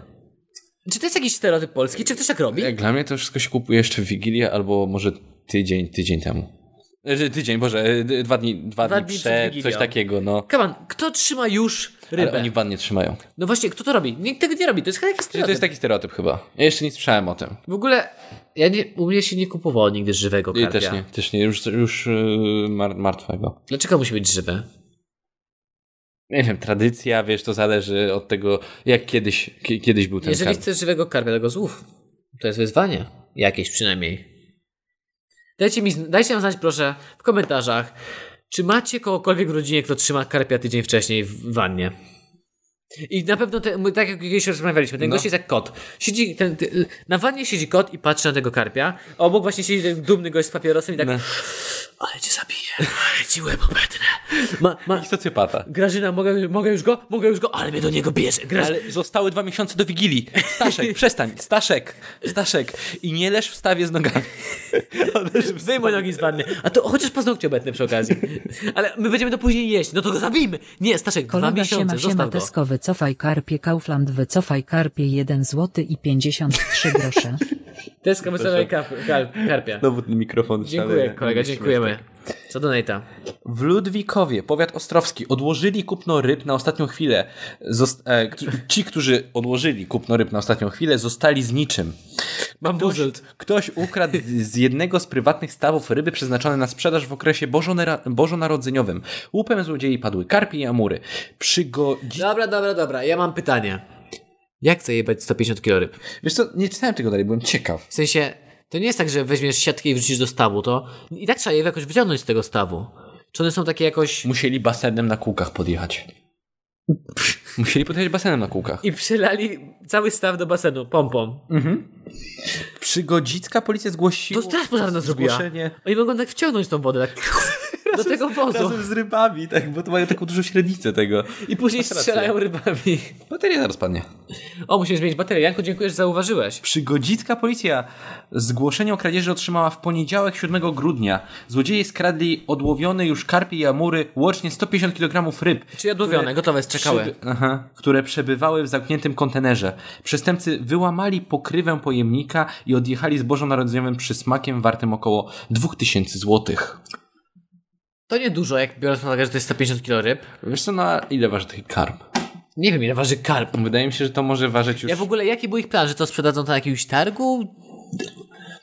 Speaker 2: Czy to jest jakiś stereotyp polski? Czy ktoś tak robi?
Speaker 1: Jak dla mnie to wszystko się kupuje jeszcze w Wigilię albo może tydzień, tydzień temu. E, Tydzień, Boże, e, d- dwa dni, dwa,
Speaker 2: Dwa
Speaker 1: dni
Speaker 2: dni przed
Speaker 1: przed,
Speaker 2: Wigilią.
Speaker 1: coś takiego, no.
Speaker 2: Come on, kto trzyma już rybę?
Speaker 1: Ale oni w wannie trzymają.
Speaker 2: No właśnie, kto to robi? Nikt tego nie robi, to jest chyba jakiś
Speaker 1: Czyli
Speaker 2: stereotyp.
Speaker 1: to jest taki stereotyp chyba. Ja jeszcze nie słyszałem o tym.
Speaker 2: W ogóle, ja nie, u mnie się nie kupowało nigdy żywego
Speaker 1: I
Speaker 2: karpia.
Speaker 1: też nie, też nie, już, już yy, mar- martwego.
Speaker 2: Dlaczego musi być żywe?
Speaker 1: Nie wiem, tradycja, wiesz, to zależy od tego, jak kiedyś, ki- kiedyś był ten
Speaker 2: Jeżeli
Speaker 1: Jeżeli...
Speaker 2: chcesz żywego karpia, to go złów. To jest wyzwanie. Jakieś przynajmniej. Dajcie, mi, zn- dajcie nam znać proszę w komentarzach, czy macie kogokolwiek w rodzinie, kto trzyma karpia tydzień wcześniej w wannie. I na pewno, te, my tak jak kiedyś rozmawialiśmy, ten
Speaker 1: No.
Speaker 2: gość jest jak kot. Siedzi ten, ty- na wannie siedzi kot i patrzy na tego karpia. a Obok właśnie siedzi ten dumny gość z papierosem i tak
Speaker 1: No.
Speaker 2: ale cię zabiję, ale ci łeb obetnę. Ma, ma,
Speaker 1: Socjopata.
Speaker 2: Grażyna, mogę, mogę już go? Mogę już go? Ale mnie do niego bierze. Grażyna,
Speaker 1: Ale zostały dwa miesiące do Wigilii. Staszek, przestań. Staszek, Staszek. I nie leż w stawie z nogami.
Speaker 2: Zdejmuj nogi z wanny. A to chociaż paznokcie obetnę przy okazji. Ale my będziemy to później jeść. No to go zabijmy. Nie, Staszek, dwa
Speaker 4: Kolega
Speaker 2: miesiące,
Speaker 4: siema
Speaker 2: zostaw
Speaker 4: siema
Speaker 2: go.
Speaker 4: Tesco wycofaj karpie Kaufland wycofaj karpie 1 zł i 53 grosze.
Speaker 2: Teska wycofaj kar kar karpia.
Speaker 1: Znowu ten mikrofon.
Speaker 2: Dziękuję, kolega, dziękujemy. Za donata.
Speaker 1: W Ludwikowie, powiat ostrowski, odłożyli kupno ryb na ostatnią chwilę. Zost- e, któ- ci, którzy odłożyli kupno ryb na ostatnią chwilę, zostali z niczym.
Speaker 2: Bambuzzled.
Speaker 1: Ktoś ukradł z- z jednego z prywatnych stawów ryby przeznaczone na sprzedaż w okresie bożonera- bożonarodzeniowym. Łupem złodziei padły karpie i amury. Przygodzi...
Speaker 2: Dobra, dobra, dobra. Ja mam pytanie. Jak chcę jebać 150 kg ryb?
Speaker 1: Wiesz co, nie czytałem tego dalej, byłem ciekaw.
Speaker 2: W sensie, to nie jest tak, że weźmiesz siatkę i wrzucisz do stawu, to i tak trzeba je jakoś wyciągnąć z tego stawu. Czy one są takie jakoś...
Speaker 1: Musieli basenem na kółkach podjechać. Musieli podjechać basenem na kółkach.
Speaker 2: I przelali cały staw do basenu, pompą.
Speaker 1: Przygodzicka policja zgłosiła...
Speaker 2: To straż pożarna zrobiła.
Speaker 1: Zgłoszenie...
Speaker 2: Oni mogą tak wciągnąć tą wodę, tak do tego wozu.
Speaker 1: Razem z rybami, tak, bo to mają taką dużą średnicę tego.
Speaker 2: I później
Speaker 1: Masz rację.
Speaker 2: strzelają rybami.
Speaker 1: Bateria zaraz padnie.
Speaker 2: O, musimy zmienić baterię. Janku, dziękuję, że zauważyłeś.
Speaker 1: Przygodzicka policja zgłoszenie o kradzieży otrzymała w poniedziałek 7 grudnia. Złodzieje skradli odłowione już karpie i amury, łącznie 150 kg ryb.
Speaker 2: Czy jadłowione, gotowe, strzekały.
Speaker 1: Przyby- Aha, które przebywały w zamkniętym kontenerze. Przestępcy wyłamali pokrywę pojemnika i odjechali z bożonarodzeniowym przysmakiem wartym około 2000 zł.
Speaker 2: To niedużo, jak biorąc pod uwagę, że to jest 150 kg ryb.
Speaker 1: Wiesz co, na ile waży taki karp?
Speaker 2: Nie wiem, ile waży karp.
Speaker 1: Wydaje mi się, że to może ważyć już...
Speaker 2: Ja w ogóle, jaki był ich plan, że to sprzedadzą to na jakimś targu?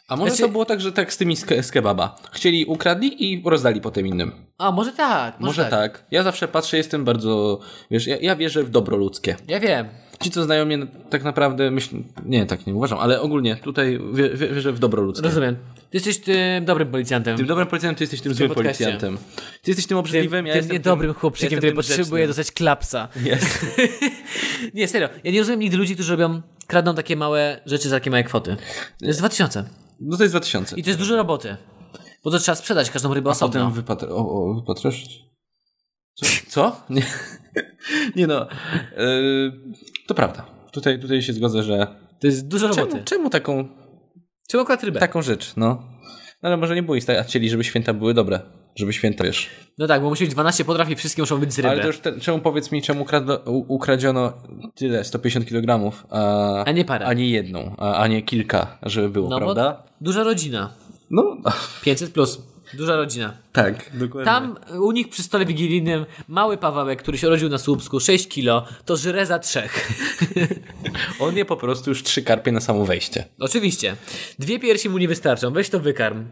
Speaker 1: A może
Speaker 2: Znaczy-
Speaker 1: to było tak, że tak z tymi z, ke- z kebaba. Chcieli, ukradli i rozdali potem innym. Może,
Speaker 2: A, może tak, może,
Speaker 1: tak. Ja zawsze patrzę, jestem bardzo... Wiesz, ja, ja wierzę w dobro ludzkie.
Speaker 2: Ja wiem.
Speaker 1: Ci, co znają mnie, tak naprawdę myślę... Nie, tak nie uważam, ale ogólnie tutaj wie, wie, wierzę w dobro ludzkie.
Speaker 2: Rozumiem. Ty jesteś tym dobrym policjantem.
Speaker 1: Tym dobrym policjantem, ty jesteś tym złym
Speaker 2: podcaście.
Speaker 1: policjantem. Ty jesteś tym
Speaker 2: tym,
Speaker 1: obrzydliwym, ja
Speaker 2: tym
Speaker 1: jestem
Speaker 2: niedobrym
Speaker 1: tym,
Speaker 2: chłopczykiem,
Speaker 1: ja
Speaker 2: który
Speaker 1: jestem tym
Speaker 2: potrzebuje
Speaker 1: grzecznym.
Speaker 2: dostać klapsa.
Speaker 1: Jest.
Speaker 2: Nie, serio. Ja nie rozumiem nigdy ludzi, którzy robią, kradną takie małe rzeczy za takie małe kwoty. To jest 2000.
Speaker 1: No to jest 2000.
Speaker 2: I to jest dużo roboty. Bo to trzeba sprzedać każdą rybę osobno.
Speaker 1: Potem wypatr- o, o, wypatrzysz? Co? Co? Nie, nie no. Yy, to prawda. Tutaj, tutaj się zgodzę, że...
Speaker 2: To jest dużo roboty.
Speaker 1: Czemu, czemu taką
Speaker 2: Czemu akurat rybę?
Speaker 1: taką rzecz, no. No ale może nie było ich stać, a chcieli, żeby święta były dobre. Żeby święta, wiesz.
Speaker 2: No tak, bo musi być 12 potraw i wszystkie muszą być z ryby.
Speaker 1: Ale to już, te, czemu powiedz mi, czemu kradno, u, ukradziono tyle, 150 kg, a,
Speaker 2: A nie parę.
Speaker 1: a nie jedną, a, a nie kilka, żeby było,
Speaker 2: no
Speaker 1: prawda?
Speaker 2: bo duża rodzina.
Speaker 1: No,
Speaker 2: 500 plus. Duża rodzina.
Speaker 1: tak, dokładnie.
Speaker 2: Tam u nich przy stole wigilijnym mały Pawełek, który się rodził na Słupsku, 6 kilo, to żre za trzech.
Speaker 1: On je po prostu już trzy karpie na samo wejście.
Speaker 2: Oczywiście. Dwie piersi mu nie wystarczą, weź to wykarm.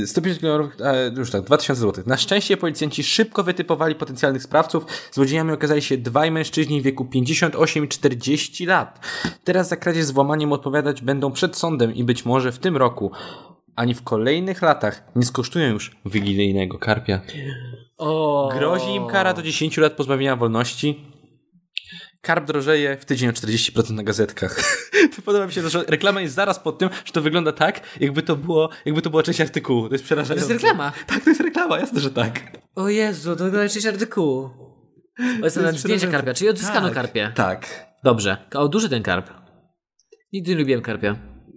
Speaker 1: Yy, 150 milionów, e, już tak, 2000 zł. Na szczęście policjanci szybko wytypowali potencjalnych sprawców. Złodziejami okazali się dwaj mężczyźni w wieku 58 i 40 lat. Teraz za kradzież z włamaniem odpowiadać będą przed sądem i być może w tym roku ani w kolejnych latach nie skosztują już wigilijnego karpia.
Speaker 2: O.
Speaker 1: Grozi im kara do 10 lat pozbawienia wolności. Karp drożeje w tydzień o 40% na gazetkach. to podoba mi się, to, że reklama jest zaraz pod tym, że to wygląda tak, jakby to było, jakby to była część artykułu. To jest
Speaker 2: To
Speaker 1: przerażające.
Speaker 2: jest reklama. znaczy
Speaker 1: Tak, to jest reklama, jasne, że tak.
Speaker 2: O Jezu, to wygląda jak część artykułu. O, jest na
Speaker 1: jest
Speaker 2: zdjęcie
Speaker 1: przerażające.
Speaker 2: karpia, czyli odzyskano
Speaker 1: tak,
Speaker 2: karpia.
Speaker 1: Tak.
Speaker 2: Dobrze. A O, duży ten karp. Nigdy nie lubiłem karpia.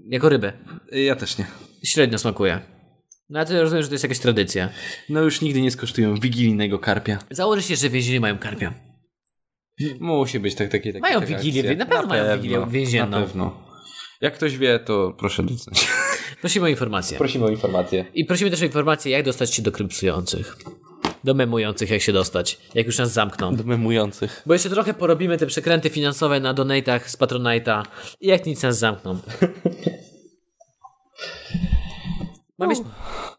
Speaker 2: Jako rybę.
Speaker 1: Ja też nie.
Speaker 2: Średnio smakuje. No ale to rozumiem, że to jest jakaś tradycja.
Speaker 1: No już nigdy nie skosztują wigilijnego karpia.
Speaker 2: Założę się, że więźniowie mają karpia.
Speaker 1: Musi być tak, takie, takie
Speaker 2: Mają
Speaker 1: taka
Speaker 2: wigilię,
Speaker 1: akcja.
Speaker 2: na pewno mają wigilię więzienną.
Speaker 1: Na pewno. Jak ktoś wie, to proszę docenić.
Speaker 2: Prosimy o informację.
Speaker 1: Prosimy o informację.
Speaker 2: I prosimy też o informację, jak dostać się do krypsujących. Do memujących, jak się dostać. Jak już nas zamkną.
Speaker 1: Do memujących.
Speaker 2: Bo jeszcze trochę porobimy te przekręty finansowe na donatach z Patronite'a i jak nic nas zamkną. Mam jeszcze,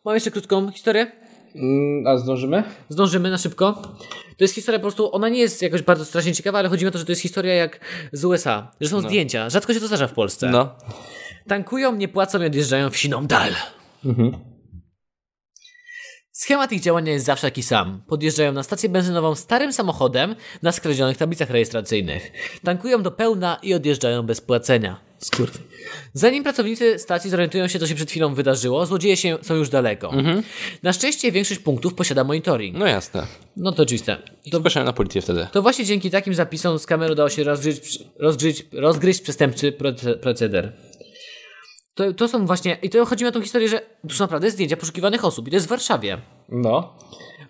Speaker 2: mam jeszcze krótką historię.
Speaker 1: Mm, a zdążymy?
Speaker 2: Zdążymy na szybko. To jest historia po prostu, ona nie jest jakoś bardzo strasznie ciekawa, ale chodzi mi o to, że to jest historia jak z USA, że są zdjęcia. Rzadko się to zdarza w Polsce.
Speaker 1: No.
Speaker 2: Tankują, nie płacą i odjeżdżają w siną dal. Mhm. Schemat ich działania jest zawsze taki sam. Podjeżdżają na stację benzynową starym samochodem na skradzionych tablicach rejestracyjnych. Tankują do pełna i odjeżdżają bez płacenia. Skurwy. Zanim pracownicy stacji zorientują się, co się przed chwilą wydarzyło, złodzieje się są już daleko. Na szczęście większość punktów posiada monitoring.
Speaker 1: No jasne.
Speaker 2: No to oczywiste.
Speaker 1: To na policję wtedy.
Speaker 2: To właśnie dzięki takim zapisom z kamery udało się rozgryźć, rozgryźć, rozgryźć przestępczy proce- proceder. To, to są właśnie, i to chodzi mi o tą historię, że tu są naprawdę zdjęcia poszukiwanych osób i to jest w Warszawie.
Speaker 1: No.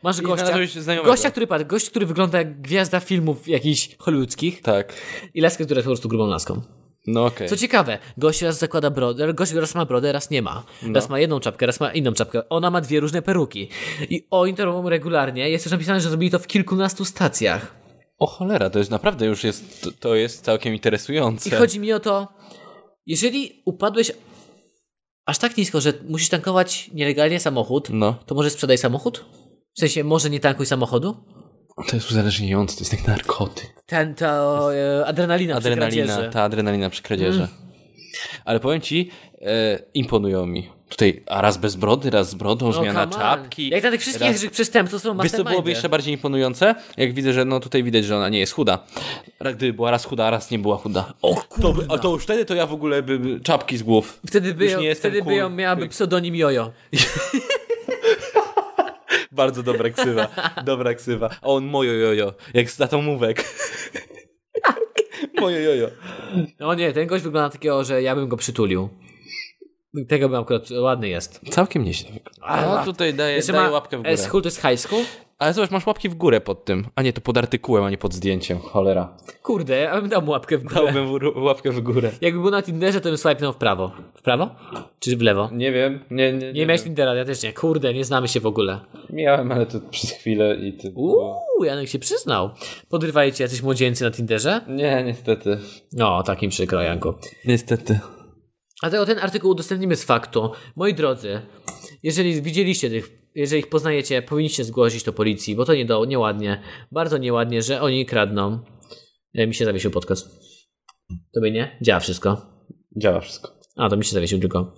Speaker 2: Masz gościa,
Speaker 1: znalazłeś znajomego.
Speaker 2: gościa, który patrz, gość, który wygląda jak gwiazda filmów jakichś hollywoodzkich
Speaker 1: Tak.
Speaker 2: i laskę, która jest po prostu grubą laską.
Speaker 1: No okej.
Speaker 2: Co ciekawe, gość raz zakłada brodę, gość raz ma brodę, raz nie ma.
Speaker 1: No.
Speaker 2: Raz ma jedną czapkę, raz ma inną czapkę. Ona ma dwie różne peruki. I oni to robią regularnie. Jest też napisane, że zrobili to w kilkunastu stacjach.
Speaker 1: O cholera, to jest naprawdę już jest, to, to jest całkiem interesujące.
Speaker 2: I chodzi mi o to, jeżeli upadłeś aż tak nisko, że musisz tankować nielegalnie samochód,
Speaker 1: No.
Speaker 2: to może sprzedaj samochód? W sensie, może nie tankuj samochodu?
Speaker 1: To jest uzależniające, to jest jak narkotyk.
Speaker 2: Ten, to e, adrenalina, adrenalina przy
Speaker 1: Adrenalina, tak,
Speaker 2: kradzieży.
Speaker 1: ta adrenalina przy kradzieży. Ale powiem ci, e, imponują mi. Tutaj, a raz bez brody, raz z brodą,
Speaker 2: No,
Speaker 1: zmiana
Speaker 2: come on.
Speaker 1: czapki.
Speaker 2: Jak na tych wszystkich
Speaker 1: raz...
Speaker 2: przestępców są
Speaker 1: Wiesz, co byłoby jeszcze bardziej imponujące? Jak widzę, że no tutaj widać, że ona nie jest chuda. Ra- Gdyby była raz chuda, a raz nie była chuda. O to, by- A to już wtedy to ja w ogóle by czapki z głów.
Speaker 2: Wtedy by,
Speaker 1: Już
Speaker 2: ją,
Speaker 1: nie jestem
Speaker 2: wtedy by
Speaker 1: cool.
Speaker 2: ją miałaby pseudonim Jojo.
Speaker 1: Bardzo dobra ksywa. Dobra ksywa. A on mojo jojo. Jak z tatą mówek. Tak. Mojo jojo.
Speaker 2: No nie, ten gość wygląda takiego, że ja bym go przytulił. Tego bym akurat ładny jest.
Speaker 1: Całkiem nieźle wygląda.
Speaker 2: A,
Speaker 1: A No, tutaj daje,
Speaker 2: Jeszcze
Speaker 1: daje
Speaker 2: ma
Speaker 1: łapkę w górę.
Speaker 2: e, School to jest high school?
Speaker 1: Ale zobacz, masz łapki w górę pod tym. A nie, to pod artykułem, a nie pod zdjęciem. Cholera.
Speaker 2: Kurde, ja bym dał mu łapkę w górę.
Speaker 1: Dałbym w- łapkę w górę.
Speaker 2: Jakby był na Tinderze, to bym swajpnął w prawo. W prawo? Czy w lewo?
Speaker 1: Nie wiem. Nie, nie, nie,
Speaker 2: Nie miałeś Tindera, ja też nie. Kurde, nie znamy się w ogóle.
Speaker 1: Miałem, ale to przez chwilę i ty...
Speaker 2: Uuu, Janek się przyznał. Podrywali cię jacyś młodzieńcy na Tinderze?
Speaker 1: Nie, niestety.
Speaker 2: No, takim przykro, Janku.
Speaker 1: Niestety.
Speaker 2: Dlatego ten artykuł udostępnimy z faktu. Moi drodzy, jeżeli widzieliście tych, jeżeli ich poznajecie, powinniście zgłosić to policji, bo to nie do, nieładnie, bardzo nieładnie, że oni kradną. E, mi się zawiesił podcast. Tobie nie? Działa wszystko.
Speaker 1: Działa wszystko.
Speaker 2: A, to mi się zawiesił tylko.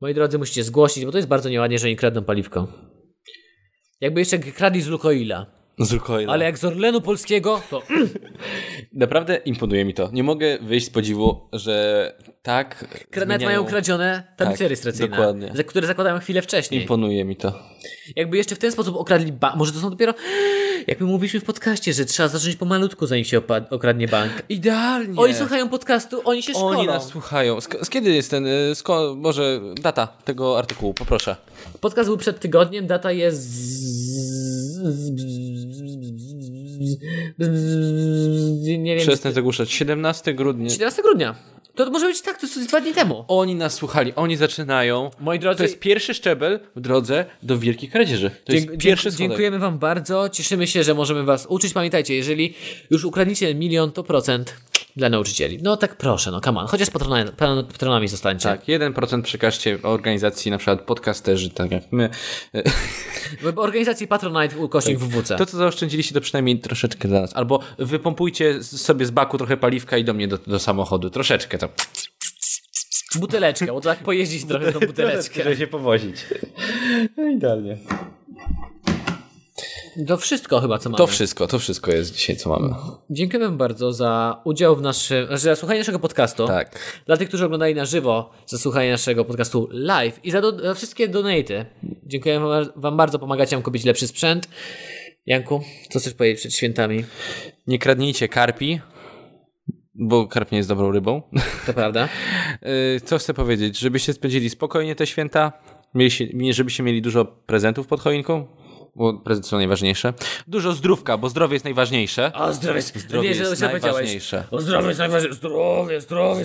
Speaker 2: Moi drodzy, musicie zgłosić, bo to jest bardzo nieładnie, że oni kradną paliwko. Jakby jeszcze kradli z Lukoila.
Speaker 1: Z Lukoila.
Speaker 2: Ale jak z Orlenu Polskiego, to...
Speaker 1: Naprawdę imponuje mi to. Nie mogę wyjść z podziwu, że tak
Speaker 2: Nawet
Speaker 1: zmieniają-
Speaker 2: mają kradzione tablice
Speaker 1: Tak,
Speaker 2: rejestracyjne,
Speaker 1: dokładnie.
Speaker 2: za- które zakładają chwilę wcześniej.
Speaker 1: Imponuje mi to.
Speaker 2: Jakby jeszcze w ten sposób okradli bank. Może to są dopiero. Jak my mówiliśmy w podcaście, że trzeba zacząć pomalutku, zanim się opa- okradnie bank.
Speaker 1: Idealnie.
Speaker 2: Oni słuchają podcastu, oni się szkolą.
Speaker 1: Oni nas słuchają. Sk- z kiedy jest ten, y, sko- może data tego artykułu, poproszę.
Speaker 2: Podcast był przed tygodniem, data jest. z- Nie wiem.
Speaker 1: Przestań zagłuszać. 17 grudnia.
Speaker 2: 17 grudnia. To może być tak, to jest dwa dni temu.
Speaker 1: Oni nas słuchali, oni zaczynają.
Speaker 2: Moi drodzy-
Speaker 1: to jest pierwszy szczebel w drodze do wielkiej kradzieży. To
Speaker 2: Dzięk-
Speaker 1: jest pierwszy
Speaker 2: dzięk-
Speaker 1: schodek.
Speaker 2: Dziękujemy Wam bardzo. Cieszymy się, że możemy Was uczyć. Pamiętajcie, jeżeli już ukradniecie milion, to procent dla nauczycieli. No tak proszę, no come on. Chociaż patronami, patronami zostańcie.
Speaker 1: Tak, 1% przekażcie organizacji na przykład podcasterzy, tak jak my.
Speaker 2: W organizacji Patronite ukośnik WWC.
Speaker 1: Tak. To, co zaoszczędziliście, to przynajmniej troszeczkę dla nas. Albo wypompujcie z- sobie z baku trochę paliwka i do mnie do, do samochodu. Troszeczkę to.
Speaker 2: Buteleczkę, bo tak pojeździć trochę tą buteleczkę.
Speaker 1: Żeby się powozić. No idealnie.
Speaker 2: To wszystko chyba, co mamy.
Speaker 1: To wszystko, to wszystko jest dzisiaj, co mamy.
Speaker 2: Dziękujemy bardzo za udział w naszym, znaczy za słuchanie naszego podcastu.
Speaker 1: Tak.
Speaker 2: Dla tych, którzy oglądali na żywo, za słuchanie naszego podcastu live i za, do, za wszystkie donaty. Dziękujemy wam- Wam bardzo, pomagacie nam kupić lepszy sprzęt. Janku, co chcesz powiedzieć przed świętami?
Speaker 1: Nie kradnijcie karpi, bo karp nie jest dobrą rybą.
Speaker 2: To prawda?
Speaker 1: Yy, Co chcę powiedzieć? Żebyście spędzili spokojnie te święta, mieli się- mi- żebyście mieli dużo prezentów pod choinką, bo prezenty są najważniejsze. Dużo zdrówka, bo zdrowie jest najważniejsze.
Speaker 2: O zdrowie,
Speaker 1: Zdrowie
Speaker 2: Wiesz, że
Speaker 1: jest
Speaker 2: to powiedziałeś.
Speaker 1: najważniejsze.
Speaker 2: O zdrowie jest najważniejsze. Zdrowie, zdrowie,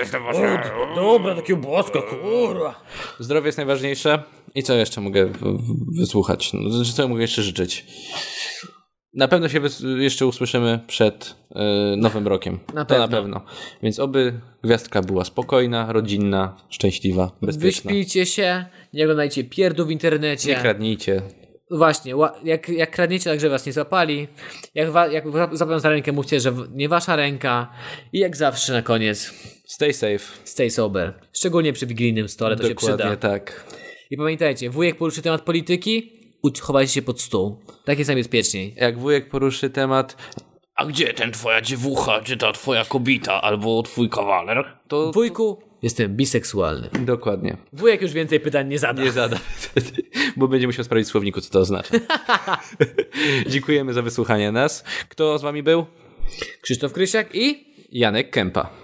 Speaker 2: jest najważniejsze. O, Dobra, takie bosko, kurwa.
Speaker 1: Zdrowie jest najważniejsze. I co jeszcze mogę w- w- wysłuchać? No, znaczy, co mogę jeszcze życzyć? Na pewno się wys- jeszcze usłyszymy przed yy, Nowym Rokiem.
Speaker 2: Na
Speaker 1: to na
Speaker 2: pewno.
Speaker 1: pewno. Więc oby gwiazdka była spokojna, rodzinna, szczęśliwa, bezpieczna.
Speaker 2: Wyśpijcie się, nie oglądajcie pierdół w internecie.
Speaker 1: Nie kradnijcie.
Speaker 2: Właśnie, ła- jak, jak kradniecie, tak żeby was nie złapali. Jak, wa, jak za- złapią za rękę, mówcie, że w- nie wasza ręka. I jak zawsze na koniec,
Speaker 1: Stay safe.
Speaker 2: stay sober. Szczególnie przy wigilijnym stole to się
Speaker 1: Dokładnie
Speaker 2: przyda.
Speaker 1: tak.
Speaker 2: I pamiętajcie, wujek poruszy temat polityki, uć- chowajcie się pod stół. Tak jest najbezpieczniej.
Speaker 1: Jak wujek poruszy temat,
Speaker 3: A gdzie ten twoja dziewucha, czy ta twoja kobita, albo twój kawaler?
Speaker 1: to
Speaker 2: Wujku, jestem biseksualny.
Speaker 1: dokładnie.
Speaker 2: Wujek już więcej pytań nie zada.
Speaker 1: Nie zada, bo będzie musiał sprawdzić w słowniku, co to oznacza. Dziękujemy za wysłuchanie nas. Kto z wami był?
Speaker 2: Krzysztof Krysiak i...
Speaker 1: Janek Kępa.